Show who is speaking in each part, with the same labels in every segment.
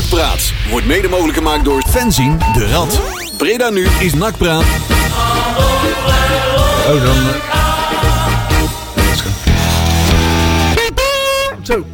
Speaker 1: Nakpraat wordt mede mogelijk gemaakt door Fenzin de Rad. Breda nu is Nakpraat.
Speaker 2: Oh, dan... Zo.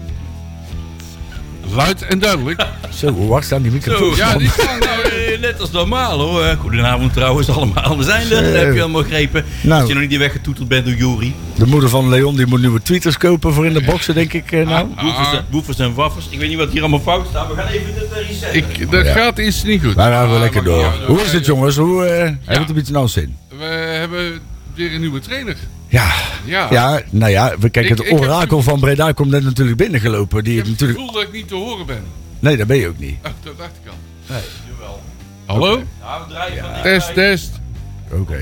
Speaker 3: Luid en duidelijk.
Speaker 2: Zo, hoe was dan die microfoon?
Speaker 3: Zo, ja, die kan nou...
Speaker 4: Eh, Net als normaal hoor. Goedenavond trouwens allemaal. We zijn er. Dat heb je allemaal begrepen.
Speaker 2: Nou.
Speaker 4: Als je nog niet weggetoeteld bent door Jury.
Speaker 2: De moeder van Leon die moet nieuwe tweeters kopen voor in de boxen, denk ik. eh, Nou.
Speaker 4: Woefers, en- woefers en waffers. Ik weet niet wat hier allemaal fout staat. We gaan even dit eh, reset.
Speaker 3: Ik, dat gaat iets niet goed.
Speaker 2: Daar gaan we
Speaker 3: Ah,
Speaker 2: lekker
Speaker 3: maar
Speaker 2: door.
Speaker 3: ja,
Speaker 2: Hoe is het, jongens? Hoe eh hebben we
Speaker 3: Ja.
Speaker 2: het een beetje nou zin?
Speaker 3: We hebben weer een nieuwe trainer.
Speaker 2: Ja.
Speaker 3: Ja.
Speaker 2: ja, nou ja, we kijken.
Speaker 3: Ik-
Speaker 2: Het
Speaker 3: ik heb-
Speaker 2: orakel van Breda komt net natuurlijk binnengelopen. Die
Speaker 3: Ik heb
Speaker 2: heeft
Speaker 3: het
Speaker 2: natuurlijk.
Speaker 3: gevoel dat ik niet te horen ben.
Speaker 2: Nee, dat ben je ook niet.
Speaker 3: Oh, dat dacht ik al.
Speaker 4: Jawel.
Speaker 3: Hallo?
Speaker 4: Nou, we draaien van
Speaker 3: Test, test.
Speaker 2: Oké.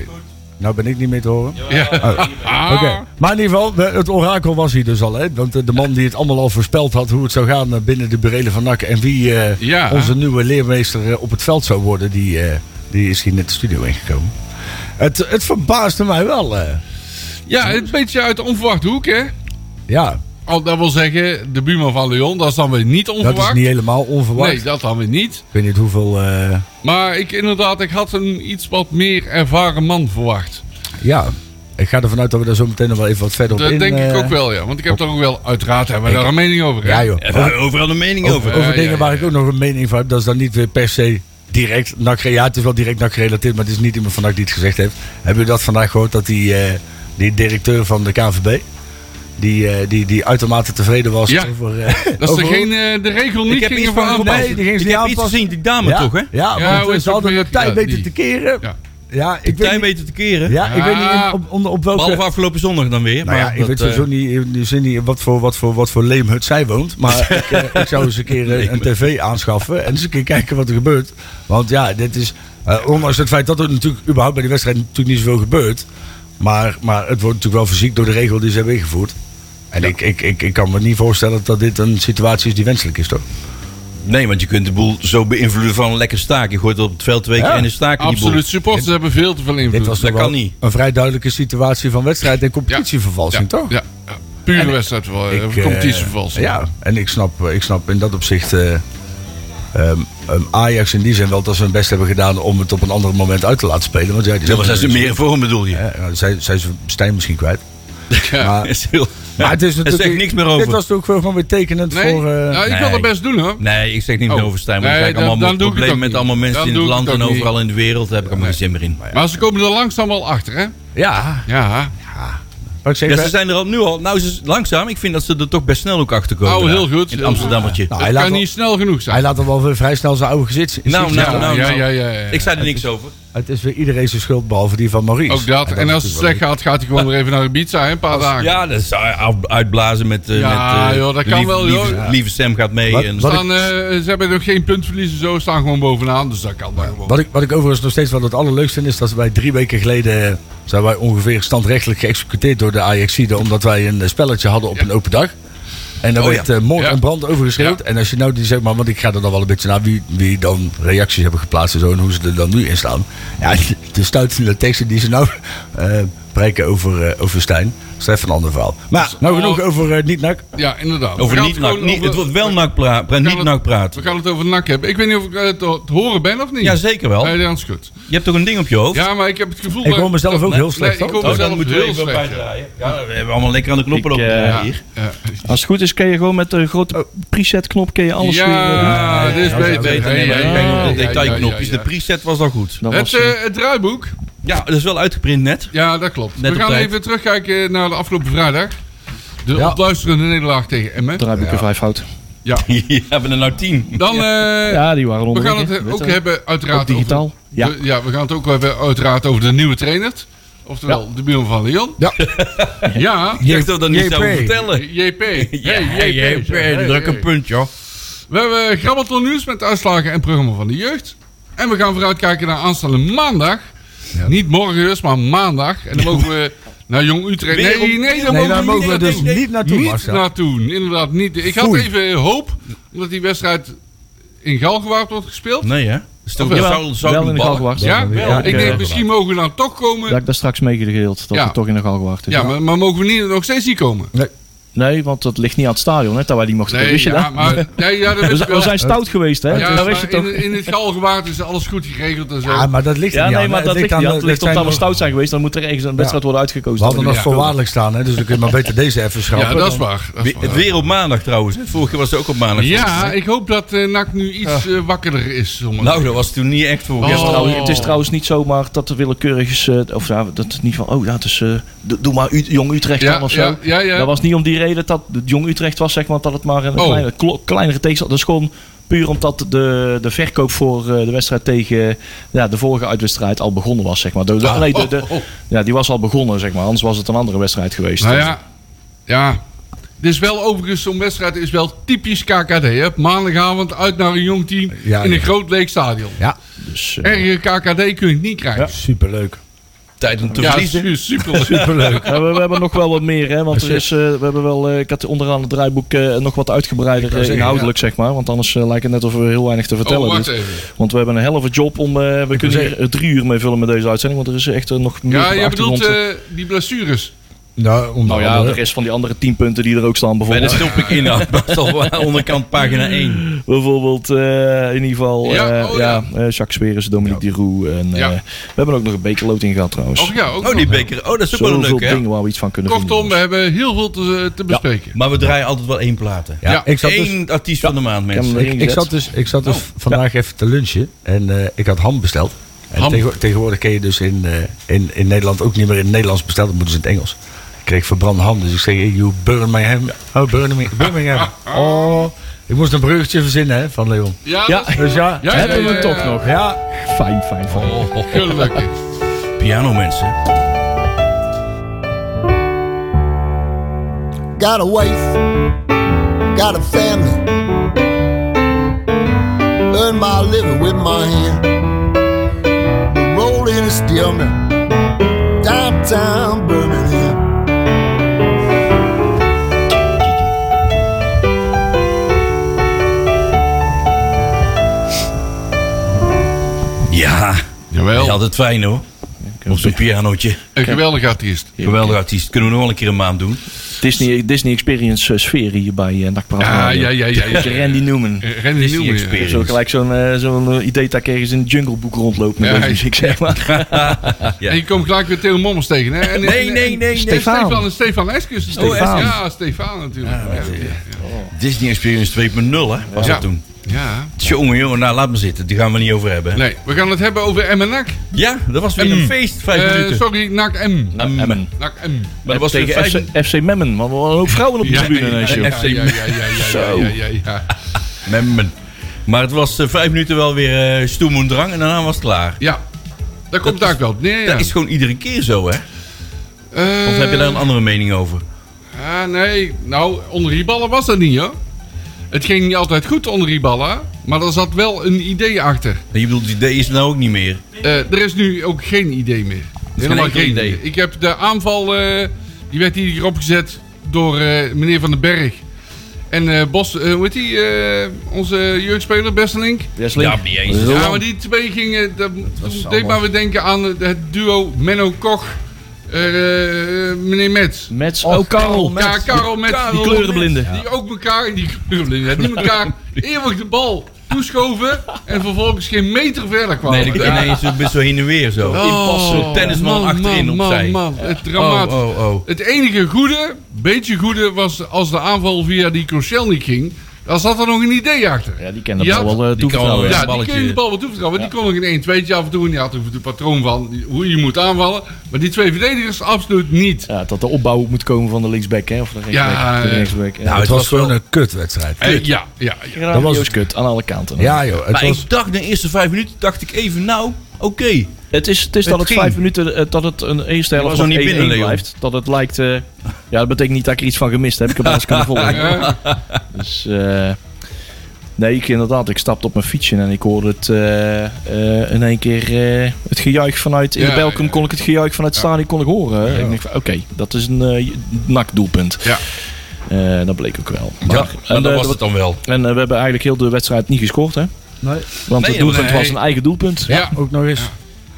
Speaker 2: Nou ben ik niet meer te horen.
Speaker 4: Ja.
Speaker 3: Ah.
Speaker 2: Oh. Oké, maar in ieder geval, we- het orakel was hier dus al. Hè? Want eh, de man die het allemaal al voorspeld had hoe het zou gaan eh, binnen de burelen van NAC. En wie eh,
Speaker 3: Ja.
Speaker 2: onze nieuwe leermeester eh, op het veld zou worden, die, eh, die is hier net de studio ingekomen. Het, het verbaasde mij wel. eh.
Speaker 3: Ja, het is een beetje uit de onverwachte hoek, hè?
Speaker 2: ja,
Speaker 3: Al, dat wil zeggen, de buurman van Leon, dat is dan weer niet
Speaker 2: dat
Speaker 3: onverwacht.
Speaker 2: is niet helemaal onverwacht.
Speaker 3: nee, dat dan weer niet.
Speaker 2: Ik weet niet hoeveel. eh,
Speaker 3: Maar ik inderdaad, ik had een iets wat meer ervaren man verwacht.
Speaker 2: ja, ik ga ervan uit dat we daar zo meteen nog wel even wat verder op
Speaker 3: Dat
Speaker 2: in.
Speaker 3: denk ik
Speaker 2: eh,
Speaker 3: ook wel, ja. Want ik heb daar ook wel, uiteraard hebben we daar een mening over. hè?
Speaker 2: Ja, joh.
Speaker 4: En we hebben overal een mening
Speaker 2: Over,
Speaker 4: over.
Speaker 2: over
Speaker 3: ja,
Speaker 2: dingen
Speaker 3: ja,
Speaker 2: waar
Speaker 3: ja.
Speaker 2: ik ook nog een mening van heb. Dat is dan niet weer per se direct NAC. Ja, het is wel direct NAC gerelateerd, maar het is niet iemand van NAC die het gezegd heeft. Hebben jullie dat vandaag gehoord? Dat die, eh, die directeur van de KNVB, die, eh, die, die uitermate tevreden was
Speaker 3: Ja.
Speaker 2: over... eh,
Speaker 3: Dat
Speaker 2: over-
Speaker 3: ze geen, eh, de regel niet
Speaker 4: Ik heb iets
Speaker 3: gingen
Speaker 4: van
Speaker 3: veranderen.
Speaker 2: Nee, die gingen ze
Speaker 4: Ik
Speaker 2: niet
Speaker 4: heb iets
Speaker 2: aanpassen.
Speaker 4: gezien, die dame
Speaker 2: ja,
Speaker 4: toch, hè?
Speaker 2: Ja,
Speaker 3: Ja, hoe
Speaker 2: want
Speaker 3: is
Speaker 2: ze
Speaker 3: het
Speaker 2: hadden
Speaker 3: weer-
Speaker 2: de tijd
Speaker 3: ja,
Speaker 2: weten
Speaker 3: die.
Speaker 2: te keren. Ja,
Speaker 3: Ja.
Speaker 2: ik weet
Speaker 4: Klein
Speaker 2: niet,
Speaker 4: beetje te keren.
Speaker 2: ja, ik weet niet in-
Speaker 3: Ah.
Speaker 2: op, onder- op welke...
Speaker 4: Behalve afgelopen zondag dan weer.
Speaker 2: Nou ja,
Speaker 4: maar
Speaker 2: ik
Speaker 4: dat,
Speaker 2: weet
Speaker 4: eh,
Speaker 2: sowieso niet, in de zin niet wat voor, wat voor, wat voor leemhut zij woont. Maar ik, eh, ik zou eens een keer eh, een tv aanschaffen. En eens een keer kijken wat er gebeurt. Want ja, dit is... eh, ondanks het feit dat er natuurlijk überhaupt bij die wedstrijd natuurlijk niet zoveel gebeurt. Maar, maar het wordt natuurlijk wel fysiek door de regel die ze hebben ingevoerd. En ik, ik, ik, ik kan me niet voorstellen dat dit een situatie is die wenselijk is, toch?
Speaker 4: Nee, want je kunt de boel zo beïnvloeden van een lekker staak. Je gooit op het veld twee keer
Speaker 2: Ja,
Speaker 4: en een staak in die boel.
Speaker 3: Absoluut, supporters hebben veel te veel invloed.
Speaker 2: Dit was
Speaker 4: dat
Speaker 2: toch wel
Speaker 4: kan niet.
Speaker 2: een vrij duidelijke situatie van wedstrijd en
Speaker 3: ja,
Speaker 2: competitievervalsing, toch?
Speaker 3: Ja, ja. pure wedstrijd, wel, eh,
Speaker 2: eh,
Speaker 3: competitievervalsing.
Speaker 2: Ja, en ik snap, ik snap in dat opzicht eh, ehm, ehm, Ajax in die zin wel dat ze hun best hebben gedaan om het op een ander moment uit te laten spelen. Want ja, die
Speaker 4: Dat was als
Speaker 2: ze
Speaker 4: ze meer vorm bedoel je.
Speaker 2: Zij, zij zijn Stijn misschien kwijt.
Speaker 3: Ja.
Speaker 2: Maar,
Speaker 4: Dat is heel-
Speaker 2: maar het is
Speaker 4: Er
Speaker 2: natuurlijk.
Speaker 4: zegt niks meer
Speaker 2: Dit
Speaker 4: over.
Speaker 2: was natuurlijk gewoon weer tekenend
Speaker 3: Nee,
Speaker 2: voor. eh,
Speaker 3: ja, ik wil
Speaker 4: nee.
Speaker 3: dat best doen hoor.
Speaker 4: Nee, ik zeg niet meer
Speaker 3: Oh.
Speaker 4: over Stijn. Want
Speaker 3: Nee,
Speaker 4: dan krijg ik
Speaker 3: dan-
Speaker 4: allemaal
Speaker 3: dan doe ik het
Speaker 4: problemen
Speaker 3: ook
Speaker 4: met
Speaker 3: niet.
Speaker 4: allemaal mensen
Speaker 3: Dan
Speaker 4: in het
Speaker 3: doe ik
Speaker 4: land
Speaker 3: het
Speaker 4: en
Speaker 3: ook niet.
Speaker 4: overal in de wereld. Daar heb ik allemaal geen zin meer in.
Speaker 3: Maar ze komen er langzaam wel achter, hè?
Speaker 2: ja,
Speaker 3: Ja.
Speaker 2: wat ik zeg.
Speaker 4: Ja,
Speaker 2: hè?
Speaker 4: ze zijn er al nu al. Nou, ze, langzaam. Ik vind dat ze er toch best snel ook achter komen.
Speaker 3: Oh, heel
Speaker 4: daar,
Speaker 3: goed.
Speaker 4: In het Amsterdammertje.
Speaker 2: Nou, hij
Speaker 3: het
Speaker 2: laat
Speaker 3: kan
Speaker 2: wel-
Speaker 3: niet snel genoeg zijn.
Speaker 2: hij laat hem wel weer vrij snel zijn oude gezicht zien.
Speaker 4: Nou, nou, nou,
Speaker 3: ja,
Speaker 4: nou.
Speaker 3: ja, ja, ja.
Speaker 4: Ik zei er niks over.
Speaker 2: Het is weer iedereen zijn schuld, behalve die van Maurice.
Speaker 3: Ook dat. En
Speaker 2: is
Speaker 3: als het
Speaker 2: natuurlijk
Speaker 3: slecht gaat, gaat hij gewoon weer even naar Ibiza, hè, een paar dagen.
Speaker 4: Ja, dat is uit- uitblazen met. eh,
Speaker 3: Ja,
Speaker 4: met, eh,
Speaker 3: joh, dat
Speaker 4: de
Speaker 3: kan
Speaker 4: lieve,
Speaker 3: wel,
Speaker 4: Lieve,
Speaker 3: joh.
Speaker 4: lieve Sam gaat mee.
Speaker 2: Wat-
Speaker 4: en,
Speaker 2: wat-
Speaker 3: Staan, eh, ze hebben nog geen puntverliezen, zo staan gewoon bovenaan. Dus dat kan dan gewoon.
Speaker 2: Wat ik, wat ik overigens nog steeds wel het allerleukste vind, is dat wij drie weken geleden eh, zijn wij ongeveer standrechtelijk geëxecuteerd door de Ajaxide. Omdat wij een eh, spelletje hadden op een open dag. En daar
Speaker 4: Oh
Speaker 2: werd
Speaker 4: ja.
Speaker 2: eh, moord
Speaker 3: Ja.
Speaker 2: en brand over geschreeuwd. En als je nou die zeg maar, want ik ga er dan wel een beetje naar wie, wie dan reacties hebben geplaatst en zo. En hoe ze er dan nu in staan. Ja, de stuitende teksten die ze nou eh breken over, eh, over Stijn. Dat is even een ander verhaal. Maar nou genoeg over eh niet-nak.
Speaker 3: Ja, inderdaad. We
Speaker 4: over
Speaker 3: gaan
Speaker 4: niet
Speaker 3: het
Speaker 4: nak.
Speaker 3: gewoon
Speaker 4: niet-
Speaker 3: over-
Speaker 4: Het wordt wel nak praat. pra-
Speaker 3: gaan
Speaker 4: Niet
Speaker 3: het-
Speaker 4: nak praat.
Speaker 3: We gaan het over nak hebben. Ik weet niet of ik eh, te, te horen ben of niet.
Speaker 4: Ja, zeker wel.
Speaker 3: Nee, dat is goed.
Speaker 4: Je hebt toch een ding op je hoofd?
Speaker 3: Ja, maar ik heb het gevoel...
Speaker 2: Ik hoor
Speaker 3: dat-
Speaker 2: mezelf ook
Speaker 3: Nee,
Speaker 2: heel slecht,
Speaker 3: nee, ik
Speaker 2: hoor.
Speaker 3: hoor
Speaker 4: Oh,
Speaker 3: mezelf
Speaker 4: dan moeten we
Speaker 3: heel
Speaker 4: even
Speaker 3: slecht.
Speaker 4: bijdraaien. Ja, we hebben allemaal lekker aan de knoppen
Speaker 5: Ik,
Speaker 4: op.
Speaker 5: eh,
Speaker 3: Ja.
Speaker 4: hier.
Speaker 3: Ja.
Speaker 5: Als het goed is, kun je gewoon met de grote preset-knop kun je alles weer... eh,
Speaker 3: Ja, dit is
Speaker 2: ja, ja,
Speaker 3: beter.
Speaker 4: Beter, nee,
Speaker 3: Ja,
Speaker 4: nee,
Speaker 3: ja,
Speaker 4: kijk
Speaker 3: ja,
Speaker 4: op
Speaker 3: ja,
Speaker 4: de
Speaker 3: ja,
Speaker 4: detailknopjes.
Speaker 3: ja, ja.
Speaker 4: De preset was al goed.
Speaker 5: Dat
Speaker 3: Het,
Speaker 5: was,
Speaker 3: eh, het draaiboek,
Speaker 4: Ja, dat is wel uitgeprint net.
Speaker 3: ja, dat klopt.
Speaker 4: Net
Speaker 3: We
Speaker 4: op
Speaker 3: gaan
Speaker 4: tijd.
Speaker 3: even terugkijken naar de afgelopen vrijdag. De
Speaker 2: Ja.
Speaker 3: opluisterende nederlaag tegen Emmen.
Speaker 5: draaiboek er vijf hout.
Speaker 3: Ja.
Speaker 4: Hier hebben er nou tien.
Speaker 3: Dan, eh,
Speaker 5: Ja, die waren
Speaker 3: we
Speaker 5: onder.
Speaker 3: gaan het eh, ook hebben uiteraard
Speaker 5: Ook digitaal.
Speaker 3: over...
Speaker 5: Ja.
Speaker 3: de- ja, we gaan het ook hebben uiteraard over de nieuwe trainer. Oftewel, de buurman van Leon.
Speaker 2: Ja.
Speaker 3: ja.
Speaker 4: Je dacht dat dat niet
Speaker 2: JP.
Speaker 4: zou vertellen.
Speaker 3: JP. Hey,
Speaker 4: JP,
Speaker 3: Hey,
Speaker 4: druk
Speaker 3: hey.
Speaker 4: een punt, joh.
Speaker 3: We hebben Grabbelton nieuws met de uitslagen en programma van de jeugd. En we gaan vooruitkijken naar aanstaande maandag. Niet morgen dus, maar maandag. En dan mogen we naar Jong Utrecht.
Speaker 4: Weer
Speaker 3: Nee, nee,
Speaker 4: op-
Speaker 3: dan
Speaker 2: Nee,
Speaker 3: mogen we
Speaker 2: daar
Speaker 4: niet
Speaker 2: mogen we
Speaker 4: naartoe.
Speaker 2: dus
Speaker 4: Nee,
Speaker 2: niet naartoe,
Speaker 3: niet
Speaker 2: Marcel.
Speaker 3: naartoe. Inderdaad niet. Ik had
Speaker 2: Foei.
Speaker 3: even hoop, omdat die wedstrijd in Galgenwaard wordt gespeeld.
Speaker 4: Nee, hè? Dat is toch
Speaker 3: Of wel?
Speaker 4: zou- zou
Speaker 5: Wel
Speaker 4: een
Speaker 5: in de
Speaker 4: bal-
Speaker 5: galgenwacht.
Speaker 3: Ja,
Speaker 2: wel.
Speaker 5: Ja,
Speaker 3: ik
Speaker 5: ik,
Speaker 3: denk
Speaker 5: eh,
Speaker 3: misschien mogen we dan toch
Speaker 5: Dat
Speaker 3: komen.
Speaker 5: ik daar straks meegedeeld. Dat
Speaker 3: Ja.
Speaker 5: we toch in de galgenwacht is.
Speaker 3: Ja, maar, maar mogen we niet, nog steeds niet komen?
Speaker 2: Nee.
Speaker 5: Nee, want dat ligt niet aan het stadion, hè, dat wij die mochten.
Speaker 3: Nee,
Speaker 5: wist je
Speaker 3: ja,
Speaker 5: dat?
Speaker 3: maar... Nee, ja, dat
Speaker 5: We
Speaker 3: wist
Speaker 5: zijn-
Speaker 3: ik
Speaker 5: we
Speaker 3: wel.
Speaker 5: zijn stout geweest, hè?
Speaker 3: Ja,
Speaker 5: dat
Speaker 3: maar
Speaker 5: wist je toch?
Speaker 3: in, in het Galgenwaard is alles goed geregeld en zo.
Speaker 2: Ja, Ah, maar dat ligt er
Speaker 5: Ja,
Speaker 2: niet
Speaker 5: nee,
Speaker 2: aan,
Speaker 5: maar
Speaker 2: hè.
Speaker 5: dat ligt,
Speaker 2: aan
Speaker 5: ja,
Speaker 2: de-
Speaker 5: het ligt
Speaker 2: zijn
Speaker 5: omdat we
Speaker 2: nog-
Speaker 5: stout zijn geweest. Dan moet er ergens een wedstrijd worden uitgekozen.
Speaker 2: We hadden nog
Speaker 3: Ja.
Speaker 2: voorwaardelijk staan, hè, dus dan kun je maar beter deze even schrappen.
Speaker 3: ja, dat is
Speaker 2: dan-
Speaker 3: waar. Dat is
Speaker 4: We-
Speaker 3: waar.
Speaker 4: Het weer op maandag trouwens. hè. Vorige keer was het ook op maandag.
Speaker 3: Ja, ik hoop dat eh NAC nu iets eh, wakkerder is. sommige
Speaker 4: Nou, dat was toen niet echt voor.
Speaker 5: Het is,
Speaker 3: Oh.
Speaker 5: trouwens, het is trouwens niet zomaar dat er willekeurig is. eh, of ja, dat het niet van. Oh, dat is. eh, do- doe maar U- Jong Utrecht
Speaker 3: Ja,
Speaker 5: dan of zo.
Speaker 3: ja, ja, ja.
Speaker 5: Dat was niet om die reden dat het Jong Utrecht was, zeg maar. Dat het maar een
Speaker 3: Oh.
Speaker 5: kleine, klo- kleinere tegenstander. Dat is gewoon puur omdat de, de verkoop voor eh, de wedstrijd tegen. Ja, de vorige uitwedstrijd al begonnen was, zeg maar. De, de- nee, de, de-
Speaker 3: oh, oh.
Speaker 5: Ja, die was al begonnen, zeg maar. Anders was het een andere wedstrijd geweest.
Speaker 3: Nou ja, ja. Dit is wel overigens, zo'n wedstrijd is wel typisch KKD. Hè? Op Maandagavond uit naar een jong team
Speaker 2: Ja,
Speaker 3: in een
Speaker 2: ja.
Speaker 3: groot leeg stadion.
Speaker 2: Ja,
Speaker 5: Dus, eh,
Speaker 3: Erger KKD kun je het niet krijgen.
Speaker 2: superleuk.
Speaker 4: Tijd om te
Speaker 3: Ja,
Speaker 4: verliezen.
Speaker 3: su- super.
Speaker 2: Superleuk.
Speaker 5: Ja, we, we hebben nog wel wat meer, hè? Want er is, eh, we hebben wel, eh, ik had onderaan het draaiboek eh, nog wat uitgebreider eh, inhoudelijk, zeg maar. Want anders eh, lijkt het net of we heel weinig te vertellen
Speaker 3: Oh, wacht
Speaker 5: hebben.
Speaker 3: even.
Speaker 5: Want we hebben een helft job om. eh, we kunnen hier eh, drie uur mee vullen met deze uitzending, want er is echt eh, nog meer.
Speaker 3: Ja,
Speaker 5: op de
Speaker 3: je bedoelt
Speaker 5: achtergrond.
Speaker 3: eh, oh, die blessures.
Speaker 2: Nou, onder
Speaker 5: nou ja, de
Speaker 2: andere.
Speaker 5: rest van die andere tien punten die er ook staan,
Speaker 4: Bij de
Speaker 5: bijvoorbeeld.
Speaker 4: stoppekinhoud. nou. Dat is al aan onderkant pagina 1.
Speaker 5: Bijvoorbeeld eh, in ieder geval eh,
Speaker 3: Ja,
Speaker 5: ja,
Speaker 3: oh ja.
Speaker 5: ja. eh, Jacques Sweres, Dominique de Roux. En, eh,
Speaker 3: Ja.
Speaker 5: we hebben ook nog een bekerlood in gehad trouwens.
Speaker 3: Oh ja, ook
Speaker 4: Oh, die
Speaker 3: nog.
Speaker 4: beker. Oh, dat is ook wel een
Speaker 5: Zoveel
Speaker 4: leuke, hè?
Speaker 5: dingen waar we iets van kunnen
Speaker 3: Kortom, we
Speaker 5: vinden.
Speaker 3: hebben heel veel te, te bespreken.
Speaker 4: Maar we draaien altijd wel één plaat, hè?
Speaker 2: Ja,
Speaker 3: ja,
Speaker 2: ik zat dus,
Speaker 4: Eén artiest van de maand, mensen.
Speaker 5: Ik-
Speaker 2: ik zat dus, ik zat dus vandaag even te lunchen en eh, ik had ham besteld. En
Speaker 3: Ham?
Speaker 2: tegenwo- tegenwoordig kun je dus in, eh, in, in Nederland ook niet meer in het Nederlands besteld, dan moeten ze in het Engels. Ik kreeg verbrande ham, dus ik zeg, you burn my ham. Oh, burn me, Birmingham. Oh, ik moest een bruggetje verzinnen hè, van Leon.
Speaker 3: Ja,
Speaker 5: Ja.
Speaker 3: dat is-
Speaker 2: Dus ja,
Speaker 3: Ja,
Speaker 5: Hebben
Speaker 3: ja,
Speaker 5: we
Speaker 3: ja,
Speaker 5: het toch
Speaker 3: ja.
Speaker 5: nog?
Speaker 2: ja.
Speaker 3: eh,
Speaker 5: Fijn, fijn, fijn.
Speaker 4: Oh, oh, oh.
Speaker 3: gelukkig.
Speaker 4: Piano, mensen.
Speaker 6: Got a wife, got a family. Earn my living with my hand. The rolling is still now. Downtown Birmingham.
Speaker 4: Ja, dat is
Speaker 3: Jawel,
Speaker 4: altijd fijn, hoor. Op zo'n pianootje.
Speaker 3: een geweldig artiest.
Speaker 4: Geweldig artiest. Kunnen we nog wel een keer een maand doen.
Speaker 5: Disney, Disney Experience eh, sfeer hier bij uh, Nakpraat.
Speaker 3: Ja, Ah, ja, ja, ja. ja.
Speaker 5: Randy Newman.
Speaker 3: Eh, Randy
Speaker 4: Disney
Speaker 3: Newman, ja.
Speaker 4: Experience.
Speaker 5: Zo gelijk zo'n eh, zo'n eh, idee dat ik ergens in een jungleboek rondloop met
Speaker 3: Ja,
Speaker 5: deze
Speaker 3: ja.
Speaker 5: muziek, zeg maar.
Speaker 4: Ja.
Speaker 3: En je komt gelijk weer Theo Mommers tegen, hè? En,
Speaker 4: Nee,
Speaker 3: en-
Speaker 4: nee, nee, nee.
Speaker 5: Stefan.
Speaker 3: Stefan en Stefan Eskes.
Speaker 4: Stefan.
Speaker 3: Ja, Stefan natuurlijk. Ja, ja,
Speaker 4: Disney Experience 2.0, hè? Was
Speaker 3: Ja.
Speaker 4: dat toen.
Speaker 3: ja.
Speaker 4: Jongen, jongen, nou laat me zitten. Die gaan we niet over hebben. hè.
Speaker 3: Nee, we gaan het hebben over M en NAC.
Speaker 4: Ja, dat was weer een feest. Vijf
Speaker 3: Eh,
Speaker 4: minuten.
Speaker 3: sorry, NAC M.
Speaker 4: Mm.
Speaker 5: Emmen.
Speaker 3: NAC M.
Speaker 4: Maar dat was weer
Speaker 5: Tegen
Speaker 4: vijf
Speaker 5: FC, FC Memmen, want we hadden ook vrouwen op de tribune ineens, joh.
Speaker 3: ja, ja, ja, ja, ja, ja, ja, ja.
Speaker 4: Memmen. Maar het was eh, vijf minuten wel weer eh stoem en drang en daarna was het klaar.
Speaker 3: Ja, daar komt daar wel op neer. Ja.
Speaker 4: Dat is gewoon iedere keer zo, hè?
Speaker 3: Eh,
Speaker 4: Of heb je daar een andere mening over?
Speaker 3: ah, nee, nou, onder die ballen was dat niet, hoor. Het ging niet altijd goed onder die ballen, maar er zat wel een idee achter.
Speaker 4: Je bedoelt, het idee is er nou ook niet meer.
Speaker 3: Eh, er is nu ook geen idee meer. Helemaal
Speaker 4: enkel
Speaker 3: geen
Speaker 4: idee.
Speaker 3: idee. Ik heb de aanval, eh, die werd hier opgezet door eh, meneer Van den Berg. En eh, Bos, eh, hoe heet die? eh, onze jeugdspeler, Besselink.
Speaker 5: Wrestling.
Speaker 4: Ja, niet eens.
Speaker 5: Roland.
Speaker 3: Ja, maar die twee gingen. Dat, deed
Speaker 4: allemaal-
Speaker 3: maar weer denken aan het duo Menno Koch. eh, eh, meneer Mets.
Speaker 5: Mets. Oh, Karel.
Speaker 3: Ja, Karel Mets.
Speaker 5: Die kleurenblinde.
Speaker 3: Die ook elkaar, die kleurenblinden, die elkaar eeuwig de bal toeschoven en vervolgens geen meter verder kwamen.
Speaker 4: Nee, dat,
Speaker 3: Ja.
Speaker 4: nee, het is best wel heen en weer zo. Inpassen. Tennisman
Speaker 3: Oh. man,
Speaker 4: achterin
Speaker 3: man,
Speaker 4: opzij.
Speaker 3: Man, man, het
Speaker 4: Oh,
Speaker 3: dramatisch.
Speaker 4: oh, oh.
Speaker 3: Het enige goede, beetje goede, was als de aanval via die Koscielny ging. Dan zat er nog een idee achter.
Speaker 5: Ja, die kennen
Speaker 3: Ja,
Speaker 5: dat wel eh,
Speaker 4: die
Speaker 5: toevertrouwen.
Speaker 4: kan wel,
Speaker 5: ja.
Speaker 3: Ja, die
Speaker 4: balletje.
Speaker 3: kun je de bal wel toevertrouwen. Want die kon nog een 1-2'tje af en toe. En die had ook het patroon van hoe je moet aanvallen. Maar die twee verdedigers absoluut niet.
Speaker 5: Ja, dat de opbouw moet komen van de linksback, hè? Of de rechtsback.
Speaker 3: Ja,
Speaker 5: de
Speaker 3: eh,
Speaker 5: rechtsback, ja.
Speaker 2: Nou, het was gewoon een kutwedstrijd.
Speaker 3: Eh, ja, ja, ja.
Speaker 5: dat was
Speaker 2: was-
Speaker 5: kut aan alle kanten.
Speaker 2: Ja joh, het
Speaker 4: Maar
Speaker 2: was...
Speaker 4: ik dacht, de eerste vijf minuten dacht ik even, nou, oké.
Speaker 5: Het is, het is
Speaker 4: Het
Speaker 5: dat het
Speaker 4: ging.
Speaker 5: vijf minuten, eh, dat het een eerste helft
Speaker 4: was
Speaker 5: van
Speaker 4: nog niet
Speaker 5: 1-1
Speaker 4: binnen, Leon.
Speaker 5: blijft. Dat het lijkt, eh, ja dat betekent niet dat ik er iets van gemist heb. Ik heb alles kunnen volgen.
Speaker 3: Ja.
Speaker 5: Dus, eh, nee, ik, inderdaad, ik stapte op mijn fietsje en ik hoorde het eh, eh, in één keer eh, het gejuich vanuit, in
Speaker 3: Ja,
Speaker 5: de Belkum
Speaker 3: ja.
Speaker 5: kon ik het gejuich vanuit het stadion kon ik horen. En ik dacht, van, oké, dat is een eh nakdoelpunt.
Speaker 3: Ja.
Speaker 5: Eh, dat bleek ook wel. Maar,
Speaker 4: Ja, maar
Speaker 5: en,
Speaker 4: dat
Speaker 5: eh,
Speaker 4: was het dan wel.
Speaker 5: en eh, we hebben eigenlijk heel de wedstrijd niet gescoord, hè?
Speaker 2: Nee.
Speaker 5: Want
Speaker 4: Nee,
Speaker 5: het doelpunt
Speaker 4: nee.
Speaker 5: was een eigen doelpunt.
Speaker 3: Ja.
Speaker 2: Ook nog eens.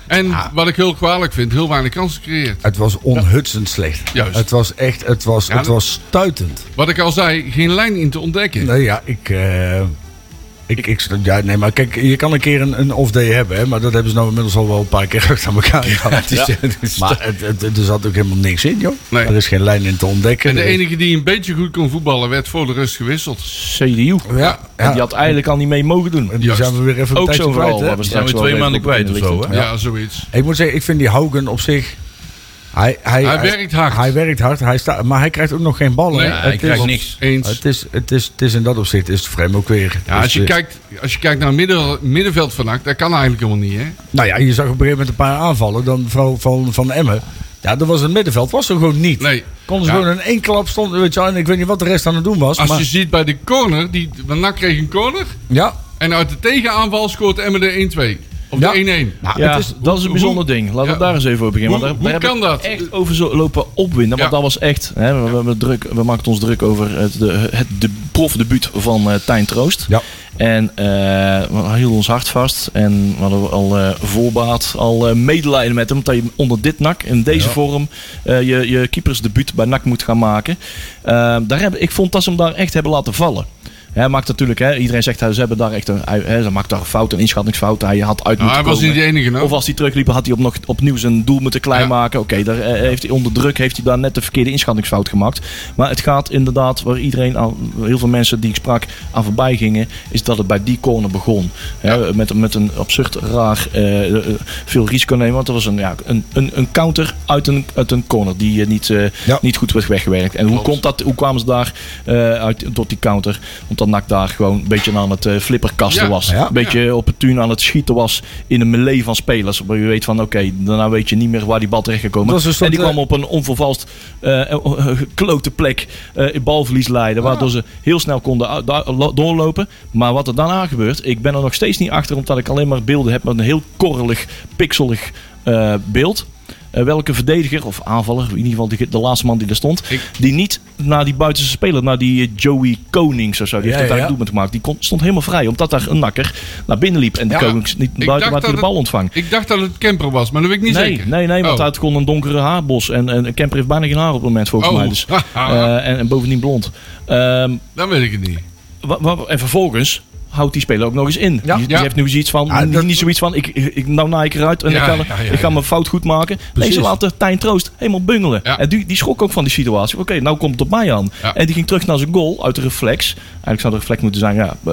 Speaker 3: En wat ik heel kwalijk vind, heel weinig kansen creëert.
Speaker 2: Het was onhutsend slecht.
Speaker 3: Juist.
Speaker 2: Het was echt, het was,
Speaker 3: Ja,
Speaker 2: het
Speaker 3: dat-
Speaker 2: was stuitend.
Speaker 3: Wat ik al zei, geen lijn in te ontdekken.
Speaker 2: Nee, ja, ik, eh, ik, ik, ja, nee, maar kijk, je kan een keer een, een off-day hebben, hè, maar dat hebben ze nou inmiddels al wel een paar keer achter elkaar gehad. Maar het, het- het- er zat ook helemaal niks in, joh.
Speaker 3: Nee.
Speaker 2: Er is geen lijn in te ontdekken.
Speaker 3: En de
Speaker 2: Er is-
Speaker 3: enige die een beetje goed kon voetballen, werd voor de rust gewisseld.
Speaker 5: CDU.
Speaker 2: Ja,
Speaker 5: En
Speaker 2: ja.
Speaker 5: die had eigenlijk al niet mee mogen doen.
Speaker 2: En die
Speaker 3: Juist.
Speaker 2: zijn we weer even een
Speaker 5: Ook
Speaker 2: tijdje
Speaker 5: zo'n
Speaker 2: kwijt,
Speaker 5: verhaal.
Speaker 2: hè.
Speaker 5: waar we
Speaker 4: Zijn we
Speaker 5: straks wel
Speaker 4: twee
Speaker 5: even
Speaker 4: maanden
Speaker 5: op in
Speaker 4: kwijt
Speaker 5: de
Speaker 4: of
Speaker 5: lichting.
Speaker 4: zo, hè?
Speaker 3: Ja, zoiets.
Speaker 2: Ik moet zeggen, ik vind die Haugen op zich... Hij, hij,
Speaker 3: Hij werkt hard.
Speaker 2: Hij werkt hard, hij staat, maar hij krijgt ook nog geen ballen.
Speaker 3: Nee,
Speaker 2: hè.
Speaker 4: hij
Speaker 2: Het
Speaker 4: krijgt
Speaker 2: is-
Speaker 4: niks.
Speaker 3: Eens.
Speaker 2: Het is, het, is, het is in dat opzicht is het vreemd ook weer.
Speaker 3: Ja, als,
Speaker 2: Dus,
Speaker 3: je
Speaker 2: eh,
Speaker 3: kijkt, als je kijkt naar midden, middenveld vannacht, dat kan eigenlijk helemaal niet. Hè?
Speaker 2: Nou ja, je zag op een gegeven moment een paar aanvallen dan van, van, van Emmen. Ja, dat was het middenveld, was er gewoon niet.
Speaker 3: Nee.
Speaker 2: Konden ze
Speaker 3: Ja.
Speaker 2: gewoon in één klap stonden, weet je, wel, en ik weet niet wat de rest aan het doen was.
Speaker 3: Als
Speaker 2: maar,
Speaker 3: je ziet bij de corner, die, want NAC kreeg een corner.
Speaker 2: Ja,
Speaker 3: En uit de tegenaanval scoort Emmen de 1-2. Of
Speaker 2: Ja.
Speaker 3: de 1-1.
Speaker 2: nou,
Speaker 5: Ja,
Speaker 2: het is,
Speaker 5: dat is een bijzonder ding. Laten we
Speaker 3: ja.
Speaker 5: daar eens even over beginnen.
Speaker 3: Hoe-
Speaker 5: want
Speaker 3: hoe
Speaker 5: daar, daar
Speaker 3: kan
Speaker 5: heb ik
Speaker 3: dat?
Speaker 5: echt over zo lopen opwinden. Want
Speaker 3: Ja.
Speaker 5: dat was echt... Hè, we, we, hebben druk, we maakten ons druk over het, de, het de profdebuut van eh Tijn Troost.
Speaker 2: ja.
Speaker 5: En eh, we hielden ons hart vast. En we hadden al eh, voorbaat, al eh, medelijden met hem. Dat je onder dit nak, in deze vorm, eh, je, je keepersdebuut bij nak moet gaan maken. Eh, daar heb, ik vond dat ze hem daar echt hebben laten vallen. Hij maakt natuurlijk, hè, iedereen zegt hè, ze hebben daar echt een, hij, hè, ze maakt daar een fout, een inschattingsfout. Hij had uit moeten
Speaker 3: Nou, hij was
Speaker 5: komen.
Speaker 3: niet de enige. Nou.
Speaker 5: Of als hij terugliep, had hij op nog, opnieuw zijn doel moeten klein
Speaker 3: Ja.
Speaker 5: maken. Oké, daar eh, heeft hij onder druk heeft hij daar net de verkeerde inschattingsfout gemaakt. Maar het gaat inderdaad, waar iedereen aan, waar heel veel mensen die ik sprak aan voorbij gingen, is dat het bij die corner begon. Hè, met, met een absurd raar eh, eh, veel risico nemen. Want dat was een, ja, een, een, een counter uit een, uit een corner die eh, niet, eh,
Speaker 2: Ja.
Speaker 5: niet goed werd weggewerkt. En hoe, komt dat, hoe kwamen ze daar eh, uit, tot die counter? Omdat NAC daar gewoon een beetje aan het eh, flipperkasten
Speaker 3: Ja.
Speaker 5: was.
Speaker 2: Ja.
Speaker 5: Een beetje op het tuin aan het schieten was in een melee van spelers. Waar je weet van oké, daarna weet je niet meer waar die bal terecht gaat komen.
Speaker 2: Dat is een soort,
Speaker 5: en die kwam
Speaker 2: eh,
Speaker 5: op een onvervalst eh, eh, geklote plek eh, in balverlies leiden. Waardoor
Speaker 2: Ah.
Speaker 5: ze heel snel konden uit- da- lo- doorlopen. Maar wat er daarna gebeurt, ik ben er nog steeds niet achter. Omdat ik alleen maar beelden heb met een heel korrelig, pixelig eh, beeld. Eh, welke verdediger of aanvaller, in ieder geval de, de laatste man die er stond,
Speaker 3: Ik-
Speaker 5: die niet naar die buitenste speler, naar die eh, Joey Konings of zo, die
Speaker 2: Ja,
Speaker 5: heeft
Speaker 2: ja,
Speaker 5: daar
Speaker 2: ja.
Speaker 5: een doelpunt gemaakt, die kon, stond helemaal vrij, omdat daar een nakker naar binnen liep en de
Speaker 3: Ja,
Speaker 5: Konings niet
Speaker 3: ik
Speaker 5: buiten
Speaker 3: dacht
Speaker 5: waar hij
Speaker 3: dat
Speaker 5: de bal
Speaker 3: het-
Speaker 5: ontvangt.
Speaker 3: Ik dacht dat het Kemper was, maar dat weet ik niet
Speaker 5: nee,
Speaker 3: zeker.
Speaker 5: Nee, nee, want
Speaker 3: Oh.
Speaker 5: hij had gewoon een donkere haarbos. En, en Kemper heeft bijna geen haar op het moment, volgens
Speaker 3: Oh.
Speaker 5: mij. Dus, Eh, en, en bovendien blond. Ehm,
Speaker 3: Dan weet ik het niet.
Speaker 5: wa- wa- en vervolgens houdt die speler ook nog eens in.
Speaker 2: Ja.
Speaker 5: Die, die
Speaker 3: Ja.
Speaker 5: heeft nu zoiets van,
Speaker 2: Ja,
Speaker 5: niet-
Speaker 2: dat-
Speaker 5: niet zoiets van, ik, ik, nou naai ik eruit en
Speaker 3: Ja,
Speaker 5: ik, ga,
Speaker 3: ja, ja,
Speaker 5: ik ga
Speaker 3: ja.
Speaker 5: mijn fout goed maken. Nee,
Speaker 2: Precies.
Speaker 5: ze laten Tijn Troost helemaal bungelen.
Speaker 3: Ja.
Speaker 5: En die, die schrok ook van die situatie. Oké, nou komt het op mij aan.
Speaker 3: Ja.
Speaker 5: En die ging terug naar zijn goal uit de reflex. Eigenlijk zou de reflex moeten zijn, ja, eh,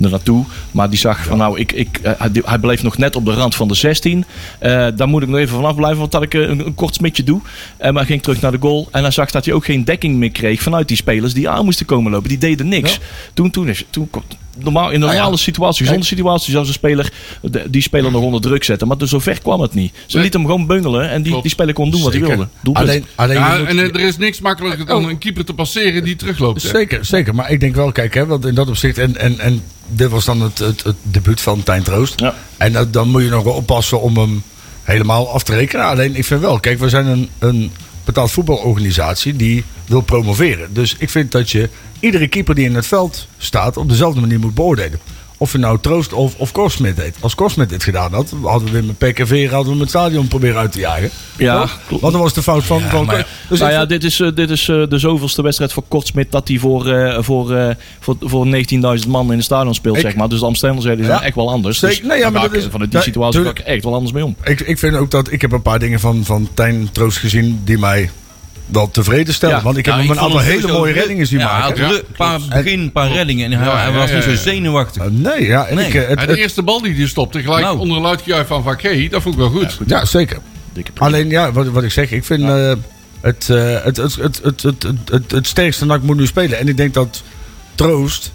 Speaker 5: er naartoe. Maar die zag van, nou, ik, ik, eh, hij, hij bleef nog net op de rand van de 16. Eh, daar moet ik nog even vanaf blijven, want dat ik eh, een, een kort smetje doe. En maar hij ging terug naar de goal. En hij zag dat hij ook geen dekking meer kreeg vanuit die spelers die aan moesten komen lopen. Die deden niks. Toen, toen, is, toen kwam- Normaal, in
Speaker 2: Nou
Speaker 5: een normale situatie, gezonde situatie, zou zo'n speler de- die speler nog onder druk zetten. Maar dus zover kwam het niet. Ze
Speaker 3: Nee.
Speaker 5: lieten hem gewoon bungelen en die,
Speaker 3: Klopt.
Speaker 5: die speler kon doen wat hij
Speaker 2: Zeker.
Speaker 5: wilde. Doelpunt.
Speaker 2: Alleen, alleen
Speaker 3: Ja,
Speaker 2: je moet-
Speaker 3: en eh, er is niks makkelijker dan
Speaker 2: Oh.
Speaker 3: een keeper te passeren die terugloopt. hè.
Speaker 2: Zeker, zeker. Maar ik denk wel, kijk, hè, want in dat opzicht. En, en, en dit was dan het, het, het debuut van Tijn Troost.
Speaker 5: Ja.
Speaker 2: En dat- dan moet je nog wel oppassen om hem helemaal af te rekenen. Alleen ik vind wel, kijk, we zijn een, een betaald voetbalorganisatie die wil promoveren. Dus ik vind dat je iedere keeper die in het veld staat op dezelfde manier moet beoordelen. Of je nou Troost of, of Korsmit deed. Als Korsmit dit gedaan had, hadden we weer met PKV hadden we hem het stadion proberen uit te jagen.
Speaker 5: Ja,
Speaker 2: Toch?
Speaker 5: klopt.
Speaker 2: Want dat was de fout van... van
Speaker 4: maar-
Speaker 2: Dus
Speaker 5: nou
Speaker 2: ik
Speaker 5: ja, dit is, eh, dit is eh, de zoveelste wedstrijd voor Kortsmit dat hij voor, eh, voor, eh, voor, voor 19.000 man in het stadion speelt,
Speaker 2: Ik-
Speaker 5: zeg maar. Dus de Amsterdammers zijn
Speaker 2: Ja.
Speaker 5: echt wel anders.
Speaker 2: Zeker.
Speaker 5: Dus
Speaker 2: Nee, ja,
Speaker 5: daar
Speaker 2: maar
Speaker 5: ga
Speaker 2: dat
Speaker 5: ik,
Speaker 2: is-
Speaker 5: eh, vanuit die
Speaker 2: nee,
Speaker 5: situatie ga ik
Speaker 2: tuurlijk.
Speaker 5: echt wel anders mee om.
Speaker 2: Ik, ik vind ook dat ik heb een paar dingen van, van Tijn Troost gezien die mij wel tevreden stellen.
Speaker 5: Ja.
Speaker 2: want ik heb
Speaker 4: Nou,
Speaker 2: hem een
Speaker 4: vond
Speaker 2: aantal
Speaker 4: hem
Speaker 2: hele
Speaker 4: sowieso
Speaker 2: mooie
Speaker 4: druk.
Speaker 2: reddingen zien
Speaker 4: ja, hij
Speaker 2: maken.
Speaker 4: had
Speaker 3: Ja,
Speaker 4: druk. Een paar, begin, een paar reddingen. En hij,
Speaker 3: Ja,
Speaker 4: hij
Speaker 3: ja,
Speaker 4: was
Speaker 3: ja,
Speaker 4: niet zo
Speaker 3: ja.
Speaker 4: zenuwachtig.
Speaker 2: Uh, Nee, ja. en
Speaker 4: Nee.
Speaker 2: Ik, eh, het-
Speaker 3: Ja,
Speaker 2: het-
Speaker 3: de eerste bal die hij stopte, gelijk
Speaker 4: Nou.
Speaker 3: onder een luid gejuich van Van Gee, dat vond ik wel goed.
Speaker 2: ja, zeker.
Speaker 5: Dikke prik.
Speaker 2: Alleen, ja, wat, wat ik zeg, ik vind eh, het, eh, het, het, het, het, het, het, het, het sterkste NAC moet nu spelen. En ik denk dat Troost...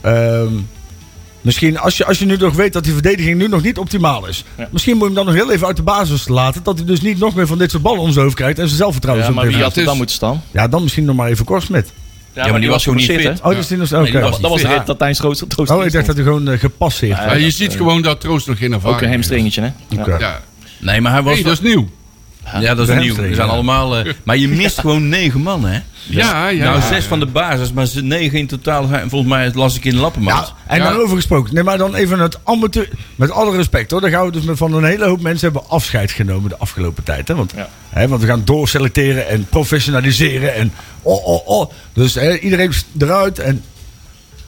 Speaker 2: ehm, Misschien, als je, als je nu nog weet dat die verdediging nu nog niet optimaal is.
Speaker 5: Ja.
Speaker 2: Misschien moet je hem dan nog heel even uit de basis laten. Dat hij dus niet nog meer van dit soort ballen om zijn hoofd krijgt. En zijn zelfvertrouwen
Speaker 5: Ja,
Speaker 2: zo'n
Speaker 5: maar wie
Speaker 2: beetje-
Speaker 5: had er dan moeten staan?
Speaker 2: ja, dan misschien nog maar even kort met.
Speaker 5: Ja,
Speaker 4: maar die was gewoon niet
Speaker 5: geblesseerd,
Speaker 2: Oh, dus die nog... oké.
Speaker 4: die was
Speaker 5: hè? Dat was de rit dat Tijn's grootste troost
Speaker 2: Oh, ik dacht dat Oh. hij gewoon eh, gepasseerd
Speaker 5: Ja,
Speaker 3: Ja,
Speaker 2: werd.
Speaker 3: je ziet gewoon dat Troost nog geen ervaring
Speaker 5: Ook een hamstringetje, hè?
Speaker 2: Oké.
Speaker 3: heeft. Ja.
Speaker 4: Nee, maar hij was... dus-
Speaker 3: Hey, dat is nieuw.
Speaker 4: Ja, dat is
Speaker 2: De
Speaker 4: nieuw.
Speaker 2: hamstring,
Speaker 4: Die zijn
Speaker 2: ja.
Speaker 4: allemaal, eh, maar je mist gewoon negen man, hè?
Speaker 3: Ja, ja.
Speaker 4: nou,
Speaker 3: ja.
Speaker 4: zes van de basis, maar ze- negen in totaal. zijn- Volgens mij las ik in de lappenmand.
Speaker 2: Ja, en
Speaker 3: Ja.
Speaker 2: daarover gesproken. Nee, maar dan even het amateur. Met alle respect hoor. Dan gaan we dus met- van een hele hoop mensen hebben afscheid genomen de afgelopen tijd. Hè? Want,
Speaker 5: Ja.
Speaker 2: hè, want we gaan doorselecteren en professionaliseren. En oh, oh, oh. Dus hè, iedereen is eruit. En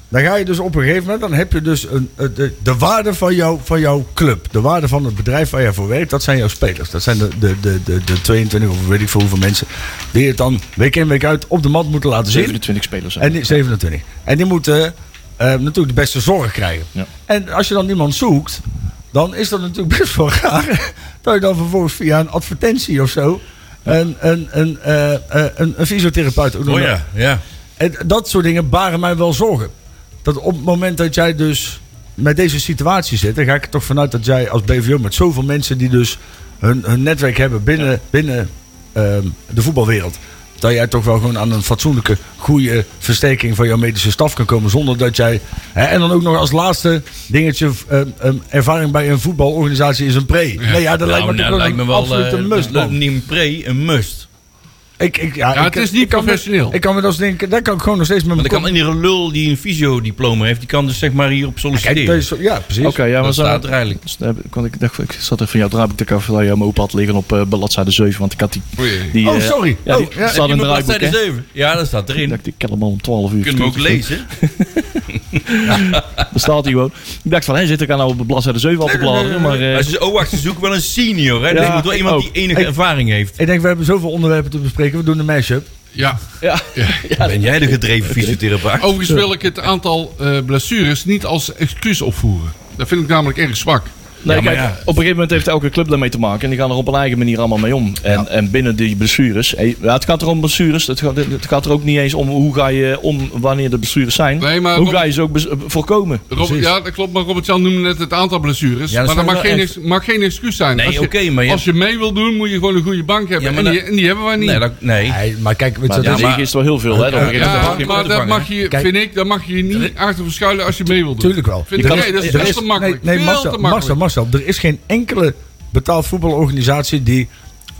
Speaker 2: dan ga je dus op een gegeven moment. Dan heb je dus een, eh, de, de waarde van, jou, van jouw club. De waarde van het bedrijf waar jij voor werkt. Dat zijn jouw spelers. Dat zijn de, de, de, de, de 22 of weet ik veel hoeveel mensen. Die het dan week in week uit op de mat moeten laten zien.
Speaker 5: 27 spelers. zijn.
Speaker 2: En die, 27. En die moeten eh, natuurlijk de beste zorg krijgen.
Speaker 5: Ja.
Speaker 2: En als je dan iemand zoekt, dan is dat natuurlijk best wel raar. Dat je dan vervolgens via een advertentie of zo. Een, een, een, eh, eh, een, een fysiotherapeut. ook nog-
Speaker 4: Oh ja, ja.
Speaker 2: En dat soort dingen baren mij wel zorgen. Dat op het moment dat jij dus met deze situatie zit, dan ga ik er toch vanuit dat jij als BVO met zoveel mensen die dus hun, hun netwerk hebben binnen, binnen ehm, de voetbalwereld. Dat jij toch wel gewoon aan een fatsoenlijke, goede versterking van jouw medische staf kan komen. Zonder dat jij. Hè, en dan ook nog als laatste dingetje: ehm, ehm, ervaring bij een voetbalorganisatie is een pre. Nee, ja, dat
Speaker 4: Nou,
Speaker 2: lijkt me,
Speaker 4: nou,
Speaker 2: toch
Speaker 4: lijkt me
Speaker 2: een
Speaker 4: wel
Speaker 2: absoluut
Speaker 4: eh,
Speaker 2: een must.
Speaker 4: dat-
Speaker 2: man.
Speaker 4: Niet een pre, een must.
Speaker 2: Ik, ik, ja,
Speaker 3: Ja,
Speaker 2: ik-
Speaker 3: het is niet
Speaker 2: ik kan me-
Speaker 3: professioneel.
Speaker 2: Ik kan me dat eens denken, daar kan ik gewoon nog steeds met
Speaker 4: Want
Speaker 2: mijn
Speaker 4: ik kan iedere lul die een fysiodiploma heeft, die kan dus zeg maar hierop solliciteren.
Speaker 2: Kijk, deze- ja, precies.
Speaker 5: Oké, ja, maar
Speaker 4: dat
Speaker 5: zo.
Speaker 4: staat er eigenlijk.
Speaker 5: Dus daar heb ik- kon ik, dacht, ik zat even van jou draai ik de café dat je hem open had liggen op eh bladzijde 7, want ik had die...
Speaker 3: Oei.
Speaker 5: die
Speaker 2: Oh,
Speaker 5: eh,
Speaker 2: sorry.
Speaker 5: Ja, die
Speaker 2: Oh, ja.
Speaker 5: staat in
Speaker 4: Heb
Speaker 5: een
Speaker 4: je hem op
Speaker 5: draaiboek,
Speaker 4: bladzijde
Speaker 5: hè.
Speaker 4: zeven? Ja, dat staat
Speaker 5: Ik
Speaker 4: erin.
Speaker 5: dacht, ik ken hem al om 12 uur.
Speaker 4: Kunnen we ook
Speaker 5: gestuurd of zo.
Speaker 4: lezen.
Speaker 5: Daar staat hij gewoon. Ik dacht van, hé, zit ik aan nou op bladzijde 7 al te bladeren, maar... eh,
Speaker 4: Maar ze, oh wacht, ze zoeken wel een senior. Hè? dus
Speaker 5: Ja,
Speaker 4: je moet wel
Speaker 5: ik
Speaker 4: iemand
Speaker 5: ook.
Speaker 4: die enige
Speaker 2: Ik-
Speaker 4: ervaring heeft.
Speaker 2: Ik denk, we hebben zoveel onderwerpen te bespreken. We doen een mashup.
Speaker 3: Ja.
Speaker 5: ja.
Speaker 4: ben jij de gedreven fysiotherapeut?
Speaker 3: Overigens wil ik het aantal eh, blessures niet als excuus opvoeren. Dat vind ik namelijk erg zwak.
Speaker 5: Nee,
Speaker 4: Ja, maar
Speaker 5: kijk,
Speaker 4: ja.
Speaker 5: op een gegeven moment heeft elke club daarmee te maken. En die gaan er op een eigen manier allemaal mee om. En, en binnen die blessures. eh, ja, het gaat er om blessures. Het gaat, het gaat er ook niet eens om hoe ga je om wanneer de blessures zijn.
Speaker 3: Nee, maar
Speaker 5: hoe
Speaker 3: Rob-
Speaker 5: ga je ze ook bes- voorkomen?
Speaker 3: Rob, ja, dat klopt, maar Robert-Jan noemde net het aantal blessures.
Speaker 4: Ja,
Speaker 3: maar
Speaker 4: dat
Speaker 3: dat
Speaker 4: zijn
Speaker 3: mag
Speaker 4: wel
Speaker 3: geen,
Speaker 4: echt-
Speaker 3: ex- mag geen excuus zijn.
Speaker 4: Nee,
Speaker 3: als, je,
Speaker 4: oké, maar je-
Speaker 3: als je mee wil doen, moet je gewoon een goede bank hebben.
Speaker 4: Ja, maar
Speaker 3: en, die,
Speaker 4: dat-
Speaker 3: en die hebben wij niet.
Speaker 4: Nee, dat, nee.
Speaker 2: Nee, maar kijk, weet
Speaker 5: Maar
Speaker 2: je,
Speaker 5: dat
Speaker 2: dat
Speaker 5: is
Speaker 4: maar-
Speaker 5: is wel heel veel. Hè, dat
Speaker 2: Ja,
Speaker 5: begint
Speaker 3: ja,
Speaker 5: het
Speaker 4: mag je hem
Speaker 5: wel.
Speaker 3: maar
Speaker 4: opvangen,
Speaker 3: dat mag je,
Speaker 2: Kijk-
Speaker 3: vind ik, daar mag je niet achter verschuilen als je mee wil doen.
Speaker 2: natuurlijk wel.
Speaker 3: Vind
Speaker 2: Er
Speaker 3: ik,
Speaker 2: is-
Speaker 3: nee, dat is
Speaker 2: er
Speaker 3: veel te makkelijk.
Speaker 2: Nee,
Speaker 3: Veel te
Speaker 2: Marcel,
Speaker 3: makkelijk.
Speaker 2: Marcel, Marcel, er is geen enkele betaald voetbalorganisatie die,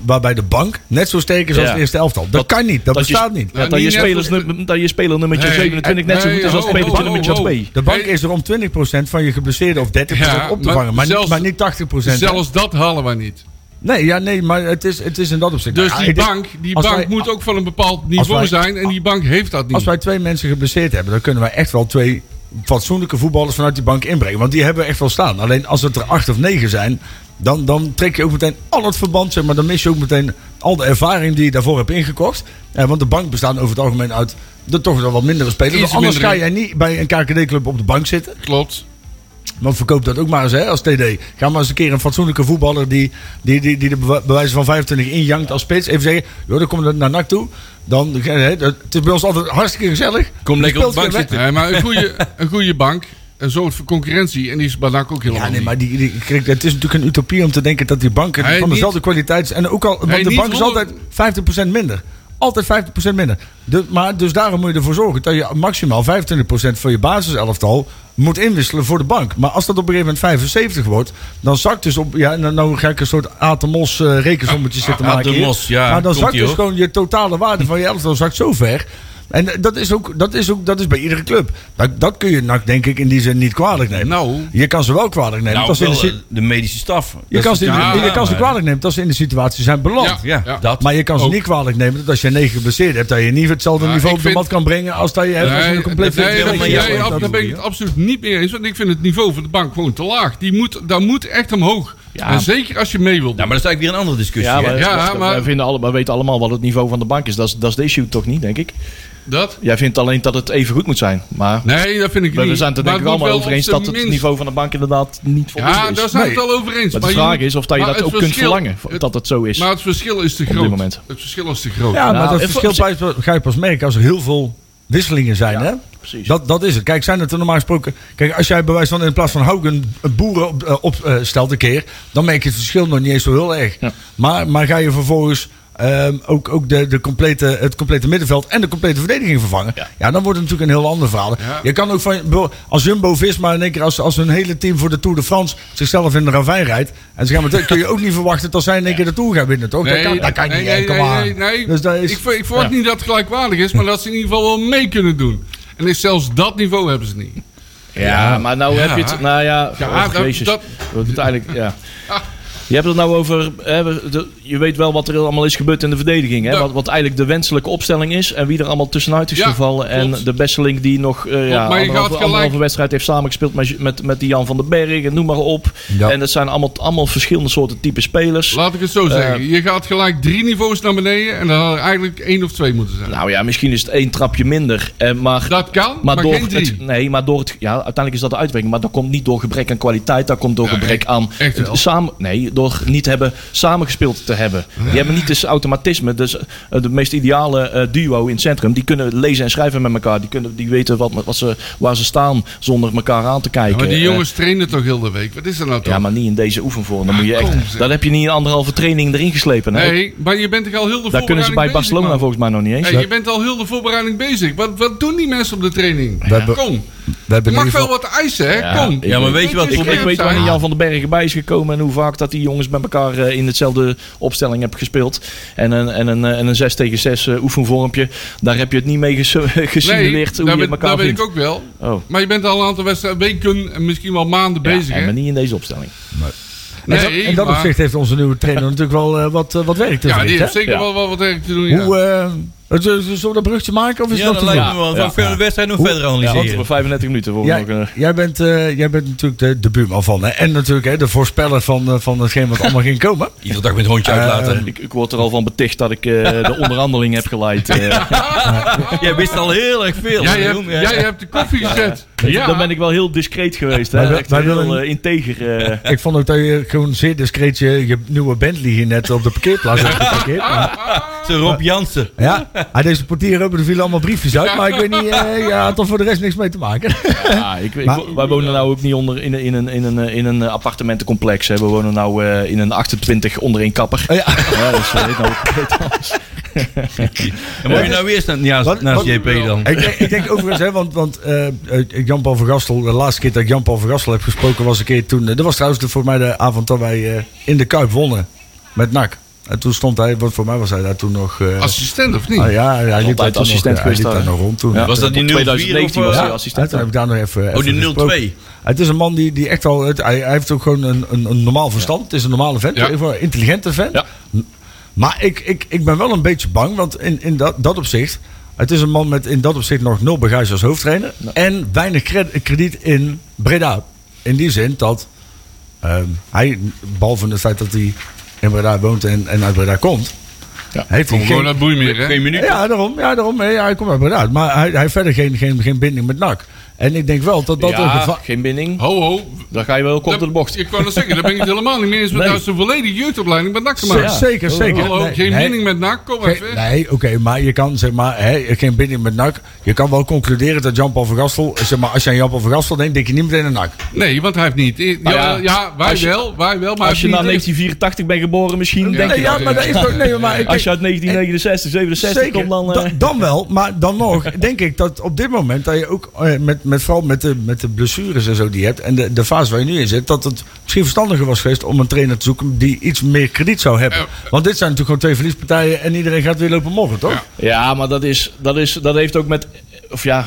Speaker 2: waarbij de bank net zo sterk is als
Speaker 5: Ja.
Speaker 2: het eerste elftal. Dat,
Speaker 5: Dat-
Speaker 2: kan niet, dat,
Speaker 5: dat je-
Speaker 2: bestaat niet.
Speaker 5: Ja, dat,
Speaker 3: niet
Speaker 5: je
Speaker 3: net
Speaker 5: spelers,
Speaker 3: als-
Speaker 5: num- dat je speler nummertje
Speaker 3: Nee,
Speaker 5: 27 net zo
Speaker 3: nee, oh,
Speaker 5: goed is als
Speaker 3: ho, ho,
Speaker 5: spelertje
Speaker 3: ho,
Speaker 5: nummertje
Speaker 3: ho.
Speaker 5: 2.
Speaker 2: De bank
Speaker 3: Nee.
Speaker 2: is er om 20% van je geblesseerde of 30%
Speaker 3: Ja,
Speaker 2: op te
Speaker 3: maar
Speaker 2: vangen. Maar,
Speaker 3: zelfs-
Speaker 2: niet, maar niet 80%.
Speaker 3: Zelfs dat halen wij niet.
Speaker 2: Nee, ja, nee, maar het is, het is in dat opzicht.
Speaker 3: Dus
Speaker 2: Ja,
Speaker 3: die
Speaker 2: ik denk-
Speaker 3: bank, die
Speaker 2: als
Speaker 3: bank
Speaker 2: wij-
Speaker 3: moet ook van een bepaald niveau
Speaker 2: wij-
Speaker 3: zijn. En die bank heeft dat niet.
Speaker 2: Als wij twee mensen geblesseerd hebben, dan kunnen wij echt wel twee fatsoenlijke voetballers vanuit die bank inbrengen. Want die hebben we echt wel staan. Alleen als het er acht of negen zijn, dan, dan trek je ook meteen al het verband, zeg maar. Dan mis je ook meteen al de ervaring die je daarvoor hebt ingekocht. Eh, want de bank bestaat over het algemeen uit de toch wel wat mindere spelers.
Speaker 3: Iets
Speaker 2: Anders
Speaker 3: mindere.
Speaker 2: ga jij niet bij een KKD-club op de bank zitten.
Speaker 3: Klopt.
Speaker 2: Want verkoop dat ook maar eens hè, als TD. Ga maar eens een keer een fatsoenlijke voetballer die, die, die, die de bewa- bij wijze van 25 injankt als spits. Even zeggen, joh, dan kom je naar NAC toe. Dan, hè, dat- het is bij ons altijd hartstikke gezellig.
Speaker 4: Kom lekker
Speaker 2: Je
Speaker 4: op de
Speaker 2: speelt
Speaker 4: bank
Speaker 2: geen
Speaker 4: zitten.
Speaker 3: Nee, maar een goede, een goede bank eh, zorgt voor concurrentie. En die is bij NAC
Speaker 2: wed-
Speaker 3: ook helemaal
Speaker 2: Ja, nee,
Speaker 3: niet.
Speaker 2: maar die, die, kijk, het is natuurlijk een utopie om te denken dat die banken
Speaker 3: Nee,
Speaker 2: van
Speaker 3: niet.
Speaker 2: dezelfde kwaliteit zijn. En ook al, want
Speaker 3: Nee,
Speaker 2: de
Speaker 3: niet
Speaker 2: bank is
Speaker 3: honderd-
Speaker 2: altijd 50% minder. Altijd 50% minder. De- maar dus daarom moet je ervoor zorgen dat je maximaal 25% van je basiselftal moet inwisselen voor de bank. Maar als dat op een gegeven moment 75 wordt, dan zakt dus op. Ja, nou, nou ga ik een soort Atemos eh rekensommetje zitten
Speaker 4: Ah,
Speaker 2: maken. hier.
Speaker 4: Atemos, ja,
Speaker 2: Maar dan
Speaker 4: komt-ie,
Speaker 2: zakt dus
Speaker 4: hoor.
Speaker 2: gewoon je totale waarde van je elftal zakt zo ver. En dat is ook, dat is ook dat is bij iedere club. Dat, dat kun je NAC denk ik in die zin niet kwalijk nemen.
Speaker 3: Nou.
Speaker 2: Je kan ze wel kwalijk nemen.
Speaker 4: nou,
Speaker 2: want als
Speaker 4: wel,
Speaker 2: ze in de
Speaker 4: eh,
Speaker 2: si-
Speaker 4: de medische staf.
Speaker 2: je kan ze,
Speaker 3: ja,
Speaker 2: je kan ze
Speaker 4: maar-
Speaker 2: kwalijk nemen als ze in de situatie zijn beland.
Speaker 3: Ja.
Speaker 4: Ja,
Speaker 3: Ja.
Speaker 4: dat.
Speaker 2: Maar je kan ze
Speaker 3: Ook.
Speaker 2: niet kwalijk nemen dat als je negen geblesseerd hebt, dat je niet hetzelfde
Speaker 3: Ja,
Speaker 2: niveau
Speaker 3: ik
Speaker 2: op de
Speaker 3: vind-
Speaker 2: mat kan brengen als dat je hebt als je
Speaker 3: Nee,
Speaker 2: een compleet
Speaker 3: nee,
Speaker 2: fit
Speaker 3: dat-
Speaker 2: bent.
Speaker 4: maar
Speaker 3: nee,
Speaker 4: ja,
Speaker 3: ab-
Speaker 4: ja,
Speaker 3: daar ben ik het absoluut niet mee eens. Want ik vind het niveau van de bank gewoon te laag. Die moet, daar moet echt omhoog.
Speaker 5: Ja.
Speaker 3: En zeker als je mee wilt.
Speaker 4: ja, nou, maar dat is eigenlijk weer een andere discussie.
Speaker 5: Ja,
Speaker 4: hè?
Speaker 5: maar,
Speaker 3: Ja,
Speaker 5: we-
Speaker 3: maar-
Speaker 5: Wij, vinden alle, wij weten allemaal wat het niveau van de bank is. Dat is, dat is de issue toch niet, denk ik.
Speaker 3: Dat?
Speaker 5: Jij vindt alleen dat het even goed moet zijn. Maar
Speaker 3: Nee, dat vind ik
Speaker 5: we,
Speaker 3: niet.
Speaker 5: we zijn het
Speaker 3: Maar
Speaker 5: er
Speaker 3: het
Speaker 5: denk ik
Speaker 3: moet
Speaker 5: allemaal
Speaker 3: wel
Speaker 5: over eens
Speaker 3: op zijn
Speaker 5: dat het
Speaker 3: minst-
Speaker 5: niveau van de bank inderdaad niet voldoende
Speaker 3: Ja,
Speaker 5: is.
Speaker 3: daar zijn we
Speaker 2: Nee.
Speaker 3: het al over eens.
Speaker 5: Maar de
Speaker 3: je
Speaker 5: vraag
Speaker 3: moet-
Speaker 5: is of dat je
Speaker 3: maar
Speaker 5: dat
Speaker 3: het
Speaker 5: ook kunt
Speaker 3: verschil-
Speaker 5: verlangen.
Speaker 3: het-
Speaker 5: Dat dat zo is.
Speaker 3: Maar het verschil is te
Speaker 5: dit
Speaker 3: groot.
Speaker 5: moment.
Speaker 3: Het verschil is te groot.
Speaker 2: Ja, maar
Speaker 5: Nou,
Speaker 2: dat
Speaker 5: even-
Speaker 2: verschil bij- ga je pas merken als er heel veel wisselingen zijn. hè?
Speaker 5: precies.
Speaker 2: Dat, dat is het. Kijk, zijn het er normaal gesproken. Kijk, als jij bij wijze van in plaats van Haugen boeren eh, opstelt op, eh, stelt een keer, dan merk je het verschil nog niet eens zo heel erg. Maar, maar ga je vervolgens ehm, ook, ook de, de complete, het complete middenveld en de complete verdediging vervangen. Ja,
Speaker 5: Ja.
Speaker 2: dan wordt het natuurlijk een heel ander verhaal.
Speaker 3: Ja.
Speaker 2: Je kan ook van, bedoel, als Jumbo-Visma in één keer, als, als hun hele team voor de Tour de France zichzelf in de ravijn rijdt. En ze gaan meteen, kun je ook niet verwachten dat zij in één keer de Tour gaan winnen, toch? dat kan, dat kan
Speaker 3: nee,
Speaker 2: niet,
Speaker 3: nee,
Speaker 2: hè, come
Speaker 3: nee,
Speaker 2: on.
Speaker 3: nee, nee.
Speaker 2: Dus dat is,
Speaker 3: ik, ver- ik verwacht
Speaker 5: Ja.
Speaker 3: niet dat het gelijkwaardig is, maar dat ze in ieder geval wel mee kunnen doen. En is zelfs dat niveau hebben ze niet.
Speaker 5: Ja, maar nou
Speaker 3: Ja.
Speaker 5: heb je het. Nou ja,
Speaker 3: Ja,
Speaker 5: oh,
Speaker 3: dat-
Speaker 5: jezus.
Speaker 3: dat- Ah.
Speaker 5: We moeten eigenlijk. Ja. Je hebt het nou over. Hè, we- de- je weet wel wat er allemaal is gebeurd in de verdediging. Hè?
Speaker 3: Ja.
Speaker 5: Wat, wat eigenlijk de wenselijke opstelling is. En wie er allemaal tussenuit is
Speaker 3: Ja,
Speaker 5: gevallen. En
Speaker 3: klopt.
Speaker 5: de Besseling die nog eh ja,
Speaker 3: je gaat
Speaker 5: anderhalve,
Speaker 3: gelijk-
Speaker 5: anderhalve wedstrijd heeft samengespeeld met, met, met die Jan van den Berg. En noem maar op.
Speaker 2: Ja.
Speaker 5: En dat zijn allemaal, allemaal verschillende soorten type spelers.
Speaker 3: Laat ik het
Speaker 5: Eh.
Speaker 3: zo zeggen. Je gaat gelijk drie niveaus naar beneden en dat had er eigenlijk één of twee moeten zijn.
Speaker 5: nou ja, misschien is het één trapje minder. eh, maar
Speaker 3: Dat kan, maar,
Speaker 5: Maar, door
Speaker 3: geen drie.
Speaker 5: het, nee, maar door het, ja, uiteindelijk is dat de uitwerking. Maar dat komt niet door gebrek aan kwaliteit. Dat komt door
Speaker 3: Ja,
Speaker 5: gebrek
Speaker 3: echt-
Speaker 5: aan
Speaker 3: echt wel.
Speaker 5: samen, nee, door niet hebben samengespeeld te hebben. Die hebben niet dus automatisme. Dus eh, de meest ideale eh, duo in het centrum. Die kunnen lezen en schrijven met elkaar. Die, kunnen, die weten wat, wat ze, waar ze staan zonder elkaar aan te kijken.
Speaker 3: Ja, maar die
Speaker 5: Eh,
Speaker 3: jongens trainen toch heel de week? Wat is er nou toch?
Speaker 5: ja, maar niet in deze oefenvorm. Dan moet je
Speaker 3: Ah, kom,
Speaker 5: echt,
Speaker 3: zeg.
Speaker 5: dat heb je niet in anderhalve training erin geslepen. hè?
Speaker 3: nee, maar je bent toch al heel de
Speaker 5: Daar kunnen ze
Speaker 3: voorbereiding
Speaker 5: bij
Speaker 3: bezig,
Speaker 5: Barcelona
Speaker 3: man.
Speaker 5: volgens mij nog niet eens.
Speaker 3: Hey, je bent al heel de voorbereiding bezig. Wat, wat doen die mensen op de training?
Speaker 2: hebben-
Speaker 3: Kom,
Speaker 2: we
Speaker 3: je
Speaker 2: hebben in
Speaker 3: mag
Speaker 2: ieder
Speaker 3: wel
Speaker 2: geval-
Speaker 3: wat eisen, hè?
Speaker 5: Ja,
Speaker 3: Kom.
Speaker 5: ik- Ja,
Speaker 4: maar weet je wat-
Speaker 3: Beetje
Speaker 5: Ik, ik
Speaker 3: scherp
Speaker 5: weet wanneer
Speaker 3: zijn.
Speaker 5: Jan van den Bergen bij is gekomen en hoe vaak dat die jongens met elkaar eh, in hetzelfde opstelling hebben gespeeld. En een, en een, eh, en een 6 tegen 6 eh, oefenvormpje. Daar heb je het niet mee ges gesimuleerd hoe
Speaker 3: dat
Speaker 5: je
Speaker 3: weet-
Speaker 5: elkaar
Speaker 3: dat weet
Speaker 5: vindt.
Speaker 3: ik ook wel.
Speaker 5: Oh.
Speaker 3: Maar je bent al een aantal wedstrijden, weken en misschien wel maanden
Speaker 5: Ja,
Speaker 3: bezig,
Speaker 5: en
Speaker 3: hè?
Speaker 5: maar niet in deze opstelling.
Speaker 3: Nee,
Speaker 2: in dat, in dat
Speaker 3: maar-
Speaker 2: opzicht heeft onze nieuwe trainer natuurlijk wel eh, wat, eh, wat werk te
Speaker 3: Ja,
Speaker 2: verrichten,
Speaker 3: die heeft
Speaker 2: hè?
Speaker 3: zeker
Speaker 5: Ja.
Speaker 3: wel, wel wat werk te doen, ja.
Speaker 2: Hoe, eh, het- eh, zullen we dat brugje maken of is
Speaker 4: Ja,
Speaker 2: dat
Speaker 4: dat
Speaker 2: te
Speaker 4: lijkt
Speaker 2: vroeg?
Speaker 4: me wel.
Speaker 5: Ja.
Speaker 4: Dan kunnen we de wedstrijd nog verder
Speaker 5: Ja, want we
Speaker 4: analyseren.
Speaker 5: hebben 35 minuten voor
Speaker 2: Jij,
Speaker 5: nog. eh,
Speaker 2: jij, bent, eh, jij bent natuurlijk de, de buurman van. Hè? En natuurlijk hè, de voorspeller van, eh, van hetgeen wat allemaal ging komen.
Speaker 4: Iedere dag met een hondje uitlaten.
Speaker 5: ik, ik word er al van beticht dat ik eh, de onderhandeling heb geleid. eh.
Speaker 4: Jij wist al heel erg veel.
Speaker 3: Jij,
Speaker 4: hè,
Speaker 3: hebt,
Speaker 4: jongen.
Speaker 3: jij hebt de koffie gezet. Ja,
Speaker 5: Dan ben ik wel heel discreet geweest. Hè.
Speaker 2: Wij wil-
Speaker 5: Echt
Speaker 2: wij
Speaker 5: heel
Speaker 2: willen-
Speaker 5: eh, integer. eh.
Speaker 2: Ik vond ook dat je gewoon zeer discreet je, je nieuwe Bentley hier net op de parkeerplaats hebt geparkeerd. Maar,
Speaker 4: Zo Rob Jansen.
Speaker 2: ja, hij deed zijn portier open, er vielen allemaal briefjes uit. Maar ik weet niet, eh ja, had er voor de rest niks mee te maken.
Speaker 5: Ja, Ah, ik, ik-
Speaker 2: Maar-
Speaker 5: wij wonen nou ook niet onder in, een- in, een, in, een, eh, in een eh, appartementencomplex. Hè. We wonen nou eh, in een 28 onder een kapper.
Speaker 2: Oh, ja.
Speaker 5: Ja, dat is, eh, nou ook compleet anders.
Speaker 4: Dan moet je nou weer staan naast,
Speaker 2: Wat-
Speaker 4: naast
Speaker 2: wat-
Speaker 4: JP dan.
Speaker 2: ik, denk- ik denk overigens, hè, want, want eh, eh, Jan-Paul van Gastel, de laatste keer dat ik Jan-Paul van Gastel heb gesproken was een keer toen. eh, dat was trouwens de, voor mij de avond dat wij eh, in de Kuip wonnen met NAC. En toen stond hij, want voor mij was hij daar toen nog. eh,
Speaker 3: Assistent of niet?
Speaker 2: ah, ja, hij liep daar
Speaker 5: Altijd
Speaker 2: toen
Speaker 5: assistent
Speaker 2: nog, hij liep
Speaker 5: geweest
Speaker 2: daar
Speaker 5: daar,
Speaker 2: nog rond toen.
Speaker 5: Ja.
Speaker 4: Was dat die
Speaker 5: Tot
Speaker 4: 04
Speaker 5: 2019
Speaker 4: of,
Speaker 5: was
Speaker 4: eh,
Speaker 5: hij
Speaker 2: Ja,
Speaker 5: assistent.
Speaker 2: toen heb ik daar nog even.
Speaker 4: Oh,
Speaker 2: even
Speaker 4: die
Speaker 2: gesproken.
Speaker 4: 02.
Speaker 2: Het is een man die, die echt wel. Het, hij, hij heeft ook gewoon een, een, een normaal verstand. Het is een normale vent.
Speaker 3: Ja.
Speaker 2: Een wel intelligente vent.
Speaker 5: Ja.
Speaker 2: Maar ik, ik, ik ben wel een beetje bang. Want in, in dat, dat opzicht. Het is een man met in dat opzicht nog nul bagage als hoofdtrainer. En weinig cred- krediet in Breda. In die zin dat. ehm, hij, behalve het feit dat hij in Breda woont en, en uit Breda komt.
Speaker 5: Ja.
Speaker 2: Heeft hij
Speaker 3: Kom
Speaker 2: geen
Speaker 3: gewoon naar Boeimeer, hè?
Speaker 4: Geen minuut.
Speaker 2: ja, daarom. Ja, daarom ja, hij komt uit Breda. Maar hij, hij heeft verder geen, geen, geen binding met NAC. En ik denk wel dat dat een
Speaker 5: Ja,
Speaker 2: gevaar...
Speaker 5: geen binding.
Speaker 3: Ho, ho.
Speaker 5: Dan ga je wel kop door de bocht.
Speaker 3: Ik kan het zeggen, daar ben ik het helemaal niet mee eens. Want
Speaker 2: Nee.
Speaker 3: daar is een volledige jeugdopleiding bij NAC
Speaker 2: Zeker,
Speaker 3: gemaakt.
Speaker 2: zeker, zeker.
Speaker 3: Hallo,
Speaker 2: Nee,
Speaker 3: geen
Speaker 2: nee.
Speaker 3: mening met NAC, kom
Speaker 2: Geen-
Speaker 3: even.
Speaker 2: nee, oké, maar je kan zeg maar, hè, geen binding met NAC. Je kan wel concluderen dat Jan-Paul van Gastel, zeg maar, als je aan Jan-Paul van Gastel denkt, denk je niet meteen aan NAC.
Speaker 3: Nee, want hij heeft niet. Ja,
Speaker 5: Nou ja,
Speaker 3: ja, wij
Speaker 5: als je-
Speaker 3: wel, wij wel. Maar
Speaker 5: Als je
Speaker 3: hij
Speaker 5: na
Speaker 3: heeft niet-
Speaker 5: 1984 bent geboren misschien, denk
Speaker 2: nee,
Speaker 5: je
Speaker 2: ja,
Speaker 5: dat.
Speaker 2: maar dat is toch... Nee, maar ik,
Speaker 5: Als je uit 1969, 67 komt, dan... eh,
Speaker 2: Da- dan wel, maar dan nog denk ik dat op dit moment dat je ook eh, met, met vooral met de, met de blessures en zo die je hebt en de, de fase waar je nu in zit, dat het misschien verstandiger was geweest om een trainer te zoeken die iets meer krediet zou hebben. Want dit zijn natuurlijk gewoon twee verliespartijen en iedereen gaat weer lopen morgen, toch?
Speaker 5: Ja, maar dat, is, dat, is, dat heeft ook met... Of ja,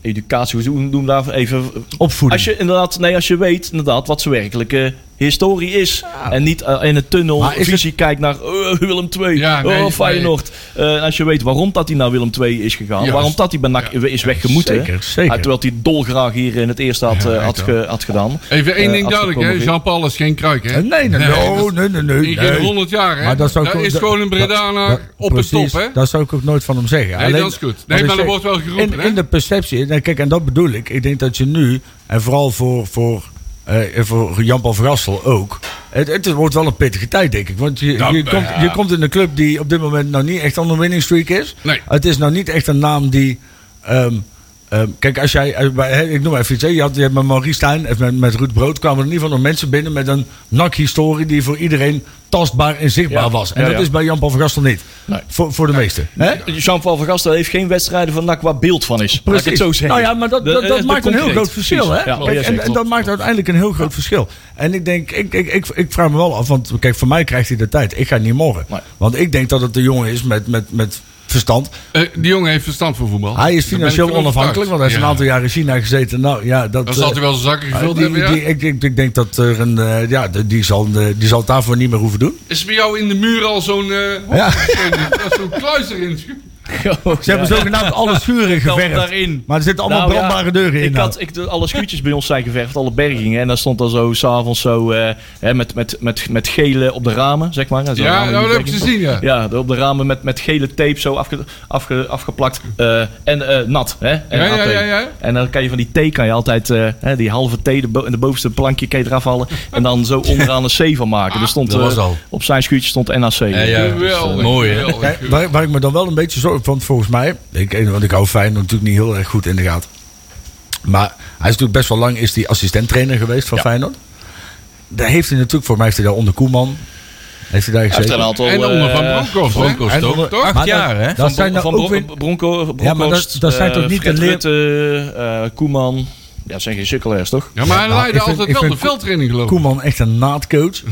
Speaker 5: educatie, hoe noem je daar even...
Speaker 2: Opvoeding.
Speaker 5: Als je inderdaad, nee, als je weet inderdaad wat zijn werkelijke historie is. En niet eh, in een
Speaker 2: Maar is
Speaker 5: tunnelvisie kijkt naar eh, Willem II,
Speaker 3: Ja, nee,
Speaker 5: oh,
Speaker 3: nee.
Speaker 5: Feyenoord. Eh, als je weet waarom dat hij naar Willem II is gegaan,
Speaker 3: Juist.
Speaker 5: waarom dat hij bij NAC is weggemoeten.
Speaker 2: Zeker, zeker.
Speaker 5: Ah, terwijl hij dolgraag hier in het eerste had, eh,
Speaker 3: weet
Speaker 5: had,
Speaker 3: wel.
Speaker 5: ge- had gedaan.
Speaker 3: Even één
Speaker 5: eh,
Speaker 3: ding duidelijk, hè.
Speaker 5: afgekomen weer.
Speaker 3: Jean-Paul is geen kruik, hè.
Speaker 2: Eh, nee, nee, nee, oh, nee, nee, nee,
Speaker 3: In geen
Speaker 2: nee.
Speaker 3: 100 jaar, hè.
Speaker 2: Maar dat, zou ik ook-
Speaker 3: is
Speaker 2: dat-
Speaker 3: gewoon een
Speaker 2: dat-
Speaker 3: Bredana op de
Speaker 2: precies,
Speaker 3: top, hè.
Speaker 2: Dat zou ik ook nooit van hem zeggen.
Speaker 3: Nee, dat is goed.
Speaker 2: wat
Speaker 3: Nee,
Speaker 2: ik
Speaker 3: maar er
Speaker 2: zeg,
Speaker 3: wordt wel geroepen,
Speaker 2: In,
Speaker 3: hè?
Speaker 2: in de perceptie, nou, kijk, en dat bedoel ik. Ik denk dat je nu, en vooral voor, voor, eh, voor Jan-Paul Verrassel ook. Het, het wordt wel een pittige tijd, denk ik. Want je, je,
Speaker 3: eh,
Speaker 2: komt, je komt in een club die op dit moment nou niet echt on een winning streak is.
Speaker 3: Nee.
Speaker 2: Het is nou niet echt een naam die. ehm, Ehm, kijk, als jij, eh, bij- hè, ik noem maar even iets. hè. Je had, je hebt met Maurice Stijn en met, met Ruud Brood kwamen er in ieder geval nog mensen binnen met een NAC-historie die voor iedereen tastbaar en zichtbaar
Speaker 5: Ja.
Speaker 2: was. En
Speaker 5: Ja,
Speaker 2: dat
Speaker 5: ja.
Speaker 2: is bij Jan-Paul van Gastel niet.
Speaker 5: Nee.
Speaker 2: Voor, voor de meesten. Hè?
Speaker 5: Jean-Paul van Gastel heeft geen wedstrijden van NAC waar beeld van is. Laat ik het zo zeggen.
Speaker 2: Nou ja, maar dat,
Speaker 5: De-
Speaker 2: dat, dat
Speaker 5: de
Speaker 2: maakt een heel
Speaker 5: concreet.
Speaker 2: groot verschil. Hè?
Speaker 5: Precies. Ja,
Speaker 2: Kijk,
Speaker 5: ja,
Speaker 2: en,
Speaker 5: zeker.
Speaker 2: en dat maakt uiteindelijk een heel groot verschil. En ik denk, ik, ik, ik, ik vraag me wel af, want kijk, voor mij krijgt hij de tijd. Ik ga niet morgen.
Speaker 5: Nee.
Speaker 2: Want ik denk dat het de jongen is met, met, met verstand.
Speaker 3: Eh, die jongen heeft verstand voor voetbal.
Speaker 2: Hij is
Speaker 3: Daar ben ik
Speaker 2: financieel
Speaker 3: van
Speaker 2: onafhankelijk, want hij heeft
Speaker 3: overtuigd.
Speaker 2: een aantal jaar in China gezeten. Nou ja, dat.
Speaker 3: Ja. Dan zal hij wel zijn zakken
Speaker 2: eh,
Speaker 3: gevuld
Speaker 2: die,
Speaker 3: hebben, ja?
Speaker 2: die- ik, ik, ik denk dat er een. eh, ja, de- die zal, eh, die zal het daarvoor niet meer hoeven doen.
Speaker 3: Is bij jou in de muur al zo'n... eh,
Speaker 2: Ja.
Speaker 3: zo'n- zo'n kluis erin?
Speaker 5: Oh,
Speaker 2: Ze hebben zogenaamd alle schuren
Speaker 4: Kan
Speaker 2: geverfd.
Speaker 4: daarin.
Speaker 2: Maar er zitten allemaal
Speaker 5: Nou ja,
Speaker 2: brandbare deuren in.
Speaker 5: Ik
Speaker 2: nou.
Speaker 5: had, ik, alle schuurtjes bij ons zijn geverfd, alle bergingen. En dan stond dan zo s'avonds zo eh, hè, met, met, met, met gele op de ramen, zeg maar. Zo
Speaker 3: Ja,
Speaker 5: ramen
Speaker 3: nou,
Speaker 5: die
Speaker 3: dat heb ik
Speaker 5: berging.
Speaker 3: gezien, ja.
Speaker 5: Ja, op de ramen met, met gele tape zo afge, afge, afgeplakt eh, en eh, nat. Hè, en,
Speaker 3: Ja, ja,
Speaker 5: nat, eh.
Speaker 3: ja, ja.
Speaker 5: en dan kan je van die thee kan je altijd, eh, hè, die halve thee, de, bo- de bovenste plankje kan je eraf halen. En dan zo onderaan een C van maken. Er stond,
Speaker 2: Dat was
Speaker 5: eh,
Speaker 2: al.
Speaker 5: op zijn schuurtje stond NAC.
Speaker 4: Ja, ja.
Speaker 3: Geweldig,
Speaker 4: Mooi, hè?
Speaker 3: geweldig.
Speaker 2: Kijk, waar, waar ik me dan wel een beetje zorgen van, volgens mij. Ik, eh, want ik hou Feyenoord natuurlijk niet heel erg goed in de gaten. Maar hij is natuurlijk best wel lang is die assistent-trainer geweest van Feyenoord. Daar heeft hij natuurlijk, voor mij heeft hij daar onder Koeman. Heeft hij daar
Speaker 5: Hij heeft
Speaker 2: gezeten.
Speaker 5: een aantal...
Speaker 3: En onder Van
Speaker 5: eh,
Speaker 3: Bronckhorst, hè?
Speaker 4: Bronckhorst
Speaker 2: En
Speaker 4: ook.
Speaker 2: onder-
Speaker 3: toch?
Speaker 4: Acht
Speaker 2: Maar dat-
Speaker 4: jaar, hè?
Speaker 2: Dat zijn
Speaker 5: Van,
Speaker 2: nou ook
Speaker 5: Bro-
Speaker 2: weer-
Speaker 5: Bronco,
Speaker 2: Ja, maar
Speaker 5: Bronkhorst,
Speaker 2: dat- dat zijn toch
Speaker 5: eh,
Speaker 2: niet de
Speaker 5: Fred
Speaker 2: leer-
Speaker 5: Rutte, eh, Koeman. Ja, dat zijn geen sukkelaars, toch?
Speaker 3: Ja, maar hij
Speaker 2: Nou,
Speaker 3: leidde
Speaker 2: ik vind-
Speaker 3: altijd
Speaker 2: ik
Speaker 3: wel
Speaker 2: vind
Speaker 3: de veldtraining, geloof ik.
Speaker 2: Koeman echt een naadcoach.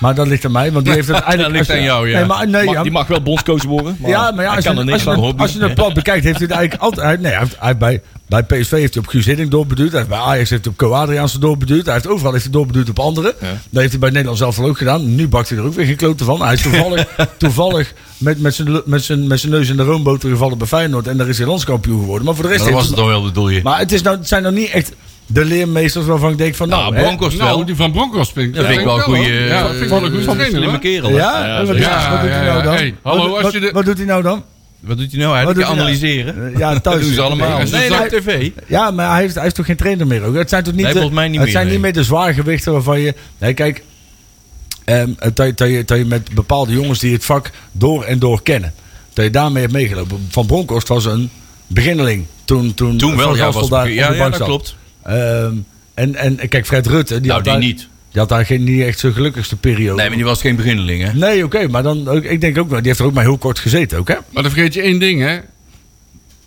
Speaker 2: Maar dat ligt aan mij, want die heeft het eigenlijk...
Speaker 4: ligt aan jou, ja.
Speaker 2: Nee, maar, nee,
Speaker 5: Mag-
Speaker 2: ja,
Speaker 5: die mag wel bondscoach worden, maar,
Speaker 2: ja, maar ja,
Speaker 5: hij
Speaker 2: als,
Speaker 5: kan
Speaker 2: je,
Speaker 5: er
Speaker 2: als,
Speaker 5: niks
Speaker 2: je,
Speaker 5: van.
Speaker 2: het- als je het plat bekijkt, heeft hij het eigenlijk altijd... hij- nee, hij heeft, hij heeft bij, bij PSV heeft hij op Guus Hiddink doorbeduurd. Hij heeft bij Ajax heeft hij op Co Adriaanse doorbeduurd. Hij heeft overal heeft hij doorbeduurd op anderen. Dat heeft hij bij Nederland zelf wel ook gedaan. Nu bakt hij er ook weer geen klote van. Hij is toevallig, toevallig met, met, zijn, met, zijn, met zijn neus in de roomboter gevallen bij Feyenoord. En daar is hij landskampioen geworden. Maar voor de rest...
Speaker 4: Dat
Speaker 2: heeft
Speaker 4: was het
Speaker 2: hij-
Speaker 4: dan wel, bedoel je?
Speaker 2: maar het, is nou, het zijn nou niet echt de leermeesters waarvan ik denk van... Nou,
Speaker 4: Nou,
Speaker 2: hè,
Speaker 4: Broncos wel.
Speaker 3: Nou, die van Bronckhorst vind ik,
Speaker 4: Dat vind ik wel een eh, goede...
Speaker 3: hoor. Ja, dat vind ik wel een goede trainer,
Speaker 4: Slimme
Speaker 3: hoor.
Speaker 4: kerel. hè?
Speaker 2: Ja, En wat, doet-
Speaker 3: zeker.
Speaker 2: wat doet hij
Speaker 3: Ja,
Speaker 2: nou
Speaker 3: ja,
Speaker 2: dan?
Speaker 3: hey, hallo,
Speaker 2: Wat-
Speaker 3: als
Speaker 2: wat-
Speaker 3: je de-
Speaker 2: wat doet hij nou dan?
Speaker 4: Wat doet hij nou eigenlijk?
Speaker 2: doet hij nou?
Speaker 4: Analyseren.
Speaker 2: Eh, Ja, thuis.
Speaker 4: Dat doen ze allemaal.
Speaker 2: Nee,
Speaker 3: Nee,
Speaker 4: Nee,
Speaker 3: dat-
Speaker 4: op tv.
Speaker 2: Ja, maar hij, heeft, hij is toch geen trainer meer ook? Het zijn toch niet,
Speaker 4: Nee,
Speaker 2: de,
Speaker 4: volgens mij niet
Speaker 2: het
Speaker 4: meer,
Speaker 2: zijn
Speaker 4: nee.
Speaker 2: niet meer de zwaargewichten waarvan je... Nee, kijk, ehm, dat, je, dat, je, dat je met bepaalde jongens die het vak door en door kennen... dat je daarmee hebt meegelopen. Van Bronckhorst was een beginneling toen, toen,
Speaker 4: Toen wel,
Speaker 2: Van
Speaker 4: ja.
Speaker 2: Gastel
Speaker 4: Was,
Speaker 2: daar op
Speaker 4: ja,
Speaker 2: de
Speaker 4: ja,
Speaker 2: bank
Speaker 4: dat
Speaker 2: zat.
Speaker 4: klopt.
Speaker 2: Ehm, en, en kijk, Fred Rutte... Die
Speaker 4: Nou,
Speaker 2: had
Speaker 4: die
Speaker 2: daar,
Speaker 4: niet.
Speaker 2: Die had daar geen, niet echt zijn gelukkigste periode.
Speaker 4: Nee, maar die was geen beginneling, hè?
Speaker 2: Nee, oké, maar dan, ook- ik denk ook wel, die heeft er ook maar heel kort gezeten ook, hè?
Speaker 3: Maar dan vergeet je één ding, hè.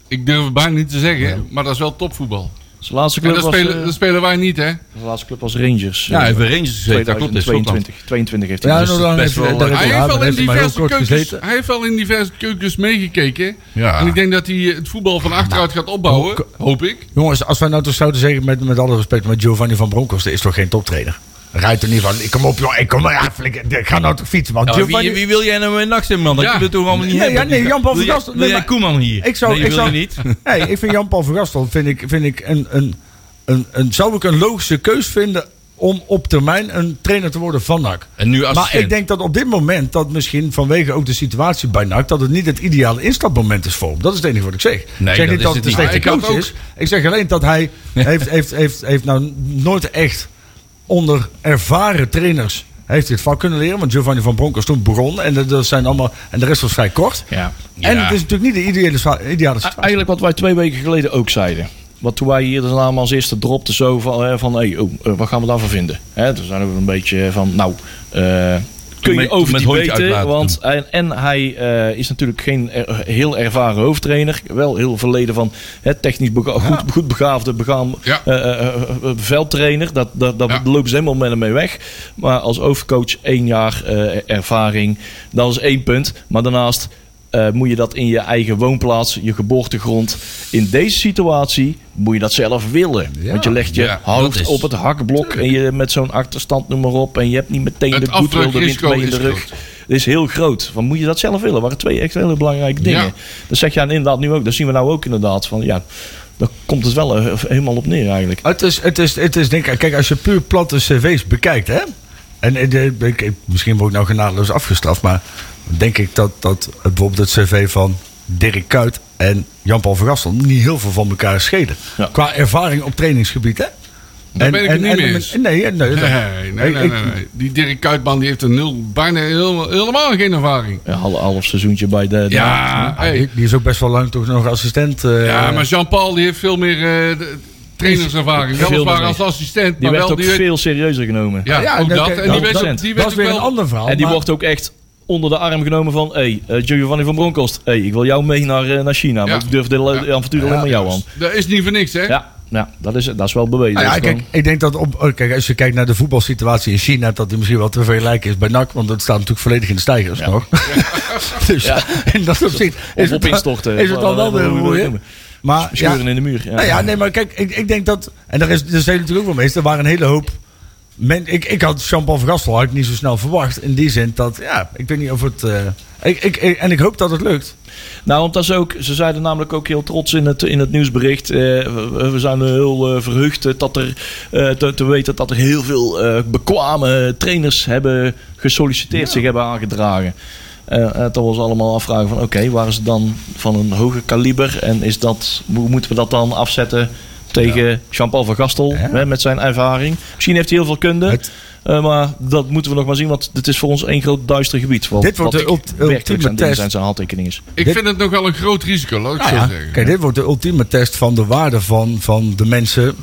Speaker 3: Ik durf het bijna niet te zeggen, maar dat is wel topvoetbal.
Speaker 5: Zijn laatste
Speaker 3: En
Speaker 5: club,
Speaker 3: dat
Speaker 5: was,
Speaker 3: spelen,
Speaker 5: eh,
Speaker 3: dat spelen wij niet, hè.
Speaker 5: zijn laatste club was Rangers.
Speaker 4: Ja, hij heeft bij Rangers gezeten. Dat klopt. Dat is wel dan.
Speaker 5: 22, 22 heeft hij.
Speaker 2: Ja,
Speaker 5: dus
Speaker 2: nou, dan
Speaker 4: best
Speaker 2: heeft,
Speaker 4: wel,
Speaker 2: daar
Speaker 4: eh,
Speaker 2: heeft
Speaker 3: Hij
Speaker 2: ja,
Speaker 3: heeft,
Speaker 2: daar
Speaker 3: wel in
Speaker 2: heeft hij maar heel
Speaker 3: diverse
Speaker 2: kort
Speaker 3: keukens,
Speaker 2: gezeten.
Speaker 3: hij heeft wel in diverse keukens meegekeken.
Speaker 4: Ja.
Speaker 3: En ik denk dat hij eh, het voetbal van achteruit gaat opbouwen. Hoop ik.
Speaker 2: Jongens, als wij nou toch zouden zeggen, met, met alle respect, maar Giovanni van Bronckhorst is toch geen toptrainer? Rijdt er niet van, ik kom op joh, ik kom maar, ja, flik, ik ga nou toch fietsen man.
Speaker 4: Nou,
Speaker 2: Giovanni,
Speaker 4: wie, wie wil jij nou een nacht in, man? Dat
Speaker 3: Ja.
Speaker 4: je dat toch allemaal niet
Speaker 2: Nee,
Speaker 4: hebben?
Speaker 2: ja, nee, Jan-Paul
Speaker 4: Wil
Speaker 2: van
Speaker 4: jij-
Speaker 2: Gastel-
Speaker 4: Wil
Speaker 2: nee,
Speaker 4: jij
Speaker 2: maar-
Speaker 4: Koeman hier?
Speaker 2: ik zou,
Speaker 4: Nee,
Speaker 2: ik
Speaker 4: wil
Speaker 2: zou,
Speaker 4: je niet.
Speaker 2: Nee, ik vind Jan-Paul van Gastel, vind ik, vind ik een, een, een, een, zou ik een logische keus vinden om op termijn een trainer te worden van NAC.
Speaker 4: En nu assistent.
Speaker 2: Maar ik denk dat op dit moment, dat misschien vanwege ook de situatie bij NAC, dat het niet het ideale instapmoment is voor hem. Dat is het enige wat ik zeg.
Speaker 4: Nee,
Speaker 2: ik zeg
Speaker 4: dat
Speaker 2: niet
Speaker 4: is
Speaker 2: dat het
Speaker 4: het
Speaker 2: een
Speaker 4: niet.
Speaker 2: slechte
Speaker 3: Maar ik had
Speaker 2: coach
Speaker 3: ook-
Speaker 2: is. Ik zeg alleen dat hij heeft, heeft, heeft, heeft nou nooit echt onder ervaren trainers heeft dit vak kunnen leren. Want Giovanni van Bronckhorst toen begon en, dat- dat zijn allemaal, en de rest was vrij kort.
Speaker 5: Ja. Ah,
Speaker 2: En het is natuurlijk niet de ideale, swa- ideale
Speaker 5: A-
Speaker 2: situatie.
Speaker 5: Eigenlijk wat wij twee weken geleden ook zeiden. Want toen wij hier de naam als eerste dropten, zo van, eh, van hey, oh, eh, wat gaan we daarvan vinden? Hè, toen zijn we een beetje van, nou, eh, kun
Speaker 4: Met-
Speaker 5: je over
Speaker 4: met
Speaker 5: die
Speaker 4: hondje uit
Speaker 5: weten.
Speaker 4: laten
Speaker 5: Want, en, en hij eh, is natuurlijk geen eh, heel ervaren hoofdtrainer. Wel heel verleden van hè, technisch bega- goed, goed begaafde, begaan
Speaker 3: Ja.
Speaker 5: eh, eh, eh, eh, veldtrainer. Dat, dat, dat
Speaker 3: Ja.
Speaker 5: lopen ze helemaal met hem mee weg. Maar als overcoach één jaar eh, ervaring, dat is één punt. Maar daarnaast eh, moet je dat in je eigen woonplaats, je geboortegrond. In deze situatie moet je dat zelf willen. Want je legt je
Speaker 4: Ja,
Speaker 5: hoofd
Speaker 4: dat is-
Speaker 5: op het hakblok en je met zo'n achterstand noem maar op. En je hebt niet meteen
Speaker 3: Het
Speaker 5: de goodwill, de wind
Speaker 3: afdrukrisico
Speaker 5: mee in de
Speaker 3: is
Speaker 5: rug.
Speaker 3: groot.
Speaker 5: Dat is heel groot. Van, moet je dat zelf willen? Dat waren twee echt hele belangrijke dingen.
Speaker 3: Ja.
Speaker 5: Dat zeg je inderdaad nu ook. Dat zien we nou ook inderdaad. Van, ja, daar komt het wel eh, helemaal op neer eigenlijk.
Speaker 2: Het is, het is, het is denk ik, kijk, als je puur platte cv's bekijkt, hè. En eh, de- ik- ik- misschien word ik nou genadeloos afgestraft, maar denk ik dat, dat het- bijvoorbeeld het cv van Dirk Kuyt en Jan-Paul van Gastel niet heel veel van elkaar schelen.
Speaker 5: Ja.
Speaker 2: Qua ervaring op trainingsgebied, hè.
Speaker 3: Daar ben ik het niet mee eens.
Speaker 2: Nee, nee, nee.
Speaker 3: Nee, nee, nee,
Speaker 2: Ik-
Speaker 3: nee,
Speaker 2: ik-
Speaker 3: nee. Die Dirk Kuitman die heeft een nul, bijna helemaal, helemaal geen ervaring.
Speaker 5: Een hal- half seizoentje bij de... de-
Speaker 3: Ja, hey.
Speaker 2: Ah, Die- Die is ook best wel lang toch nog assistent. eh,
Speaker 3: ja maar Jean-Paul die heeft veel meer eh, de- trainerservaring.
Speaker 5: Veel
Speaker 3: Weliswaar
Speaker 5: meer.
Speaker 3: als assistent,
Speaker 5: Die
Speaker 3: maar
Speaker 5: werd
Speaker 3: wel...
Speaker 5: ook
Speaker 3: Die werd,
Speaker 5: veel serieuzer genomen.
Speaker 3: ja,
Speaker 2: Ja,
Speaker 3: ook
Speaker 2: dat-
Speaker 3: dat.
Speaker 2: dat-
Speaker 3: En die werd,
Speaker 5: dat-
Speaker 3: ook- die
Speaker 2: dat
Speaker 3: werd
Speaker 2: is
Speaker 3: ook
Speaker 2: weer een
Speaker 3: wel...
Speaker 2: ander verhaal.
Speaker 5: en die
Speaker 2: maar-
Speaker 5: wordt ook echt onder de arm genomen van... Hé, hey, eh, Giovanni van Bronckhorst. Hé, hey, ik wil jou mee naar, eh, naar China.
Speaker 3: Ja.
Speaker 5: Want ik durf dit le-
Speaker 3: Ja.
Speaker 5: avontuur alleen maar jou aan.
Speaker 3: Dat is niet voor niks, hè?
Speaker 5: Ja, ja dat, is, dat is wel bewezen.
Speaker 2: Nou ja,
Speaker 5: Dat is
Speaker 2: kijk, ik denk dat op, oh, kijk, als je kijkt naar de voetbalsituatie in China, dat die misschien wel te vergelijken is bij NAC, want dat staat natuurlijk volledig in de stijgers nog. dus ja. in dat opzicht
Speaker 5: gewoon-
Speaker 2: is
Speaker 5: Of op
Speaker 2: het, dan-
Speaker 5: instorten.
Speaker 2: is het dan wel weer moeilijk. Maar ja,
Speaker 5: Scheuren in de muur. Ja.
Speaker 2: nou ja, nee, maar kijk, ik, ik denk dat, en daar is, daar zijn natuurlijk ook wel mee eens, er waren een hele hoop men, ik, ik had Jean-Paul van Gastel had ik niet zo snel verwacht, in die zin dat, ja, ik weet niet of het, eh, ik, ik, ik- en ik hoop dat het lukt.
Speaker 5: Nou, want dat is ook, ze zeiden namelijk ook heel trots in het, in het nieuwsbericht. eh, we, we zijn heel eh, verheugd eh, dat er, eh, te, te weten dat er heel veel eh, bekwame trainers hebben gesolliciteerd, zich hebben aangedragen. Eh eh, dat was allemaal afvragen van oké, waar is het dan van een hoger kaliber? En is dat, hoe moeten we dat dan afzetten tegen Jean-Paul van Gastel hè, met zijn ervaring? Misschien heeft hij heel veel kunde,
Speaker 2: Het-
Speaker 5: eh, maar dat moeten we nog maar zien. Want dit is voor ons één groot duister gebied. Wat,
Speaker 2: Dit wordt
Speaker 5: wat
Speaker 2: de
Speaker 5: ik
Speaker 2: ulti-
Speaker 5: werkelijk
Speaker 2: ultieme
Speaker 5: zijn ding
Speaker 2: test.
Speaker 5: Zijn, zijn handtekening is.
Speaker 3: Ik
Speaker 2: Dit-
Speaker 3: vind het nog wel een groot risico, laat ik
Speaker 2: Nou
Speaker 3: zo
Speaker 2: ja,
Speaker 3: zeggen.
Speaker 2: kijk, dit wordt de ultieme test van de waarde van, van de mensen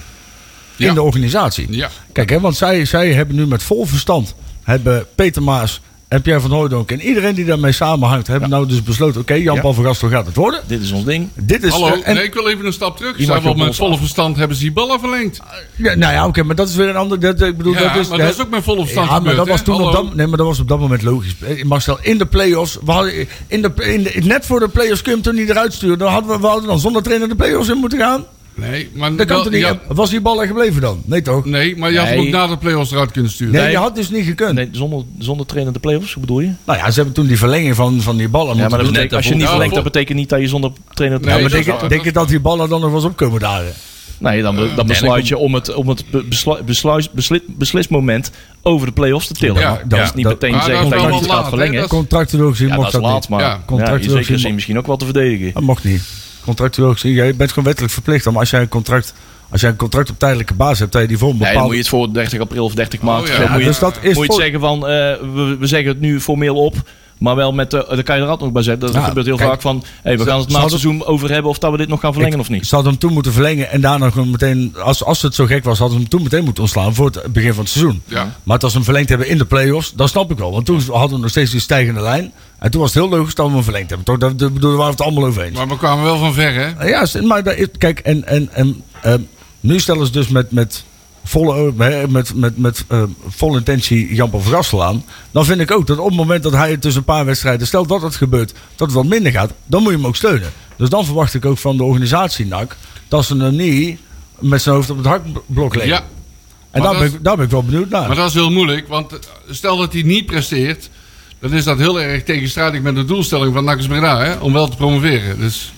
Speaker 3: Ja.
Speaker 2: in de organisatie.
Speaker 3: Ja.
Speaker 2: Kijk, hè, want zij, zij hebben nu met vol verstand hebben Peter Maas en Pierre van Hooydonk en iedereen die daarmee samenhangt, hebben nou dus besloten: oké, Jan-Paul van Gastel gaat het worden.
Speaker 5: Dit is ons ding.
Speaker 2: Dit is.
Speaker 3: Hallo,
Speaker 2: eh, en,
Speaker 3: nee, ik wil even een stap terug.
Speaker 5: Die
Speaker 3: Ze
Speaker 5: mag je
Speaker 3: hebben
Speaker 5: op
Speaker 3: met
Speaker 5: ons
Speaker 3: volle
Speaker 5: af.
Speaker 3: verstand hebben ze die ballen verlengd.
Speaker 2: ja, nou ja, oké, maar dat is weer een ander. Dat, ik bedoel,
Speaker 3: Ja,
Speaker 2: dat is,
Speaker 3: maar dat is ook met volle
Speaker 2: ja,
Speaker 3: verstand
Speaker 2: maar
Speaker 3: gebeurd,
Speaker 2: dat was
Speaker 3: hè?
Speaker 2: toen op
Speaker 3: Hallo.
Speaker 2: dat, nee, maar dat was op dat moment logisch. Eh, Marcel, in de play-offs, we hadden, in de, in de, net voor de play-offs kun je hem toen niet eruit sturen. Dan hadden we, we hadden dan zonder trainer de play-offs in moeten gaan.
Speaker 3: Nee, maar,
Speaker 2: Dat kan
Speaker 3: wel-
Speaker 2: toch niet?
Speaker 3: ja,
Speaker 2: Was die bal er gebleven dan? Nee toch? Nee,
Speaker 3: nee, maar je had hem
Speaker 5: Nee.
Speaker 3: ook na de play-offs eruit kunnen sturen.
Speaker 2: je had dus niet gekund.
Speaker 5: Nee, zonder, zonder trainer de play-offs, hoe bedoel je?
Speaker 2: Nou ja, ze hebben toen die verlenging van, van die ballen
Speaker 5: Ja,
Speaker 2: moeten
Speaker 5: maar dat
Speaker 2: doen.
Speaker 5: betekent, als je
Speaker 4: daarvoor.
Speaker 5: niet
Speaker 3: Ja,
Speaker 5: verlengt, dat
Speaker 3: voor-
Speaker 5: betekent niet dat je zonder trainer de
Speaker 3: Nee,
Speaker 5: play-offs...
Speaker 3: dat
Speaker 2: Denk je,
Speaker 3: is waar.
Speaker 2: denk je dat die ballen dan nog wel eens op komen dagen?
Speaker 5: Nee, dan, be- dan besluit je om het, om het be- beslu- besluis- besli- beslismoment over de play-offs te tillen.
Speaker 3: Ja,
Speaker 5: Ja, dat
Speaker 2: ja.
Speaker 5: is niet
Speaker 2: Dat-
Speaker 5: meteen
Speaker 3: Maar
Speaker 5: zeggen
Speaker 3: dat
Speaker 5: dat
Speaker 3: is
Speaker 5: je
Speaker 3: wel
Speaker 5: het
Speaker 3: laat,
Speaker 5: gaat
Speaker 3: hè?
Speaker 5: verlengen.
Speaker 3: Dat is-
Speaker 2: Contractueel gezien
Speaker 5: Ja, dat
Speaker 2: mocht
Speaker 5: is
Speaker 2: dat,
Speaker 5: laat,
Speaker 2: niet.
Speaker 5: maar
Speaker 3: Ja.
Speaker 5: ja, in
Speaker 2: Contractueel
Speaker 5: zekere
Speaker 2: gezien
Speaker 5: zin misschien ook wel te verdedigen.
Speaker 2: Dat mocht niet. Contractueel gezien, jij bent gewoon wettelijk verplicht om als jij een contract, als jij een contract op tijdelijke basis hebt, dat je die voor een
Speaker 5: Nee, dan
Speaker 2: bepaalde...
Speaker 5: moet je het voor 30 april of 30 maart...
Speaker 3: ja.
Speaker 5: eh,
Speaker 3: Ja,
Speaker 5: moet je,
Speaker 2: dus dat is
Speaker 5: moet je
Speaker 2: voor-
Speaker 5: het zeggen van, eh, we, we zeggen het nu formeel op... Maar wel met, de dan kan je er altijd nog bij zeggen. Dat
Speaker 2: Ja,
Speaker 5: gebeurt heel
Speaker 2: kijk,
Speaker 5: vaak van, hey, we
Speaker 2: ze-
Speaker 5: gaan het
Speaker 2: ze
Speaker 5: na het
Speaker 2: hadden-
Speaker 5: seizoen over hebben of dat we dit nog gaan verlengen of
Speaker 2: Ik
Speaker 5: niet.
Speaker 2: Ze hadden hem toen moeten verlengen en daarna gewoon meteen, als, als het zo gek was, hadden ze hem toen meteen moeten ontslaan voor het begin van het seizoen.
Speaker 3: Ja.
Speaker 2: Maar het als ze hem verlengd hebben in de play-offs, dan snap ik wel. Want toen hadden we nog steeds die stijgende lijn. En toen was het heel logisch dat we hem verlengd hebben. Toch? Dat, dat bedoel, daar waren we het allemaal over eens.
Speaker 3: Maar we kwamen wel van ver, hè?
Speaker 2: Ja, st- maar daar is- kijk, en, en, en ehm, nu stellen ze dus met, met volle, o- hè, met, met, met ehm, volle intentie Jan-Paul van Gastel aan. Dan vind ik ook dat op het moment dat hij tussen een paar wedstrijden, stel dat het gebeurt, dat het wat minder gaat, dan moet je hem ook steunen. Dus dan verwacht ik ook van de organisatie NAC dat ze hem niet met zijn hoofd op het hakblok leggen.
Speaker 3: Ja,
Speaker 2: en
Speaker 3: maar
Speaker 2: daar ben,
Speaker 3: dat-
Speaker 2: ik, daar ben ik wel benieuwd naar.
Speaker 3: maar dat is heel moeilijk. Want eh, stel dat hij niet presteert... dan is dat heel erg tegenstrijdig met de doelstelling van Nakkers Breda, hè? Om wel te promoveren. Dus,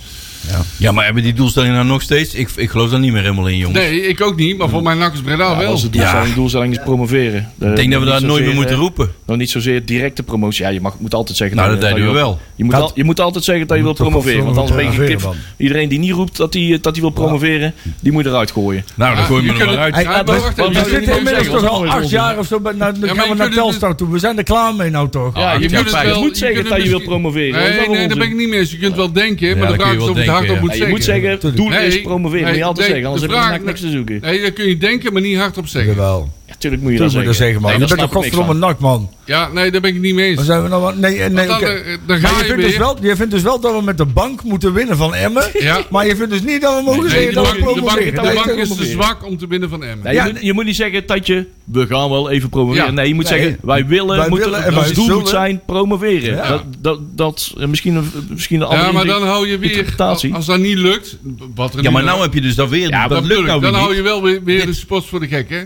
Speaker 4: Ja, maar hebben die doelstellingen nou nog steeds? Ik, ik geloof daar niet meer helemaal in, jongens.
Speaker 3: nee, ik ook niet. Maar voor mij Nakkers Breda
Speaker 5: Ja,
Speaker 3: wel.
Speaker 5: onze doelstelling, doelstelling is promoveren.
Speaker 4: Ik denk dat we daar nooit meer moeten roepen.
Speaker 5: Nou, niet zozeer directe promotie. Ja, je mag, moet altijd zeggen...
Speaker 4: Nou,
Speaker 5: je-
Speaker 4: dat deden
Speaker 5: je
Speaker 4: we
Speaker 5: wil-
Speaker 4: wel.
Speaker 5: Je moet,
Speaker 2: Dat-
Speaker 5: al- je moet altijd zeggen dat je wil
Speaker 2: moet toch
Speaker 5: promoveren. Want anders ben je
Speaker 2: promoveren,
Speaker 5: gekip. Iedereen die niet roept dat hij dat die wil promoveren, die moet je eruit gooien.
Speaker 4: Nou, dan
Speaker 3: Ah,
Speaker 4: gooi je
Speaker 3: je
Speaker 4: me er
Speaker 3: kunt
Speaker 4: maar
Speaker 3: het-
Speaker 4: uit.
Speaker 3: Hey,
Speaker 2: Hey,
Speaker 3: maar wacht
Speaker 2: we
Speaker 3: even,
Speaker 2: we
Speaker 3: dat wil
Speaker 2: zitten
Speaker 3: ik
Speaker 2: inmiddels
Speaker 3: zeggen,
Speaker 2: toch al
Speaker 5: want-
Speaker 2: acht jaar of zo, bij- nou, dan
Speaker 3: maar
Speaker 2: gaan
Speaker 3: je
Speaker 2: we naar
Speaker 3: kunt het-
Speaker 2: Telstar toe. We zijn er klaar mee nou toch?
Speaker 5: Ja, je,
Speaker 4: ja,
Speaker 5: moet,
Speaker 4: fijn.
Speaker 5: je
Speaker 4: Je
Speaker 5: moet zeggen
Speaker 3: kunt
Speaker 5: dat je
Speaker 3: het
Speaker 5: wil
Speaker 3: misschien-
Speaker 5: promoveren. Dat is
Speaker 3: Nee,
Speaker 5: wel
Speaker 3: nee,
Speaker 5: onzin.
Speaker 3: daar ben ik niet mee eens. Je kunt wel denken,
Speaker 4: dat
Speaker 3: maar de
Speaker 4: kun
Speaker 3: vraag
Speaker 4: je
Speaker 3: is
Speaker 4: wel
Speaker 3: of je het
Speaker 4: denken,
Speaker 3: hardop
Speaker 4: ja.
Speaker 3: moet
Speaker 5: Ja,
Speaker 3: zeggen.
Speaker 5: je moet zeggen, doel is promoveren.
Speaker 3: nee,
Speaker 5: moet je altijd
Speaker 3: nee,
Speaker 5: zeggen,
Speaker 3: de
Speaker 5: anders heb je
Speaker 3: vraag-
Speaker 5: eigenlijk niks te zoeken.
Speaker 3: Nee, dat kun je denken, maar niet hardop zeggen.
Speaker 2: Jawel.
Speaker 5: Natuurlijk moet je dat
Speaker 2: Toen moet je dat
Speaker 5: zeggen.
Speaker 2: zeggen, man.
Speaker 5: Nee,
Speaker 2: je
Speaker 5: daar
Speaker 2: bent toch
Speaker 5: snap ik niks
Speaker 2: godverdomme nak, man.
Speaker 3: Ja, nee, daar ben ik het niet mee
Speaker 2: Dan
Speaker 3: eens.
Speaker 2: zijn we nou wel- Nee, eh, nee,
Speaker 3: Want dan,
Speaker 2: oké.
Speaker 3: eh, dan ga
Speaker 2: Maar je
Speaker 3: je
Speaker 2: vindt, dus
Speaker 3: weer.
Speaker 2: wel, je vindt dus wel dat we met de bank moeten winnen van Emmen.
Speaker 3: Ja.
Speaker 2: Maar je vindt dus niet dat we mogen
Speaker 3: Nee,
Speaker 2: zeggen
Speaker 3: de,
Speaker 2: dat we
Speaker 3: bank, de, bank,
Speaker 2: promoveren.
Speaker 3: de
Speaker 2: Dat is
Speaker 3: bank
Speaker 2: toch-
Speaker 3: is te zwak om te winnen van Emmen.
Speaker 5: van. Nee, je,
Speaker 2: Ja,
Speaker 5: moet, je moet niet zeggen dat je, we gaan wel even promoveren.
Speaker 3: Ja.
Speaker 5: Nee, je moet
Speaker 2: Nee.
Speaker 5: zeggen, wij willen,
Speaker 2: Wij
Speaker 5: moeten,
Speaker 2: willen en
Speaker 5: ons
Speaker 2: wij
Speaker 5: doel
Speaker 2: zullen.
Speaker 5: moet zijn promoveren.
Speaker 2: Ja.
Speaker 5: Dat, dat, dat, eh, misschien, een- misschien een andere
Speaker 3: Ja, maar dan hou je weer,
Speaker 5: interpretatie.
Speaker 3: als dat niet lukt, wat er
Speaker 4: Ja,
Speaker 3: nu
Speaker 4: maar
Speaker 3: dan-
Speaker 4: nou heb je dus dat weer.
Speaker 5: Ja,
Speaker 4: dat
Speaker 3: dan
Speaker 4: lukt nou
Speaker 3: Dan hou
Speaker 4: weer
Speaker 3: je
Speaker 4: niet.
Speaker 3: wel weer, weer de spots voor de gek, hè?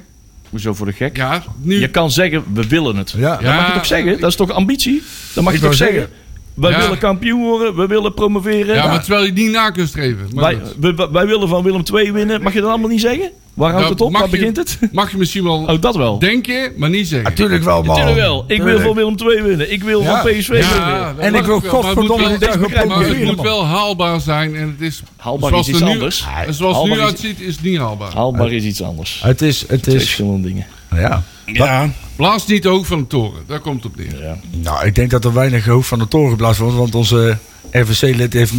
Speaker 5: Hoezo voor de gek?
Speaker 3: Ja, nu.
Speaker 5: Je kan zeggen, we willen het.
Speaker 2: Ja.
Speaker 5: Dat mag je toch zeggen? Dat is toch ambitie? Dat mag je
Speaker 2: wou
Speaker 5: toch zeggen?
Speaker 2: zeggen.
Speaker 5: Wij
Speaker 3: Ja.
Speaker 5: willen kampioen worden, we willen promoveren.
Speaker 3: Ja,
Speaker 5: Nou,
Speaker 3: maar terwijl je die na kunt streven. Maar
Speaker 5: wij,
Speaker 3: goed.
Speaker 5: we- we- wij willen van Willem II winnen. Mag je dat allemaal niet zeggen? Waar houdt
Speaker 3: Ja,
Speaker 5: het op?
Speaker 3: mag
Speaker 5: Waar
Speaker 3: je-
Speaker 5: begint het?
Speaker 3: Mag je misschien wel
Speaker 5: Oh, dat wel.
Speaker 3: denken, maar niet zeggen.
Speaker 2: Natuurlijk wel, man.
Speaker 5: Tuurlijk wel. Ik wil van Willem II winnen. Ik wil
Speaker 2: Ja.
Speaker 5: van PSV winnen.
Speaker 3: dat
Speaker 2: En
Speaker 3: mag
Speaker 2: ik wil
Speaker 3: wel, maar het moet
Speaker 2: godverdomme
Speaker 3: wel-
Speaker 2: niet gaan
Speaker 3: Maar het
Speaker 2: promoveren,
Speaker 3: moet
Speaker 2: man.
Speaker 3: wel haalbaar zijn. En het is,
Speaker 5: Haalbaar
Speaker 3: zoals
Speaker 5: is iets
Speaker 3: het nu,
Speaker 5: anders.
Speaker 3: en Zoals het
Speaker 5: Haalbaar
Speaker 3: nu
Speaker 5: is- Ah.
Speaker 3: uitziet, is het niet haalbaar.
Speaker 5: Haalbaar is iets anders.
Speaker 2: Het is, het
Speaker 5: Twee
Speaker 2: is,
Speaker 5: verschillende dingen.
Speaker 2: ja.
Speaker 4: Ja.
Speaker 3: Blaas niet te hoog van de toren. Daar komt het op neer.
Speaker 2: Nou, ik denk dat er weinig hoofd van de toren geblazen wordt, want onze RVC-lid heeft,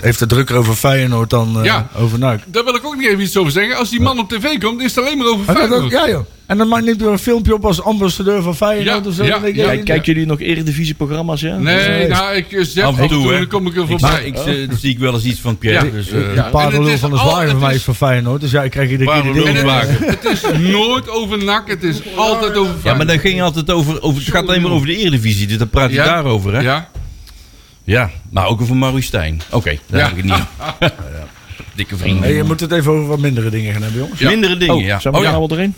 Speaker 2: heeft het drukker over Feyenoord dan eh,
Speaker 3: Ja.
Speaker 2: over NAC.
Speaker 3: Daar wil ik ook niet even iets over zeggen. Als die man op tv komt, is het alleen maar over
Speaker 2: Maar Oh, dat ook,
Speaker 3: Feyenoord.
Speaker 2: ja joh. En dan maakt neemt hij een filmpje op als ambassadeur van Feyenoord
Speaker 3: Ja,
Speaker 2: of zo.
Speaker 3: ja,
Speaker 2: Dan denk ik,
Speaker 3: ja.
Speaker 5: Kijk, kijken jullie nog eredivisieprogramma's? Ja?
Speaker 3: Nee, nou, ik eh, zeg
Speaker 4: Af en
Speaker 3: af en
Speaker 4: toe,
Speaker 3: toe,
Speaker 4: hè.
Speaker 3: dan kom ik er
Speaker 4: Ik,
Speaker 3: voorbij.
Speaker 4: ik zie- zie ik wel eens iets van
Speaker 3: Ja.
Speaker 4: Pierre. Dus, eh,
Speaker 2: De
Speaker 3: en
Speaker 2: parelul
Speaker 3: het
Speaker 2: van de
Speaker 3: is al-
Speaker 2: zwaaier van
Speaker 3: het
Speaker 2: mij
Speaker 3: is-
Speaker 2: is van Feyenoord, dus jij krijgt iedere keer die
Speaker 4: Parelul
Speaker 2: dingen.
Speaker 4: van Wagen.
Speaker 3: Het is nooit over nak, het is altijd over
Speaker 4: ja, maar
Speaker 3: Feyenoord.
Speaker 4: dan ging altijd over, over. Het gaat alleen maar over de Eredivisie, dus dan praat je
Speaker 3: Ja.
Speaker 4: daarover, hè? Ja.
Speaker 3: Ja,
Speaker 4: maar ook over Maurice Stijn. Oké, daar
Speaker 3: Ja.
Speaker 4: heb ik het niet. Dikke vrienden.
Speaker 2: Hey, je moet het even over wat mindere dingen gaan hebben, jongens.
Speaker 3: Ja.
Speaker 4: Mindere dingen,
Speaker 5: Oh,
Speaker 4: ja.
Speaker 5: zijn we
Speaker 4: Oh,
Speaker 5: daar
Speaker 4: ja.
Speaker 5: nou wel erin?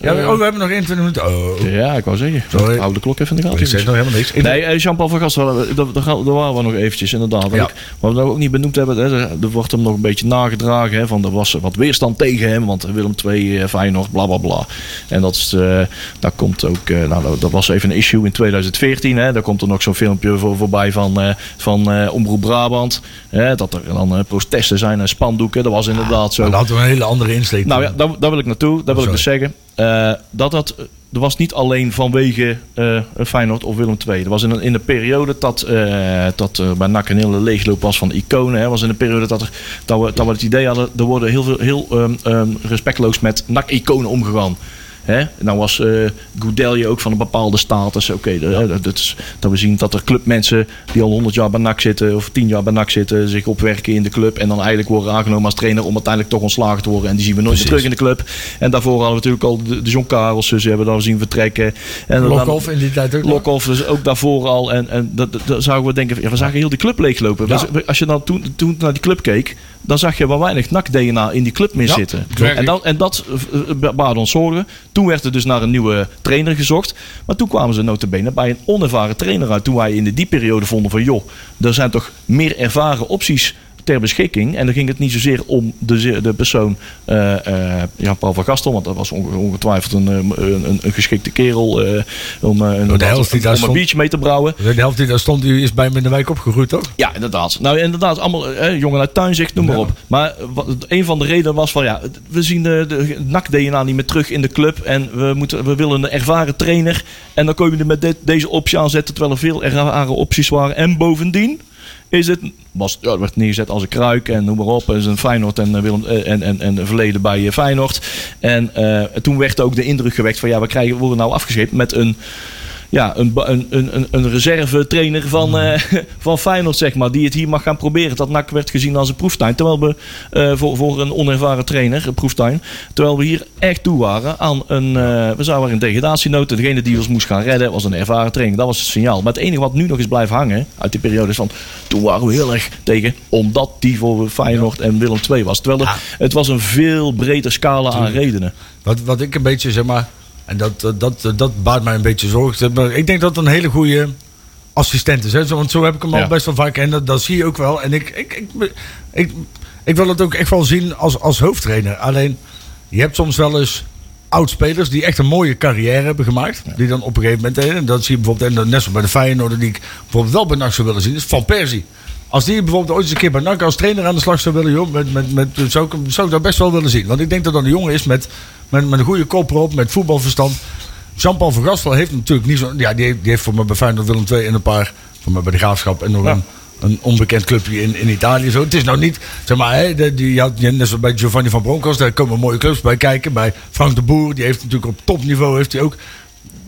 Speaker 2: Ja, we- oh, we hebben nog 21 minuten. Oh,
Speaker 5: Ja, ik wou zeggen.
Speaker 2: Sorry.
Speaker 5: Hou de klok even in de gaten.
Speaker 2: ik zeg nog helemaal niks. Ik-
Speaker 5: Nee, eh, Jean-Paul van Gastel, eh, daar, daar gaan- daar waren we nog eventjes inderdaad. En
Speaker 2: Ja.
Speaker 5: ook, wat we nou ook niet benoemd hebben, hè, er, er wordt hem nog een beetje nagedragen. Hè, van er was wat weerstand tegen hem, want Willem II, eh, Feyenoord, bla bla bla. En dat, is, eh, daar komt ook, eh, nou, dat, dat was even een issue in 2014. Hè, daar komt er nog zo'n filmpje voor, voorbij van, eh, van eh, Omroep Brabant. Hè, dat er dan eh, protesten zijn en spandoeken. Dat was inderdaad zo.
Speaker 2: Maar daar hadden we een hele andere insteek.
Speaker 5: Nou ja, daar, daar wil ik naartoe. Daar wil ik dus zeggen. eh, dat dat, eh, er was niet alleen vanwege eh, Feyenoord of Willem II. Er was in een, in een periode dat, eh dat er bij NAC een hele leegloop was van iconen. Hè. was in een periode dat, er, dat, we, dat we het idee hadden... er worden heel, veel, heel ehm, ehm, respectloos met NAC-iconen omgegaan. Hè? Nou was eh Goudelje ook van een bepaalde status. Oké, de- hè, dat, dat is- dat we zien dat er clubmensen die al 100 jaar bij NAC zitten of 10 jaar bij NAC zitten, zich opwerken in de club en dan eigenlijk worden aangenomen als trainer om uiteindelijk toch ontslagen te worden. En die zien we nooit meer terug in de club. En daarvoor hadden we natuurlijk al de, de John Karelsen, ze hebben we dan zien vertrekken. En dan-
Speaker 2: Lokhoff in die tijd ook. nog.
Speaker 5: Lokhoff dus ook daarvoor al. En, en dat, dat, dat zouden we denken, ja, we zagen heel die club leeglopen.
Speaker 2: Ja.
Speaker 5: We- we- Als je dan toen, toen naar die club keek, dan zag je wel weinig NAC-DNA in die club meer
Speaker 2: Ja,
Speaker 5: zitten.
Speaker 3: klopt.
Speaker 5: En, dan, en dat eh, eh, ba- baarde ons zorgen. Toen werd er dus naar een nieuwe trainer gezocht. Maar toen kwamen ze notabene bij een onervaren trainer uit. Toen wij in de die periode vonden van, joh, er zijn toch meer ervaren opties ter beschikking. En dan ging het niet zozeer om de, ze- de persoon eh, eh, ja, Paul van Gastel, want dat was onge- ongetwijfeld een, eh, een, een- een geschikte kerel eh, om, eh, een-
Speaker 2: de helft die daar
Speaker 5: om een
Speaker 2: stond.
Speaker 5: biertje mee te brouwen.
Speaker 2: De helft die daar stond, die is bij me in de wijk opgegroeid, toch?
Speaker 5: Ja, inderdaad. Nou, inderdaad, allemaal eh, jongen uit tuinzicht, noem maar op. Maar eh, wat, een van de redenen was van ja, het- we zien de, de NAC-DNA niet meer terug in de club. En we, moeten, we willen een ervaren trainer. En dan kom je er met dit- deze optie aanzetten, terwijl er veel ervaren opties waren. En bovendien is het, was, ja, het werd neergezet als een kruik en noem maar op. En zijn Feyenoord en, eh, Willem, eh, en, en, en verleden bij eh, Feyenoord. En eh, toen werd ook de indruk gewekt van ja, we krijgen, worden nou afgescheept met een ja, een, ba- een, een, een- een reservetrainer van, eh, van Feyenoord, zeg maar. Die het hier mag gaan proberen. Dat NAC werd gezien als een proeftuin. Terwijl we eh, voor, voor een onervaren trainer, een proeftuin. Terwijl we hier echt toe waren aan een... eh, we zaten in degradatienoten. Degene die ons moest gaan redden was een ervaren trainer. Dat was het signaal. Maar het enige wat nu nog is blijven hangen uit die periode is van... Toen waren we heel erg tegen. Omdat die voor Feyenoord en Willem II was. Terwijl er- het was een veel breder scala aan redenen.
Speaker 2: Wat, wat ik een beetje zeg maar. En dat, dat, dat, eh, dat baart mij een beetje zorgen. Maar ik denk dat het een hele goede assistent is. Hè? Zo- Want zo heb ik hem
Speaker 5: Ja.
Speaker 2: al best wel vaak. En dat, dat zie je ook wel. En ik, ik, ik, ik, ik, wil het ook echt wel zien als, als hoofdtrainer. Alleen je hebt soms wel eens oudspelers die echt een mooie carrière hebben gemaakt. Die dan op een gegeven moment. En dat zie je bijvoorbeeld. En dan net zoals bij de Feyenoord. Die ik bijvoorbeeld wel bij NAC zou willen zien. Is Van Persie. Als die bijvoorbeeld ooit eens een keer bij NAC als trainer aan de slag zou willen, joh, met, met, met, zou, ik, hem- zou ik dat best wel willen zien. Want ik denk dat dat een jongen is met, met, met een goede kop erop, met voetbalverstand. Jean-Paul van Gastel heeft natuurlijk niet zo... Ja, die heeft, die heeft voor mij bij Feyenoord Willem II en een paar... Voor mij bij de Graafschap en nog een, een onbekend clubje in, in Italië. Zo. Het is nou niet... Zeg maar, hè, de- die, je had, je- net zoals bij Giovanni van Bronckhorst, daar komen mooie clubs bij kijken. Bij Frank de Boer, die heeft natuurlijk op topniveau heeft hij ook...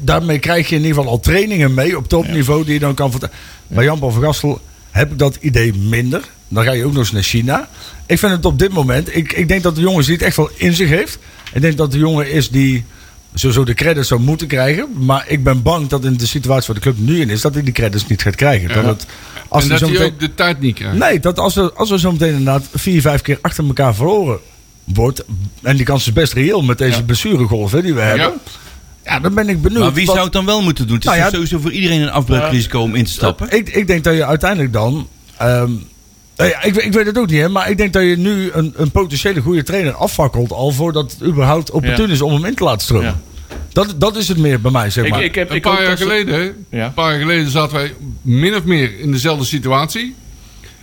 Speaker 2: Daarmee krijg je in ieder geval al trainingen mee op topniveau die je dan kan vertellen. Bij Jan-Paul van Gastel heb ik dat idee minder. Dan ga je ook nog eens naar China. Ik vind het op dit moment... Ik, ik denk dat de jongen die het echt wel in zich heeft. Ik denk dat de jongen is die sowieso de credits zou moeten krijgen. Maar ik ben bang dat in de situatie waar de club nu in is... dat hij die credits niet gaat krijgen. Dat
Speaker 3: Ja.
Speaker 2: het, als
Speaker 3: en
Speaker 2: hij
Speaker 3: dat
Speaker 2: zo
Speaker 3: hij
Speaker 2: meteen,
Speaker 3: ook de tijd niet krijgt.
Speaker 2: Nee, dat als er, als er zo meteen inderdaad vier, vijf keer achter elkaar verloren wordt... en die kans is best reëel met deze blessuregolf hè, die we hebben... Ja, dan ben ik benieuwd.
Speaker 4: Maar wie
Speaker 2: wat-
Speaker 4: zou het dan wel moeten doen? Het is
Speaker 2: Nou ja,
Speaker 4: toch sowieso voor iedereen een
Speaker 3: eh,
Speaker 4: afbreukrisico om in te stappen.
Speaker 2: Ik, ik denk dat je uiteindelijk dan. ehm, nou ja, ik, ik weet het ook niet, hè, maar ik denk dat je nu een, een potentiële goede trainer afvakkelt. al voordat het überhaupt opportun
Speaker 5: Ja.
Speaker 2: is om hem in te laten stromen. Dat, dat is het meer bij mij, zeg maar.
Speaker 5: heb,
Speaker 3: Een paar
Speaker 5: hoop
Speaker 3: jaar
Speaker 5: dat ze-
Speaker 3: geleden,
Speaker 5: Ja.
Speaker 3: een paar jaar geleden zaten wij min of meer in dezelfde situatie.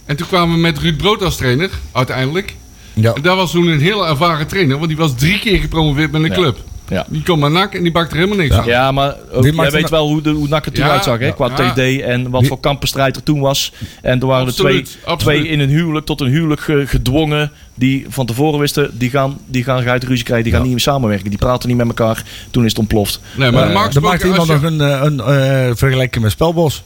Speaker 3: En toen kwamen we met Ruud Brood als trainer, uiteindelijk.
Speaker 2: ja.
Speaker 3: En daar was toen een heel ervaren trainer, want die was drie keer gepromoveerd met een
Speaker 5: Ja.
Speaker 3: club.
Speaker 5: Ja.
Speaker 3: Die kwam naar NAC en die bakte er helemaal niks aan.
Speaker 5: Ja, maar ook,
Speaker 2: Die
Speaker 5: jij
Speaker 2: maakt
Speaker 5: weet
Speaker 2: een-
Speaker 5: wel hoe, de, hoe NAC er toen
Speaker 3: Ja,
Speaker 5: uitzag, hè? qua
Speaker 3: ja.
Speaker 5: TD en wat
Speaker 2: Wie-
Speaker 5: voor kampenstrijd er toen was. En er waren
Speaker 3: Absoluut,
Speaker 5: er twee,
Speaker 3: absoluut.
Speaker 5: twee in een huwelijk tot een huwelijk ge- gedwongen die van tevoren wisten, die gaan, die gaan uit ruzie krijgen, die gaan niet meer samenwerken, die praten niet met elkaar. Toen is het ontploft.
Speaker 3: Nee, maar
Speaker 2: Dan
Speaker 3: normaal
Speaker 2: Eh, maakt
Speaker 3: gesproken
Speaker 2: iemand
Speaker 3: als je-
Speaker 2: nog een, eh, een eh, vergelijking met Spelbos.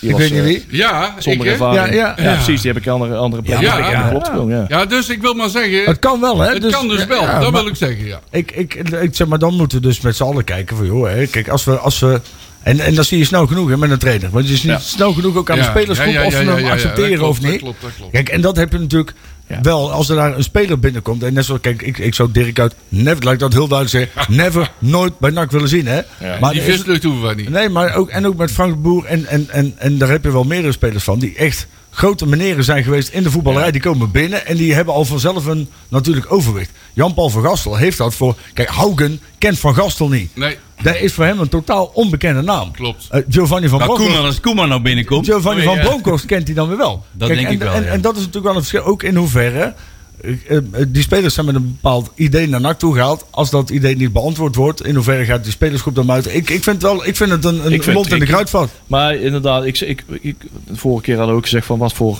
Speaker 5: Die
Speaker 2: Ik
Speaker 5: was,
Speaker 2: weet niet
Speaker 5: eh,
Speaker 2: wie.
Speaker 3: Ja,
Speaker 5: Zonder
Speaker 3: ik, hè?
Speaker 5: ervaring.
Speaker 2: Ja, ja.
Speaker 3: Ja.
Speaker 5: precies. Die heb ik andere, andere
Speaker 4: Ja,
Speaker 5: ja,
Speaker 3: ja.
Speaker 5: klopt gewoon, ja.
Speaker 3: ja, dus ik wil maar zeggen,
Speaker 2: Het
Speaker 3: het,
Speaker 2: kan wel, hè?
Speaker 3: kan dus wel.
Speaker 2: ja,
Speaker 3: dat
Speaker 2: maar-
Speaker 3: wil ik zeggen, ja.
Speaker 2: Ik, ik, ik zeg maar, dan moeten we dus met z'n allen kijken van, joh, hè, kijk, als we... Als we en, en dat zie je snel genoeg hè, met een trainer. Want je ziet
Speaker 5: Ja.
Speaker 2: snel genoeg ook aan
Speaker 3: Ja,
Speaker 2: de spelersgroep
Speaker 3: ja, ja,
Speaker 2: of ze
Speaker 3: ja, ja,
Speaker 2: hem
Speaker 3: ja,
Speaker 2: accepteren
Speaker 3: dat klopt,
Speaker 2: of niet.
Speaker 3: Dat klopt, dat klopt.
Speaker 2: Kijk, en dat heb je natuurlijk
Speaker 5: Ja.
Speaker 2: wel als er daar een speler binnenkomt. En net zoals, kijk, ik, ik zou Dirk uit, never, laat ik dat heel duidelijk zeggen, never, nooit bij NAC willen zien. Hè?
Speaker 5: Ja.
Speaker 2: Maar
Speaker 3: die
Speaker 2: er Ah, is-
Speaker 3: vislucht hoeven wij niet.
Speaker 2: Nee, maar ook, en ook met Frank de Boer. En, en, en, en daar heb je wel meerdere spelers van. Die echt grote meneren zijn geweest in de voetballerij. Die komen binnen en die hebben al vanzelf een natuurlijk overwicht. Jan-Paul van Gastel heeft dat voor... Kijk, Haugen kent Van Gastel niet.
Speaker 3: Nee,
Speaker 2: Dat is voor hem een totaal onbekende naam.
Speaker 3: Klopt.
Speaker 2: Eh, Giovanni van
Speaker 4: Maar Koeman,
Speaker 2: Bronckhorst...
Speaker 4: als Koeman nou binnenkomt.
Speaker 2: Giovanni
Speaker 4: dan
Speaker 2: van
Speaker 4: ben je-
Speaker 2: Bronckhorst kent hij dan weer wel.
Speaker 4: Dat
Speaker 2: Kijk,
Speaker 4: denk
Speaker 2: en,
Speaker 4: ik wel,
Speaker 2: En,
Speaker 4: ja.
Speaker 2: en dat is natuurlijk wel een verschil. Ook in hoeverre... eh, eh, die spelers zijn met een bepaald idee naar NAC toe gehaald. Als dat idee niet beantwoord wordt, in hoeverre gaat die spelersgroep dan uit? Ik, ik, vind, wel, ik vind het een, een
Speaker 5: Ik vind-
Speaker 2: mond in de
Speaker 5: ik-
Speaker 2: kruidvat.
Speaker 5: Maar inderdaad, ik, ik, ik, de vorige keer hadden we ook gezegd van wat voor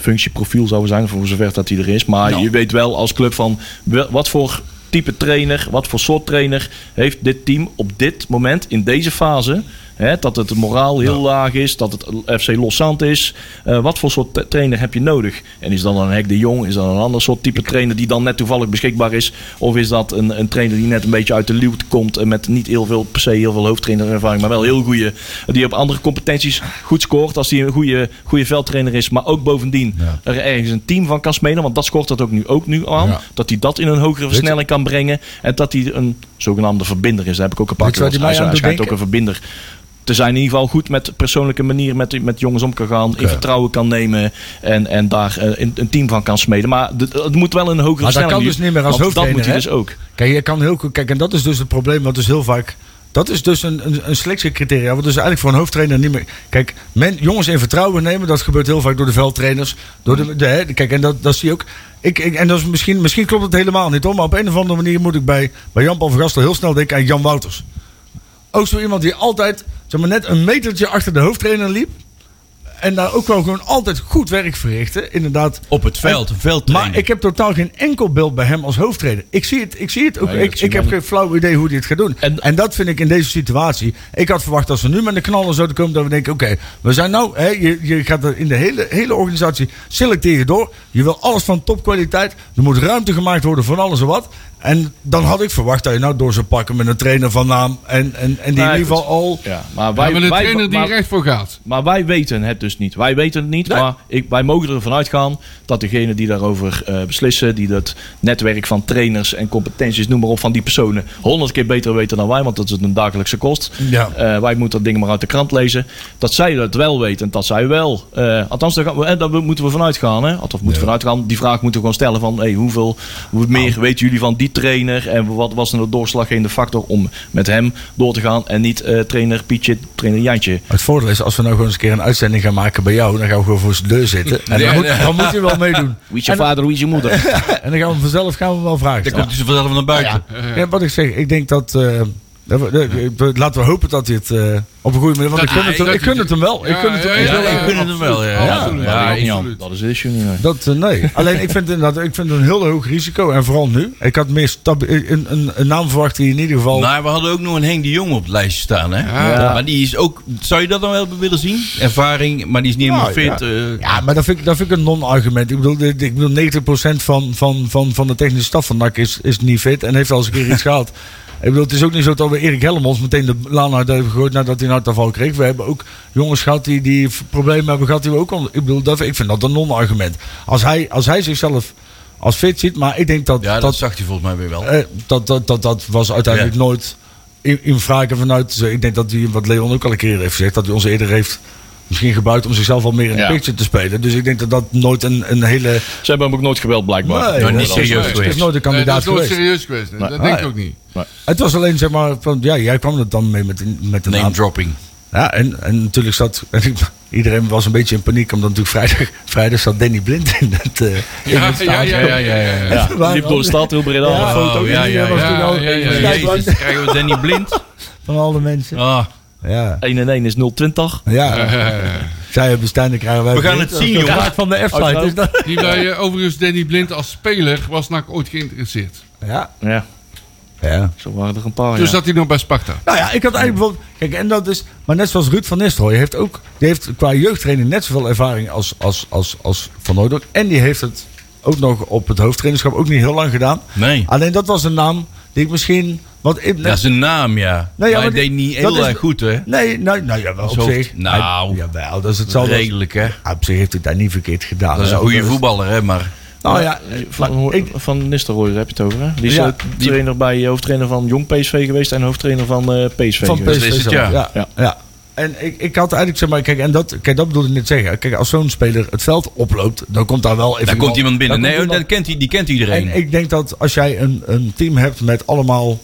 Speaker 5: functieprofiel zou er zijn, voor zover dat die er is. Maar je weet wel als club van wel- wat voor type trainer, wat voor soort trainer heeft dit team op dit moment, in deze fase, hè, dat het moraal heel laag is, dat het FC Lossant is. eh, wat voor soort tra- trainer heb je nodig? En is dan een Hek de Jong, is dan een ander soort type trainer die dan net toevallig beschikbaar is? Of is dat een, een trainer die net een beetje uit de luwte komt en met niet heel veel, per se heel veel hoofdtrainerervaring, maar wel heel goede, die op andere competenties goed scoort als die een goede, goede veldtrainer is, maar ook bovendien er ergens een team van kan smeden, want dat scoort dat ook nu, ook nu aan,
Speaker 2: Ja.
Speaker 5: dat hij dat in een hogere versnelling kan brengen en dat hij een zogenaamde verbinder is. Daar heb ik ook een paar
Speaker 2: Weet je
Speaker 5: keer
Speaker 2: waar
Speaker 5: over
Speaker 2: die mij
Speaker 5: Hij
Speaker 2: aan
Speaker 5: hij
Speaker 2: doet
Speaker 5: schijnt ook
Speaker 2: denken?
Speaker 5: een verbinder te zijn in ieder geval goed met persoonlijke manier met, met jongens om kan gaan, in vertrouwen kan nemen en, en daar eh, een, een team van kan smeden. Maar de- het moet wel een hogere
Speaker 2: Maar dat
Speaker 5: stelling
Speaker 2: kan
Speaker 5: nu,
Speaker 2: dus niet meer als
Speaker 5: want
Speaker 2: hoofdtrainer,
Speaker 5: Dat moet hij
Speaker 2: hè?
Speaker 5: dus ook.
Speaker 2: Kijk, je kan heel goed. Kijk, en dat is dus het probleem, wat dus heel vaak. Dat is dus een, een, een selectiecriteria. Wat dus eigenlijk voor een hoofdtrainer niet meer. Kijk, men, jongens in vertrouwen nemen, dat gebeurt heel vaak door de veldtrainers. Door de, de, hè, kijk, en dat, dat zie je ook. Ik, ik, en dat is misschien, misschien klopt het helemaal niet hoor. Maar op een of andere manier moet ik bij, bij Jan-Paul van Gastel heel snel denken aan Jan Wouters. Ook zo iemand die altijd, zeg maar, net een metertje achter de hoofdtrainer liep. En daar ook wel gewoon altijd goed werk verrichtte. Inderdaad,
Speaker 4: Op het veld, een veldtrainer.
Speaker 2: maar ik heb totaal geen enkel beeld bij hem als hoofdtrainer. Ik zie het, ik zie het ook.
Speaker 5: Nee, dat
Speaker 2: ik
Speaker 5: zie
Speaker 2: ik
Speaker 5: je
Speaker 2: heb
Speaker 5: maar
Speaker 2: geen flauw idee hoe hij het gaat doen.
Speaker 5: En-
Speaker 2: En, dat vind ik in deze situatie. Ik had verwacht dat ze nu met de knallen zouden komen. Dat we denken: oké, we zijn nou. Hè, je, je gaat er in de hele, hele organisatie selecteer je door. Je wil alles van topkwaliteit. Er moet ruimte gemaakt worden voor alles en wat. En dan had ik verwacht dat je nou door zou pakken met een trainer van naam. En, en, en die
Speaker 5: Nee,
Speaker 2: in ieder geval al.
Speaker 5: Ja, maar
Speaker 3: We
Speaker 5: wij,
Speaker 3: hebben een
Speaker 5: wij-
Speaker 3: trainer die
Speaker 5: maar-
Speaker 3: recht voor gaat.
Speaker 5: Maar wij weten het dus niet. Wij weten het niet,
Speaker 2: Nee.
Speaker 5: maar ik, wij mogen ervan uitgaan dat degenen die daarover eh, beslissen, die dat netwerk van trainers en competenties, noem maar op, van die personen honderd keer beter weten dan wij, want dat is het een dagelijkse kost.
Speaker 2: Ja.
Speaker 5: Eh, wij moeten dat ding maar uit de krant lezen. Dat zij dat wel weten, en dat zij wel. eh, althans, daar, gaan we, eh, daar moeten we vanuit gaan. Hè? Althans, moeten we vanuit gaan. Die vraag moeten we gewoon stellen van hey, hoeveel hoe meer
Speaker 2: Nou.
Speaker 5: weten jullie van die trainer en wat was nou de doorslaggevende factor om met hem door te gaan en niet eh, trainer Pietje, trainer Jantje.
Speaker 2: Het voordeel is, als we nou gewoon eens een keer een uitzending gaan maken bij jou, dan gaan we gewoon voor zijn deur zitten. En dan,
Speaker 4: Ja,
Speaker 2: moet,
Speaker 4: ja.
Speaker 2: dan moet je wel meedoen.
Speaker 5: Wie is je vader, wie is je moeder?
Speaker 2: En dan gaan we vanzelf gaan we wel vragen
Speaker 4: Daar
Speaker 2: stellen.
Speaker 4: komt hij zo vanzelf naar buiten.
Speaker 2: Ja, wat ik zeg, ik denk dat. eh, dat we- dat we- laten we hopen dat hij het eh, op een goede manier. Want ik
Speaker 3: Dat-
Speaker 2: gun het,
Speaker 3: dat-
Speaker 2: hem- ik gun het hem wel. Ik
Speaker 3: Ja,
Speaker 2: gun het hem
Speaker 3: ja,
Speaker 2: echt wel.
Speaker 4: Ja, ik vind het wel. Ja,
Speaker 3: absoluut,
Speaker 4: ja,
Speaker 3: absoluut,
Speaker 4: ja, ik-
Speaker 3: absoluut.
Speaker 5: Dat is het issue nu. hè.
Speaker 2: Dat, eh, nee. Alleen ik vind, het inderdaad, ik vind het een heel hoog risico. En vooral nu. Ik had meer stabi- een, een, een naam verwacht die in ieder geval.
Speaker 4: Maar we hadden ook nog een Henk de Jong op het lijstje staan. Hè?
Speaker 3: Ja.
Speaker 4: Maar die is ook. Zou je dat dan wel willen zien? Ervaring, maar die is niet helemaal
Speaker 2: Nou,
Speaker 4: fit. eh.
Speaker 2: ja, maar dat vind, ik- dat vind ik een non-argument. Ik bedoel, dit- ik bedoel 90% van, van, van, van de technische staf van NAC is, is niet fit. En heeft al eens een keer iets gehad. Ik bedoel, het is ook niet zo dat we Erik Helmond meteen de laan uit hebben gegooid nadat hij een hartaanval kreeg. We hebben ook jongens gehad die, die v- problemen hebben gehad die we ook... al- Ik bedoel, dat, ik vind dat een non-argument. Als hij, als hij zichzelf als fit ziet, maar ik denk dat...
Speaker 4: Ja, dat,
Speaker 2: dat,
Speaker 4: zag hij volgens mij weer wel.
Speaker 2: eh, dat, dat, dat, dat was uiteindelijk
Speaker 4: Ja.
Speaker 2: nooit in, in vragen vanuit. eh, Ik denk dat hij, wat Leon ook al een keer heeft gezegd, dat hij ons eerder heeft misschien gebruikt om zichzelf al meer in de
Speaker 5: Ja.
Speaker 2: picture te spelen. Dus ik denk dat dat nooit een, een hele.
Speaker 5: Ze hebben hem ook nooit geweld, blijkbaar.
Speaker 2: Nee,
Speaker 5: Ja,
Speaker 2: nee,
Speaker 4: Nou, niet
Speaker 2: dat
Speaker 4: serieus
Speaker 2: is nooit-
Speaker 4: geweest.
Speaker 2: is nooit een
Speaker 3: Nee, Eh, dat
Speaker 2: kandidaat
Speaker 3: is nooit
Speaker 2: geweest.
Speaker 3: serieus geweest. nee.
Speaker 5: Maar-
Speaker 3: dat denk
Speaker 2: ah,
Speaker 3: ik
Speaker 2: ja.
Speaker 3: ook niet.
Speaker 2: Het was alleen zeg maar van ja, jij kwam er dan mee met, een- met een
Speaker 4: Name
Speaker 2: aantal-
Speaker 4: dropping.
Speaker 2: Ja, en, en natuurlijk zat. en ik- iedereen was een beetje in paniek, omdat natuurlijk vrijdag, vrijdag zat Danny Blind in het. eh, in
Speaker 3: Ja,
Speaker 2: het
Speaker 3: ja, ja, ja, ja, ja. ja.
Speaker 5: Ja, die liep door de stad heel Breda.
Speaker 2: Ja.
Speaker 5: Ja.
Speaker 2: vond het ook
Speaker 4: Oh, ja,
Speaker 2: niet,
Speaker 4: ja,
Speaker 2: dat was nou-
Speaker 4: ja,
Speaker 2: toen al-
Speaker 4: ja, ja,
Speaker 2: even
Speaker 4: ja.
Speaker 2: kijken,
Speaker 4: Jezus, krijgen we Danny blind?
Speaker 2: Van alle mensen.
Speaker 4: Ah,
Speaker 5: 1 en 1 is 020.
Speaker 2: Ja,
Speaker 3: Eh,
Speaker 2: zij hebben Stijn, krijgen wij.
Speaker 4: we gaan
Speaker 2: weer.
Speaker 4: het zien,
Speaker 2: Dat
Speaker 4: jongen. Oh,
Speaker 2: raakt van de F-site.
Speaker 5: Uiteraard.
Speaker 2: is dat-
Speaker 3: Die bij eh, overigens Danny Blind als speler was NAC ooit geïnteresseerd.
Speaker 2: Ja.
Speaker 5: Ja,
Speaker 2: ja.
Speaker 5: zo waren er een paar.
Speaker 2: Dus
Speaker 3: Toen
Speaker 5: ja.
Speaker 3: zat hij nog bij Sparta.
Speaker 2: Nou ja, ik had eigenlijk bijvoorbeeld. Kijk, en dat is. Maar net zoals Ruud van Nistelrooy heeft ook. Die heeft qua jeugdtraining net zoveel ervaring als, als, als, als Van Hooydonk. En die heeft het ook nog op het hoofdtrainerschap ook niet heel lang gedaan.
Speaker 4: Nee.
Speaker 2: Alleen dat was een naam die ik misschien. Want ik,
Speaker 4: Dat is een naam, ja.
Speaker 2: Nee, ja,
Speaker 4: maar hij
Speaker 2: maar
Speaker 4: deed
Speaker 2: die-
Speaker 4: niet
Speaker 2: dat
Speaker 4: heel
Speaker 2: is-
Speaker 4: erg goed, hè?
Speaker 2: Nee, nou, nou ja, wel op
Speaker 4: Zo-
Speaker 2: zich.
Speaker 4: nou,
Speaker 2: Hij- jawel, dat is hetzelfde. als-
Speaker 4: Redelijk, hè?
Speaker 2: Ja, op zich heeft hij daar niet verkeerd gedaan.
Speaker 4: Dat is een
Speaker 2: hè.
Speaker 4: goede voetballer, hè? Maar
Speaker 2: Nou ja,
Speaker 5: eh, Van,
Speaker 2: maar
Speaker 5: hoor-
Speaker 2: ik-
Speaker 5: van Nistelrooy daar heb je het over, hè? Die is
Speaker 2: Ja,
Speaker 5: eh, trainer bij, hoofdtrainer van Jong PSV geweest en hoofdtrainer van eh, PSV.
Speaker 2: van
Speaker 5: geweest.
Speaker 2: PSV
Speaker 4: is het,
Speaker 2: zelf.
Speaker 4: ja.
Speaker 2: Ja, ja.
Speaker 5: Ja.
Speaker 2: En ik, ik had eigenlijk, zeg maar, kijk, en dat, kijk, dat bedoelde ik net zeggen. Kijk, als zo'n speler het veld oploopt, dan komt daar wel even.
Speaker 4: daar komt iemand binnen.
Speaker 2: dan
Speaker 4: Nee,
Speaker 2: komt
Speaker 4: oh, dat kent, hij- die kent iedereen.
Speaker 2: En ik denk dat als jij een, een team hebt met allemaal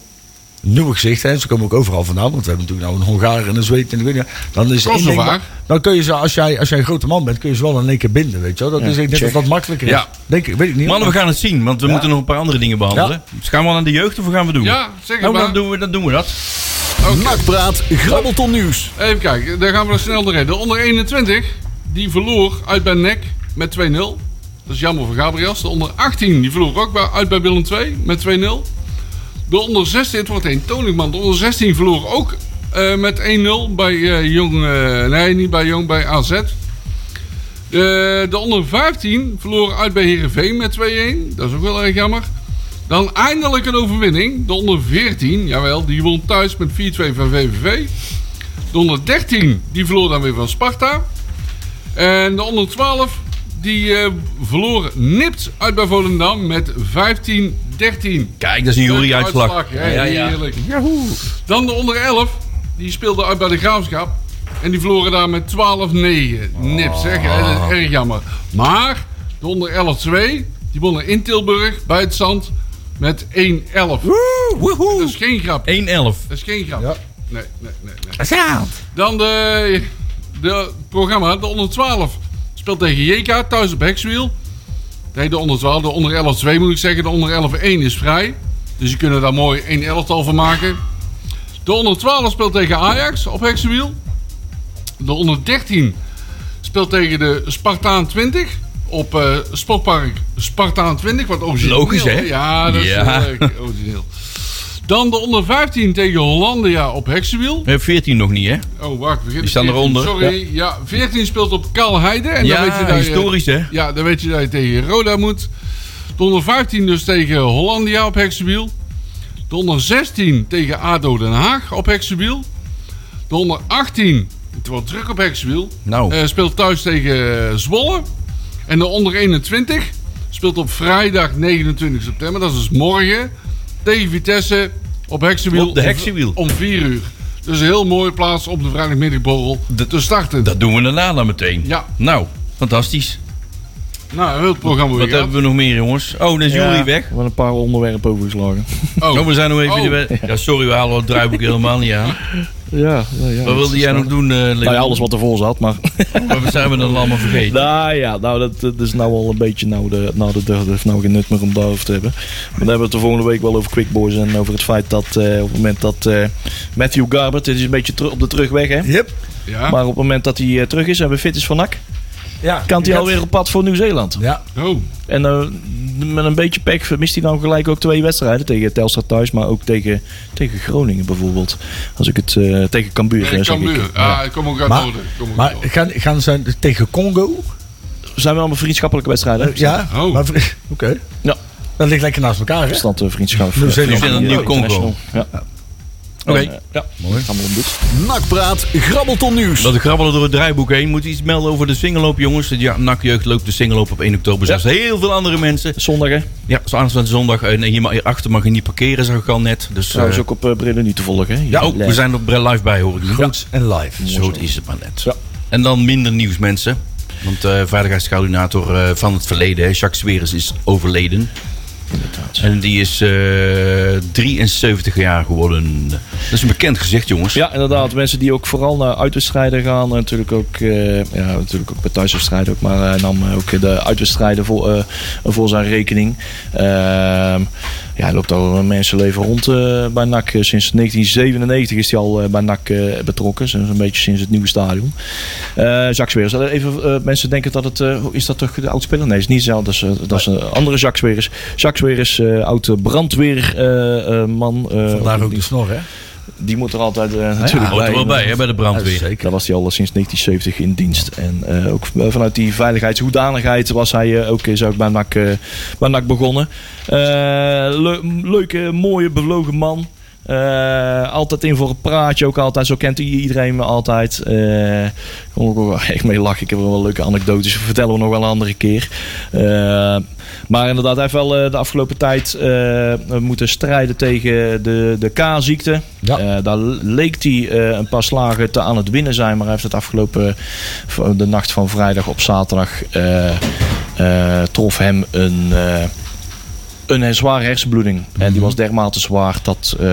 Speaker 2: nieuwe gezichten, en ze komen ook overal vandaan, want we hebben natuurlijk nou een Hongaar en een Zweed en ik weet niet, wat, dan is één ding
Speaker 3: Kosovaar.
Speaker 2: wa- dan kun je ze, als jij, als jij een grote man bent, kun je ze wel in één keer binden, weet je wel. Dat is, ik denk dat
Speaker 5: check.
Speaker 2: dat makkelijker is.
Speaker 4: Ja.
Speaker 2: Denk ik, weet ik niet.
Speaker 4: Mannen, we gaan het zien, want we moeten nog een paar andere dingen behandelen. Dus gaan we al aan de jeugd of we gaan we doen?
Speaker 3: Ja, zeg
Speaker 4: Nou,
Speaker 3: maar.
Speaker 4: dan doen we, dan doen we dat.
Speaker 1: Nakpraat, grabbelton nieuws.
Speaker 3: Even kijken, daar gaan we nog snel doorheen. De onder 21, die verloor uit bij NEC met 2-0. Dat is jammer voor Gabriels. De onder 18, die verloor ook bij, uit bij Willem 2 met 2-0. De onder 16, het wordt een Toningman. De onder 16 verloor ook eh, met 1-0 bij eh, Jong... eh, nee, niet bij Jong, bij AZ. Eh, de onder 15 verloor uit bij Heerenveen met 2-1. Dat is ook wel erg jammer. Dan eindelijk een overwinning. De onder 14, jawel, die won thuis met 4-2 van VVV. De onder 13, die verloor dan weer van Sparta. En de onder 12, die eh, verloor nipt uit bij Volendam met 15-13.
Speaker 4: Kijk, dat is een jury-uitslag.
Speaker 3: Ja, ja, heerlijk. Dan de onder 11, die speelde uit bij de Graafschap. En die verloren daar met 12-9. Nipt, zeg. hè, Dat is erg jammer. Maar de onder 11-2, die wonnen in Tilburg, bij het Zand, met 1-11. Dat is geen grap.
Speaker 4: 1-11.
Speaker 3: Dat is geen grap. Nee, nee, nee. nee. Dan de, de programma, de onder 12. Speelt tegen JK thuis op Hexwiel. Nee, de onder 12, de onder 11 2 moet ik zeggen. De onder 11 1 is vrij. Dus die kunnen daar mooi 1 elftal van maken. De onder 12 speelt tegen Ajax op Hexwiel. De onder 13 speelt tegen de Spartaan 20 op eh, Sportpark Spartaan 20. Wat origineel.
Speaker 4: Logisch, hè?
Speaker 3: Ja, dat is
Speaker 4: Ja.
Speaker 3: heel leuk. Origineel. Dan de onder 15 tegen Hollandia op Hexwiel.
Speaker 4: We hebben 14 nog niet, hè?
Speaker 3: Oh, wacht, begin.
Speaker 4: Die staan eronder.
Speaker 3: Sorry, ja. 14 speelt op Kalheide. En
Speaker 4: ja,
Speaker 3: dan weet je eh, dat je,
Speaker 4: historisch, hè?
Speaker 3: ja, dan weet je dat je tegen Roda moet. De onder 15 dus tegen Hollandia op Heksenwiel. De onder 16 tegen ADO Den Haag op Heksenwiel. De onder 18, het wordt druk op Heksenwiel,
Speaker 4: Nou.
Speaker 3: eh, speelt thuis tegen eh, Zwolle. En de onder 21 speelt op vrijdag 29 september, dat is dus morgen, tegen Vitesse op Heksenwiel.
Speaker 4: Op de
Speaker 3: om-
Speaker 4: Heksenwiel.
Speaker 3: Om 4 uur. Dus een heel mooie plaats om de vrijdagmiddagborrel te starten.
Speaker 4: Dat doen we daarna dan meteen.
Speaker 3: Ja.
Speaker 4: Nou, fantastisch.
Speaker 3: Nou, heel het programma weer
Speaker 4: Wat
Speaker 3: gehad.
Speaker 4: hebben we nog meer, jongens? Oh, dan is
Speaker 5: Ja,
Speaker 4: Jury weg.
Speaker 5: We hebben een paar onderwerpen overgeslagen.
Speaker 3: Oh.
Speaker 4: Oh, we zijn nog even...
Speaker 3: Oh.
Speaker 4: de wet- Ja, sorry, we halen het draaiboek helemaal niet aan.
Speaker 5: Ja, ja, ja.
Speaker 4: Wat wilde jij nog doen, eh
Speaker 5: Nou
Speaker 4: Leon?
Speaker 5: ja, alles wat ervoor zat, maar...
Speaker 4: Wat zijn we dan allemaal vergeten?
Speaker 5: nou ja, nou, dat, dat is nou al een beetje nou de, nou de derde. heeft nou geen nut meer om daarover te hebben. Maar dan hebben we het de volgende week wel over Quick Boys en over het feit dat eh, op het moment dat eh, Matthew Garbutt, dit is een beetje teru- op de terugweg hè.
Speaker 2: Yep.
Speaker 3: Ja.
Speaker 5: Maar op het moment dat hij eh, terug is en we fit is van NAC,
Speaker 2: Ja.
Speaker 5: kan hij alweer op pad voor Nieuw-Zeeland.
Speaker 2: Ja.
Speaker 3: Oh.
Speaker 5: En eh, met een beetje pech mist hij dan gelijk ook twee wedstrijden. Tegen Telstra thuis, maar ook tegen, tegen Groningen bijvoorbeeld. Als ik het eh, tegen Cambuur eh,
Speaker 3: Ik
Speaker 5: zeg
Speaker 3: kan
Speaker 5: ik.
Speaker 3: muur. Ah, ik kom ook uit
Speaker 2: Maar-
Speaker 3: Noorden. Ik kom ook
Speaker 2: Maar
Speaker 3: uit Noorden.
Speaker 2: gaan, gaan ze tegen Congo?
Speaker 5: Zijn wel allemaal vriendschappelijke wedstrijden. hè?
Speaker 2: Ja.
Speaker 3: Oh.
Speaker 2: Maar- Oké.
Speaker 5: Ja.
Speaker 2: Dat ligt lekker naast elkaar, hè?
Speaker 5: Verstand eh, vriendschap.
Speaker 2: Nieuw-Zeeland.
Speaker 5: eh,
Speaker 4: Nieuw-Congo.
Speaker 5: international. Ja.
Speaker 4: Oké,
Speaker 5: gewoon,
Speaker 4: Oké.
Speaker 5: eh, ja, mooi. Allemaal om doet.
Speaker 1: Nakpraat, grabbelton nieuws.
Speaker 4: Dat grabbelen door het draaiboek heen. Moet iets melden over de singeloop, jongens. De ja, nakjeugd loopt de singeloop op 1 oktober. Zelfs heel veel andere mensen.
Speaker 5: Zondag, hè?
Speaker 4: Ja, zo aanstaande zondag. En hier ma- hierachter mag je niet parkeren, zag ik al net. Dus, eh,
Speaker 5: Trouwens ook op eh Brillen niet te volgen, hè?
Speaker 4: ja, ook, Oh, we zijn er bre- live bij, hoor ik nu.
Speaker 2: Groots en live.
Speaker 4: Zo het is het maar net.
Speaker 5: Ja.
Speaker 4: En dan minder nieuws, mensen. Want de veiligheidscoördinator eh, van het verleden, hè, Jacques Sweres, is overleden. En die is eh, 73 jaar geworden. Dat is een bekend gezicht, jongens.
Speaker 5: Ja, inderdaad. Mensen die ook vooral naar uitwedstrijden gaan. En natuurlijk ook, eh, ja, natuurlijk ook bij thuiswedstrijden. Ook, maar hij nam ook de uitwedstrijden voor, eh, voor zijn rekening. Ehm, ja, hij loopt al een mensenleven rond eh, bij NAC. Sinds 1997 is hij al eh, bij NAC eh, betrokken. Dus een beetje sinds het nieuwe stadion. Eh Jacques Weers. Even, eh, mensen denken dat het... eh, is dat toch de oud-speler? Nee, is niet zelf. Dat is, eh, dat is een andere Jacques Weers. Jacques Weers, eh oud eh, brandweerman.
Speaker 2: Vandaar ook de snor, hè?
Speaker 5: Die moet er altijd eh,
Speaker 4: Hoort
Speaker 5: natuurlijk
Speaker 4: er wel bij, hè, bij de brandweer.
Speaker 2: Zeker.
Speaker 5: Daar was hij al sinds 1970 in dienst. En eh, ook eh, vanuit die veiligheidshoedanigheid was hij eh, ook, is ook bij NAC, eh, bij NAC begonnen. Eh, le- leuke, mooie, bevlogen man. Eh, altijd in voor een praatje ook altijd. Zo kent hij iedereen me altijd. Eh, Ik kon ook wel echt mee lachen. Ik heb er wel leuke anekdotes. Die vertellen we nog wel een andere keer. Eh, maar inderdaad, hij heeft wel eh, de afgelopen tijd eh, moeten strijden tegen de, de K-ziekte.
Speaker 2: Ja.
Speaker 5: Eh, daar leek hij eh, een paar slagen te aan het winnen zijn. Maar hij heeft het afgelopen, v- de nacht van vrijdag op zaterdag, eh, eh, trof hem een... eh, een zware hersenbloeding. En
Speaker 2: Mhm.
Speaker 5: die was dermate zwaar dat eh,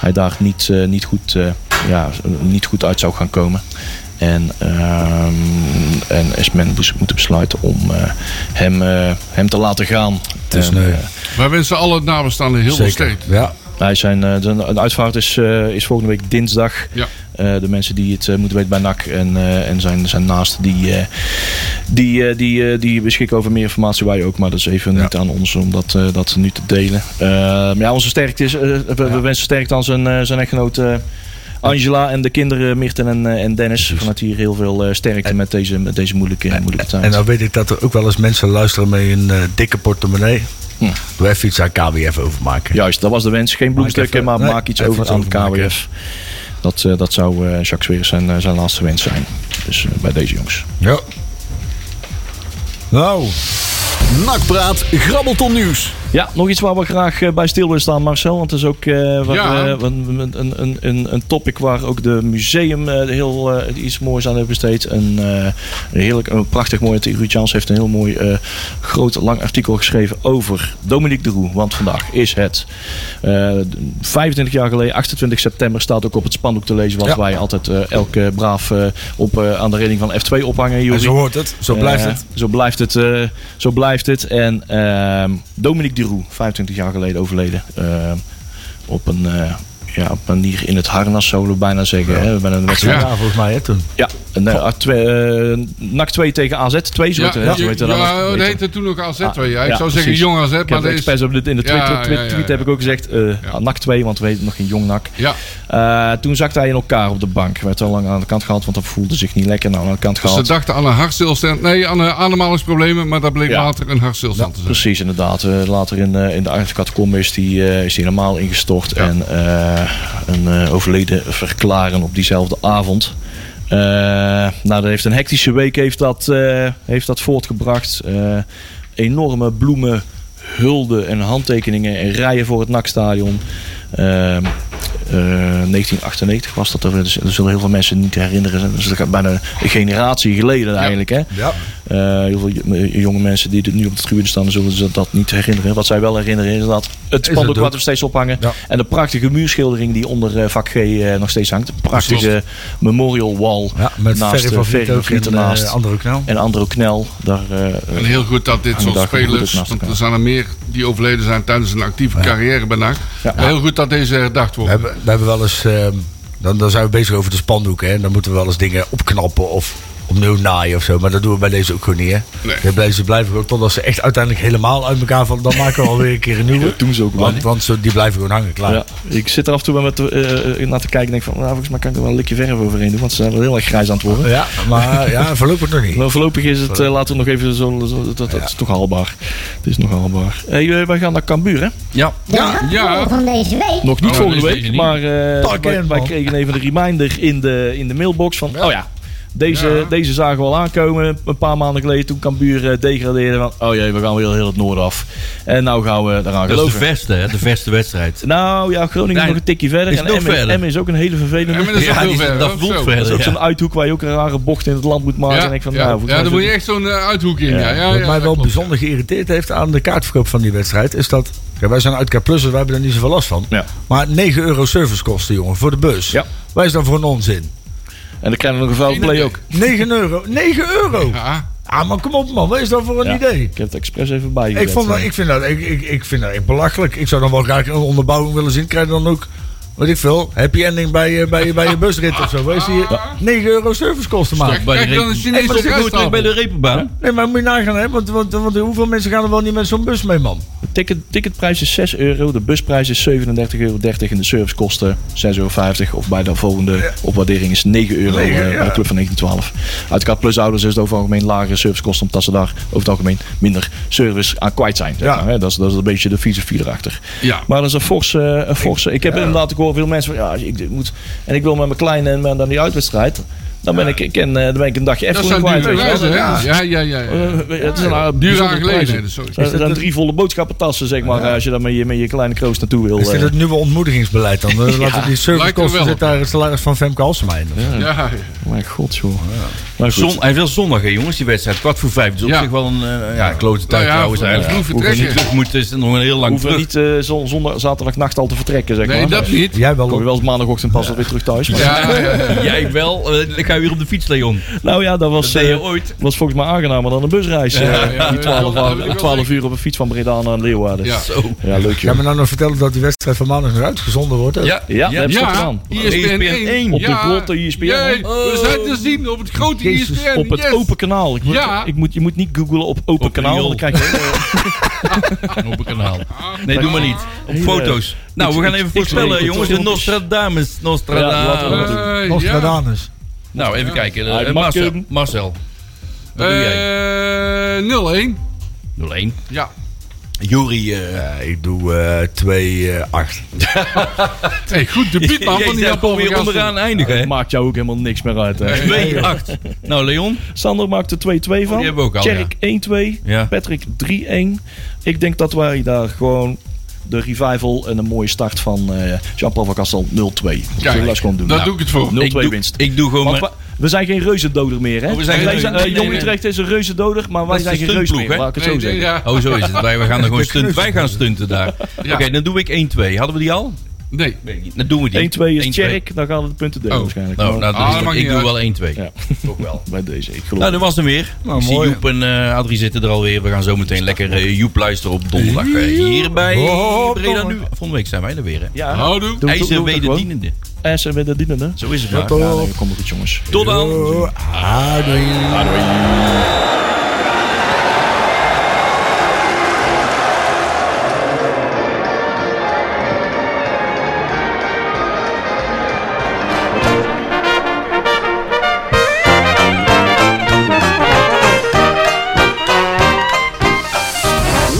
Speaker 5: hij daar niet, eh, niet, goed, eh, ja, niet goed uit zou gaan komen. En, ehm, en is men bes- moeten besluiten om eh, hem, eh, hem te laten gaan.
Speaker 2: is
Speaker 5: En,
Speaker 2: sneu.
Speaker 5: eh,
Speaker 3: Wij wensen alle het nabestaanden heel veel sterkte.
Speaker 2: Dus Ja.
Speaker 5: hij zijn, eh, zijn de uitvaart is, eh, is volgende week dinsdag.
Speaker 3: Ja.
Speaker 5: Eh, de mensen die het eh, moeten weten bij NAC en, eh, en zijn, zijn naasten, die, eh, die, eh, die, eh, die beschikken over meer informatie. Wij ook, maar dat is even niet aan ons om dat, eh, dat nu te delen. Eh, maar ja, onze sterkte is, eh, we, we wensen sterkte aan zijn, eh, zijn echtgenoot eh, Angela en de kinderen Mirten en, eh, en Dennis. Vanuit hier heel veel eh, sterkte met deze, met deze moeilijke, moeilijke tijd.
Speaker 2: En dan weet ik dat er ook wel eens mensen luisteren met een eh, dikke portemonnee.
Speaker 5: Hm.
Speaker 2: Doe even iets aan KWF overmaken.
Speaker 5: Juist, dat was de wens. Geen bloemstukken,
Speaker 2: Maak
Speaker 5: maar
Speaker 2: even-
Speaker 5: maak
Speaker 2: nee,
Speaker 5: iets
Speaker 2: even
Speaker 5: over
Speaker 2: iets
Speaker 5: aan het
Speaker 2: overmaken.
Speaker 5: KWF. Dat, eh, dat zou eh Jacques Weers zijn, eh, zijn laatste wens zijn. Dus eh, bij deze jongens.
Speaker 2: Ja. Nou,
Speaker 1: Nakpraat, grabbelton nieuws.
Speaker 5: Ja, nog iets waar we graag eh, bij stil willen staan, Marcel. Want het is ook eh, wat,
Speaker 3: Ja.
Speaker 5: eh, wat- een, een, een, een topic waar ook de museum eh, heel eh, iets moois aan heeft besteed. Een, eh, een heerlijk, een prachtig mooi. Ruud Jans heeft een heel mooi eh, groot lang artikel geschreven over Dominique de Roe. Want vandaag is het eh, 25 jaar geleden, 28 september, staat ook op het spandoek te lezen. Wat
Speaker 2: Ja.
Speaker 5: wij altijd eh, elk eh, braaf eh, op, eh, aan de reling van F2 ophangen.
Speaker 2: en
Speaker 5: Joeri.
Speaker 2: zo hoort het. Zo blijft
Speaker 5: Eh,
Speaker 2: het.
Speaker 5: Zo blijft het. eh, zo blijft het. En ehm, Dominique de Roe, 25 jaar geleden overleden. Ehm, op een eh, ja, op een manier in het harnas, zouden we bijna zeggen. Hè? Bij een wedstrijd.
Speaker 3: Ja.
Speaker 2: Ja, volgens mij hè, toen.
Speaker 5: Ja, een, eh, ah, twee, eh, NAC 2 tegen AZ 2. Zo
Speaker 3: Ja,
Speaker 5: heet het, hè? Zo
Speaker 3: ja,
Speaker 5: heet het dan
Speaker 3: ja, oh,
Speaker 5: nog.
Speaker 3: dat
Speaker 5: Weet
Speaker 3: heette toen nog AZ2. ja. Ik
Speaker 5: Ah,
Speaker 3: zou
Speaker 5: ja,
Speaker 3: zeggen
Speaker 5: precies.
Speaker 3: jong AZ,
Speaker 5: Ik
Speaker 3: maar
Speaker 5: heb
Speaker 3: dat is...
Speaker 5: expres op de, in de
Speaker 3: Ja,
Speaker 5: Twitter,
Speaker 3: ja,
Speaker 5: tweet,
Speaker 3: ja,
Speaker 5: tweet
Speaker 3: ja.
Speaker 5: heb ik ook gezegd, eh,
Speaker 3: Ja.
Speaker 5: NAC 2, want we weten nog geen jong NAC.
Speaker 3: Ja,
Speaker 5: Eh, toen zakte hij in elkaar op de bank. Werd al lang aan de kant gehaald, want dat voelde zich niet lekker. Nou, aan de kant
Speaker 3: ze
Speaker 5: gehaald.
Speaker 3: dachten aan een hartstilstand. Nee, aan een ademhalingsproblemen, maar dat bleek
Speaker 5: Ja.
Speaker 3: later een hartstilstand te zijn.
Speaker 5: Precies, inderdaad. Eh, later in, eh, in de achterkatacombe is die, eh, is die helemaal ingestort en eh, een eh, overleden verklaren op diezelfde avond. Eh, nou, dat heeft een hectische week heeft dat, eh, heeft dat voortgebracht. Eh, enorme bloemen, hulden en handtekeningen en rijen voor het NAC-stadion. Ehm, eh, 1998 was dat. Er Dus- er zullen heel veel mensen niet herinneren. Dus dat gaat bijna een generatie geleden eigenlijk. Hè?
Speaker 2: Ja.
Speaker 5: Eh, heel veel j- eh, jonge mensen die dit nu op de tribune staan, zullen ze dat niet herinneren. Wat zij wel herinneren is dat het spandoek
Speaker 2: ook.
Speaker 5: wat we steeds ophangen.
Speaker 2: Ja.
Speaker 5: En de prachtige muurschildering die onder eh, vak G eh, nog steeds hangt. Een prachtige memorial wall
Speaker 2: Ja, met
Speaker 5: naast
Speaker 2: Ferry van
Speaker 5: eh, Ferry
Speaker 2: Vliet ook
Speaker 5: Vliet
Speaker 2: en
Speaker 5: ernaast.
Speaker 2: eh, André Knel.
Speaker 5: en Andro Knel. Daar, eh,
Speaker 3: En heel goed dat dit
Speaker 5: Hangen
Speaker 3: soort
Speaker 5: daar goed
Speaker 3: spelers,
Speaker 5: ook naast
Speaker 3: want er
Speaker 5: elkaar.
Speaker 3: zijn er meer die overleden zijn tijdens een actieve carrière bij NAC.
Speaker 5: Ja.
Speaker 3: Maar Heel goed dat deze herdacht
Speaker 2: We
Speaker 3: wordt.
Speaker 2: hebben, we hebben wel eens... ehm, dan, dan zijn we bezig over de spandoeken. Hè? Dan moeten we wel eens dingen opknappen of opnieuw naaien of zo. Maar dat doen we bij deze ook gewoon niet, hè?
Speaker 3: Nee.
Speaker 2: Dat blijven ze blijven ook totdat ze echt uiteindelijk helemaal uit elkaar vallen. Dan maken we alweer een keer een nieuwe.
Speaker 5: Dat doen ze ook wel,
Speaker 2: Want,
Speaker 5: hè?
Speaker 2: want ze- die blijven gewoon hangen, klaar.
Speaker 5: Ja, ik zit er af en toe wel met, eh, eh, naar te kijken en denk van, nou, volgens mij kan ik er wel een likje verf overheen doen, want ze zijn wel heel erg grijs aan het worden.
Speaker 2: Ja, maar ja, voorlopig nog niet.
Speaker 5: Nou, voorlopig is het, eh, laten we nog even zo, zo- dat, dat is toch haalbaar. Het is nog haalbaar. Hey, eh, wij gaan naar Cambuur, hè?
Speaker 4: Ja,
Speaker 7: De
Speaker 3: ja.
Speaker 7: ja. van deze week.
Speaker 5: Nog niet
Speaker 3: Oh,
Speaker 5: volgende
Speaker 3: deze
Speaker 5: week,
Speaker 3: niet.
Speaker 5: maar eh,
Speaker 2: Pak
Speaker 5: wij,
Speaker 2: hem,
Speaker 5: wij
Speaker 2: man.
Speaker 5: kregen even de reminder in de, in de mailbox van, oh ja, deze,
Speaker 3: Ja.
Speaker 5: deze zagen we al aankomen een paar maanden geleden toen Cambuur eh, degradeerde. Van, oh jee, we gaan weer heel het noorden af. En nou gaan we eraan
Speaker 4: dat is
Speaker 5: geloven.
Speaker 4: de verste, hè, de verste wedstrijd.
Speaker 5: Nou ja, Groningen
Speaker 4: Nee,
Speaker 5: nog een tikje verder.
Speaker 4: is
Speaker 5: en
Speaker 4: nog
Speaker 5: Emmen,
Speaker 4: verder.
Speaker 5: Emmen is ook een hele vervelende.
Speaker 3: Emmen is
Speaker 5: ploeg.
Speaker 3: ook
Speaker 4: Ja,
Speaker 3: heel
Speaker 4: die-
Speaker 3: ver,
Speaker 4: dat
Speaker 3: hè,
Speaker 4: voelt
Speaker 3: zo.
Speaker 5: dat is
Speaker 4: verder.
Speaker 5: ook
Speaker 4: ja.
Speaker 5: zo'n uithoek waar je ook een rare bocht in het land moet maken. en ik van,
Speaker 3: ja,
Speaker 5: nou, volgens
Speaker 3: ja,
Speaker 5: mij
Speaker 3: dan
Speaker 5: zit
Speaker 3: moet je
Speaker 5: het-
Speaker 3: echt zo'n eh, uithoek in.
Speaker 5: Ja.
Speaker 3: Ja, ja, ja,
Speaker 2: Wat mij
Speaker 3: dat
Speaker 2: wel
Speaker 3: klopt.
Speaker 2: bijzonder geïrriteerd heeft aan de kaartverkoop van die wedstrijd... is dat... Kijk, wij zijn uitkaart plus, dus wij hebben er niet zoveel last van.
Speaker 5: Ja.
Speaker 2: Maar 9 euro servicekosten, jongen, voor de bus.
Speaker 5: Ja.
Speaker 2: Waar is dat voor een onzin?
Speaker 5: En dan krijgen we nog een vuile play ook.
Speaker 2: 9 euro. 9 euro!
Speaker 3: Ja,
Speaker 2: Ah, maar kom op man, wat is dat voor een
Speaker 5: Ja, eh,
Speaker 2: idee?
Speaker 5: Ik heb het expres even bij
Speaker 2: Ik, vond dat, ik, vind dat, ik, ik, ik vind dat echt belachelijk. Ik zou dan wel graag een onderbouwing willen zien. Krijg je dan ook, weet ik veel, happy ending bij, je- bij, je- bij je busrit of zo. Wees hier 9 euro servicekosten maken.
Speaker 4: Bij de
Speaker 3: Kijk, dan
Speaker 4: repen-
Speaker 3: is
Speaker 4: Hey, maar
Speaker 3: Chinese
Speaker 4: dat is gewoon terug bij de repenbaan.
Speaker 2: Nee, maar moet je nagaan, hè? Want, want, want hoeveel mensen gaan er wel niet met zo'n bus mee, man?
Speaker 5: Ticket, ticketprijs is 6 euro, de busprijs is 37,30 euro en de servicekosten 6,50 euro. Of bij de volgende opwaardering is 9 euro eh, bij de club van 1912. Uiteraard plus ouders is het over het algemeen lagere servicekosten omdat ze daar over het algemeen minder service aan kwijt zijn. zeg
Speaker 2: Ja.
Speaker 5: maar, hè. dat, is, dat is een beetje de filosofie erachter.
Speaker 3: Ja.
Speaker 5: Maar dat is een forse. Een forse. Ik heb inderdaad ook hoor veel mensen van ja, ik dit moet, en ik wil met mijn kleine en met- dan die uitwedstrijd. Dan ben, ik, ik, en, eh, dan ben ik een dagje
Speaker 3: Dat
Speaker 5: Efteling
Speaker 3: zijn
Speaker 5: kwijt.
Speaker 3: dure
Speaker 5: weet je wel.
Speaker 3: reizen, hè? Ja, ja, ja. ja.
Speaker 5: Eh, het is een eh,
Speaker 3: Dure
Speaker 5: bijzondere
Speaker 3: aangelegenheden,
Speaker 5: prijs.
Speaker 3: sorry.
Speaker 5: Er zijn drie volle boodschappentassen, zeg maar, eh, als je daar met je, met je kleine kroos naartoe wil.
Speaker 2: Is dit
Speaker 5: eh.
Speaker 2: het nieuwe ontmoedigingsbeleid dan? Eh, Laten we die
Speaker 3: Lijkt er
Speaker 2: servicekosten
Speaker 3: wel
Speaker 2: zit daar het salaris van Femke Halsema in.
Speaker 3: Ja,
Speaker 5: Mijn god, joh. Maar goed.
Speaker 4: Zon, hij wil zondag, hè, jongens, die wedstrijd. Kwart voor vijf. Dus op
Speaker 3: Ja.
Speaker 4: zich wel een eh, ja, klote tijd
Speaker 3: Nou ja,
Speaker 4: trouwens.
Speaker 3: voor-
Speaker 4: eigenlijk.
Speaker 3: vroeg
Speaker 4: Hoeveel
Speaker 3: vertrekken.
Speaker 4: niet terug moet, is nog een heel lang
Speaker 5: Hoeven we
Speaker 4: terug.
Speaker 5: niet eh, zon, zondag, zaterdagnacht al te vertrekken, zeg
Speaker 3: nee,
Speaker 5: maar.
Speaker 3: dat niet.
Speaker 2: Jij
Speaker 5: Dan kom je
Speaker 2: wel.
Speaker 5: wel eens maandagochtend pas alweer terug thuis. maar-
Speaker 3: Ja, ja, ja.
Speaker 4: Jij wel. eh, ik ga weer op de fiets, Leon.
Speaker 5: Nou ja, dat was,
Speaker 4: Dat deed je
Speaker 5: eh,
Speaker 4: ooit.
Speaker 5: was volgens mij aangenamer dan een busreis. eh,
Speaker 3: Ja, ja,
Speaker 5: die
Speaker 3: ja, dat
Speaker 5: 12,
Speaker 3: wil ik wel
Speaker 5: uur- 12 uur op een fiets van Breda naar Leeuwarden.
Speaker 3: Ja.
Speaker 4: Zo.
Speaker 5: Ja, leuk
Speaker 2: Ga
Speaker 5: joh.
Speaker 2: me nou nog vertellen dat die wedstrijd van maandag nog uitgezonden wordt? ook?
Speaker 4: Ja.
Speaker 5: Ja, dat hebben ze toch
Speaker 3: Ja, E
Speaker 5: gedaan.
Speaker 3: ISPN 1.
Speaker 5: Op de grote ISPN.
Speaker 3: Jee, We zijn te zien op het grote E
Speaker 2: Jezus,
Speaker 3: ISPN.
Speaker 5: Op het
Speaker 3: yes.
Speaker 5: open kanaal. Ik moet,
Speaker 3: Ja.
Speaker 5: ik moet, je moet niet googlen op open
Speaker 4: Op
Speaker 5: kanaal.
Speaker 4: riool.
Speaker 5: Dan krijg je
Speaker 4: Op een kanaal. Nee, doe maar niet. Op
Speaker 5: Hele-
Speaker 4: foto's. Nou, we gaan even
Speaker 5: ik-
Speaker 4: voorspellen,
Speaker 5: ik-
Speaker 4: jongens. De Nostradamus.
Speaker 5: Ja, laten we dat
Speaker 4: Nostradamus.
Speaker 5: doen.
Speaker 3: Eh, ja.
Speaker 2: Nostradamus.
Speaker 4: Nou, even kijken. Eh,
Speaker 5: Hij
Speaker 4: eh,
Speaker 5: mag
Speaker 4: Marcel.
Speaker 5: hem.
Speaker 4: Marcel. Wat doe jij?
Speaker 3: Eh, 0-1.
Speaker 4: 0-1.
Speaker 3: Ja.
Speaker 4: Jury. eh
Speaker 2: Ja, ik doe 2-8.
Speaker 3: Hey, goed debuut man van
Speaker 4: Jezus,
Speaker 3: die
Speaker 4: daar kom
Speaker 3: Japan.
Speaker 4: je onderaan eindigen, hè?
Speaker 5: Het maakt jou ook helemaal niks meer uit. Hè.
Speaker 4: 2-8. Nou, Leon.
Speaker 5: Sander maakt er 2-2 van.
Speaker 4: Oh, die hebben we ook al,
Speaker 5: Tjerk 1-2.
Speaker 4: Ja.
Speaker 5: Patrick 3-1. Ik denk dat wij daar gewoon de revival en een mooie start van eh Jean-Paul van Kastel 0-2. Zullen we dat gewoon doen?
Speaker 3: Daar
Speaker 5: Nou,
Speaker 3: doe ik het voor.
Speaker 5: 0-2
Speaker 4: Ik doe,
Speaker 5: winst.
Speaker 4: ik doe gewoon
Speaker 5: Want
Speaker 4: maar...
Speaker 5: wa- we zijn geen reuzendoder meer, hè?
Speaker 4: Oh, we zijn
Speaker 5: Wij
Speaker 4: geen
Speaker 5: zijn,
Speaker 4: reuzen-
Speaker 5: eh,
Speaker 4: nee,
Speaker 5: Jong
Speaker 4: nee,
Speaker 5: Utrecht is een reuzendoder, maar wij
Speaker 4: is
Speaker 5: zijn
Speaker 4: de
Speaker 5: geen reus
Speaker 4: stuntploeg,
Speaker 5: meer.
Speaker 4: hè?
Speaker 5: Laat ik het
Speaker 3: Nee,
Speaker 5: zo
Speaker 3: nee,
Speaker 5: zeggen.
Speaker 3: ja.
Speaker 4: Oh, zo is het. Wij, wij gaan er gewoon stunten. Wij gaan stunten daar. Oké, dan doe ik 1-2. Hadden we die al?
Speaker 3: Nee.
Speaker 4: Weet ik niet. Dan doen we die.
Speaker 5: 1-2 is
Speaker 4: 1-2.
Speaker 5: Tjerk, dan gaan we de punten delen
Speaker 3: Oh.
Speaker 5: waarschijnlijk.
Speaker 4: Nou,
Speaker 5: Maar
Speaker 4: nou,
Speaker 3: Ah, dat
Speaker 4: dan
Speaker 3: maakt
Speaker 4: ik
Speaker 3: niet
Speaker 4: doe
Speaker 3: uit.
Speaker 4: wel 1-2.
Speaker 5: Ja.
Speaker 4: Toch wel.
Speaker 5: bij deze, ik geloof
Speaker 4: Nou, dat was hem weer. ik zie Joep en eh Adrie zitten er alweer. We gaan zo meteen lekker eh, Joep luisteren op donderdag. eh, hier bij
Speaker 3: Oh,
Speaker 2: Hop,
Speaker 4: Breda Nu.
Speaker 2: donderdag.
Speaker 4: Volgende week zijn wij er weer. Hè.
Speaker 5: Ja,
Speaker 3: Houdoe.
Speaker 5: doe het ook-
Speaker 4: IJzer
Speaker 5: doe het ook gewoon.
Speaker 4: wederdienende.
Speaker 5: IJzer wederdienende.
Speaker 4: Zo is het maar.
Speaker 5: Ja, nee, kom maar goed jongens.
Speaker 4: Tot dan.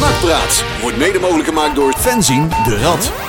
Speaker 1: Nakpraat wordt mede mogelijk gemaakt door fanzine de Rad.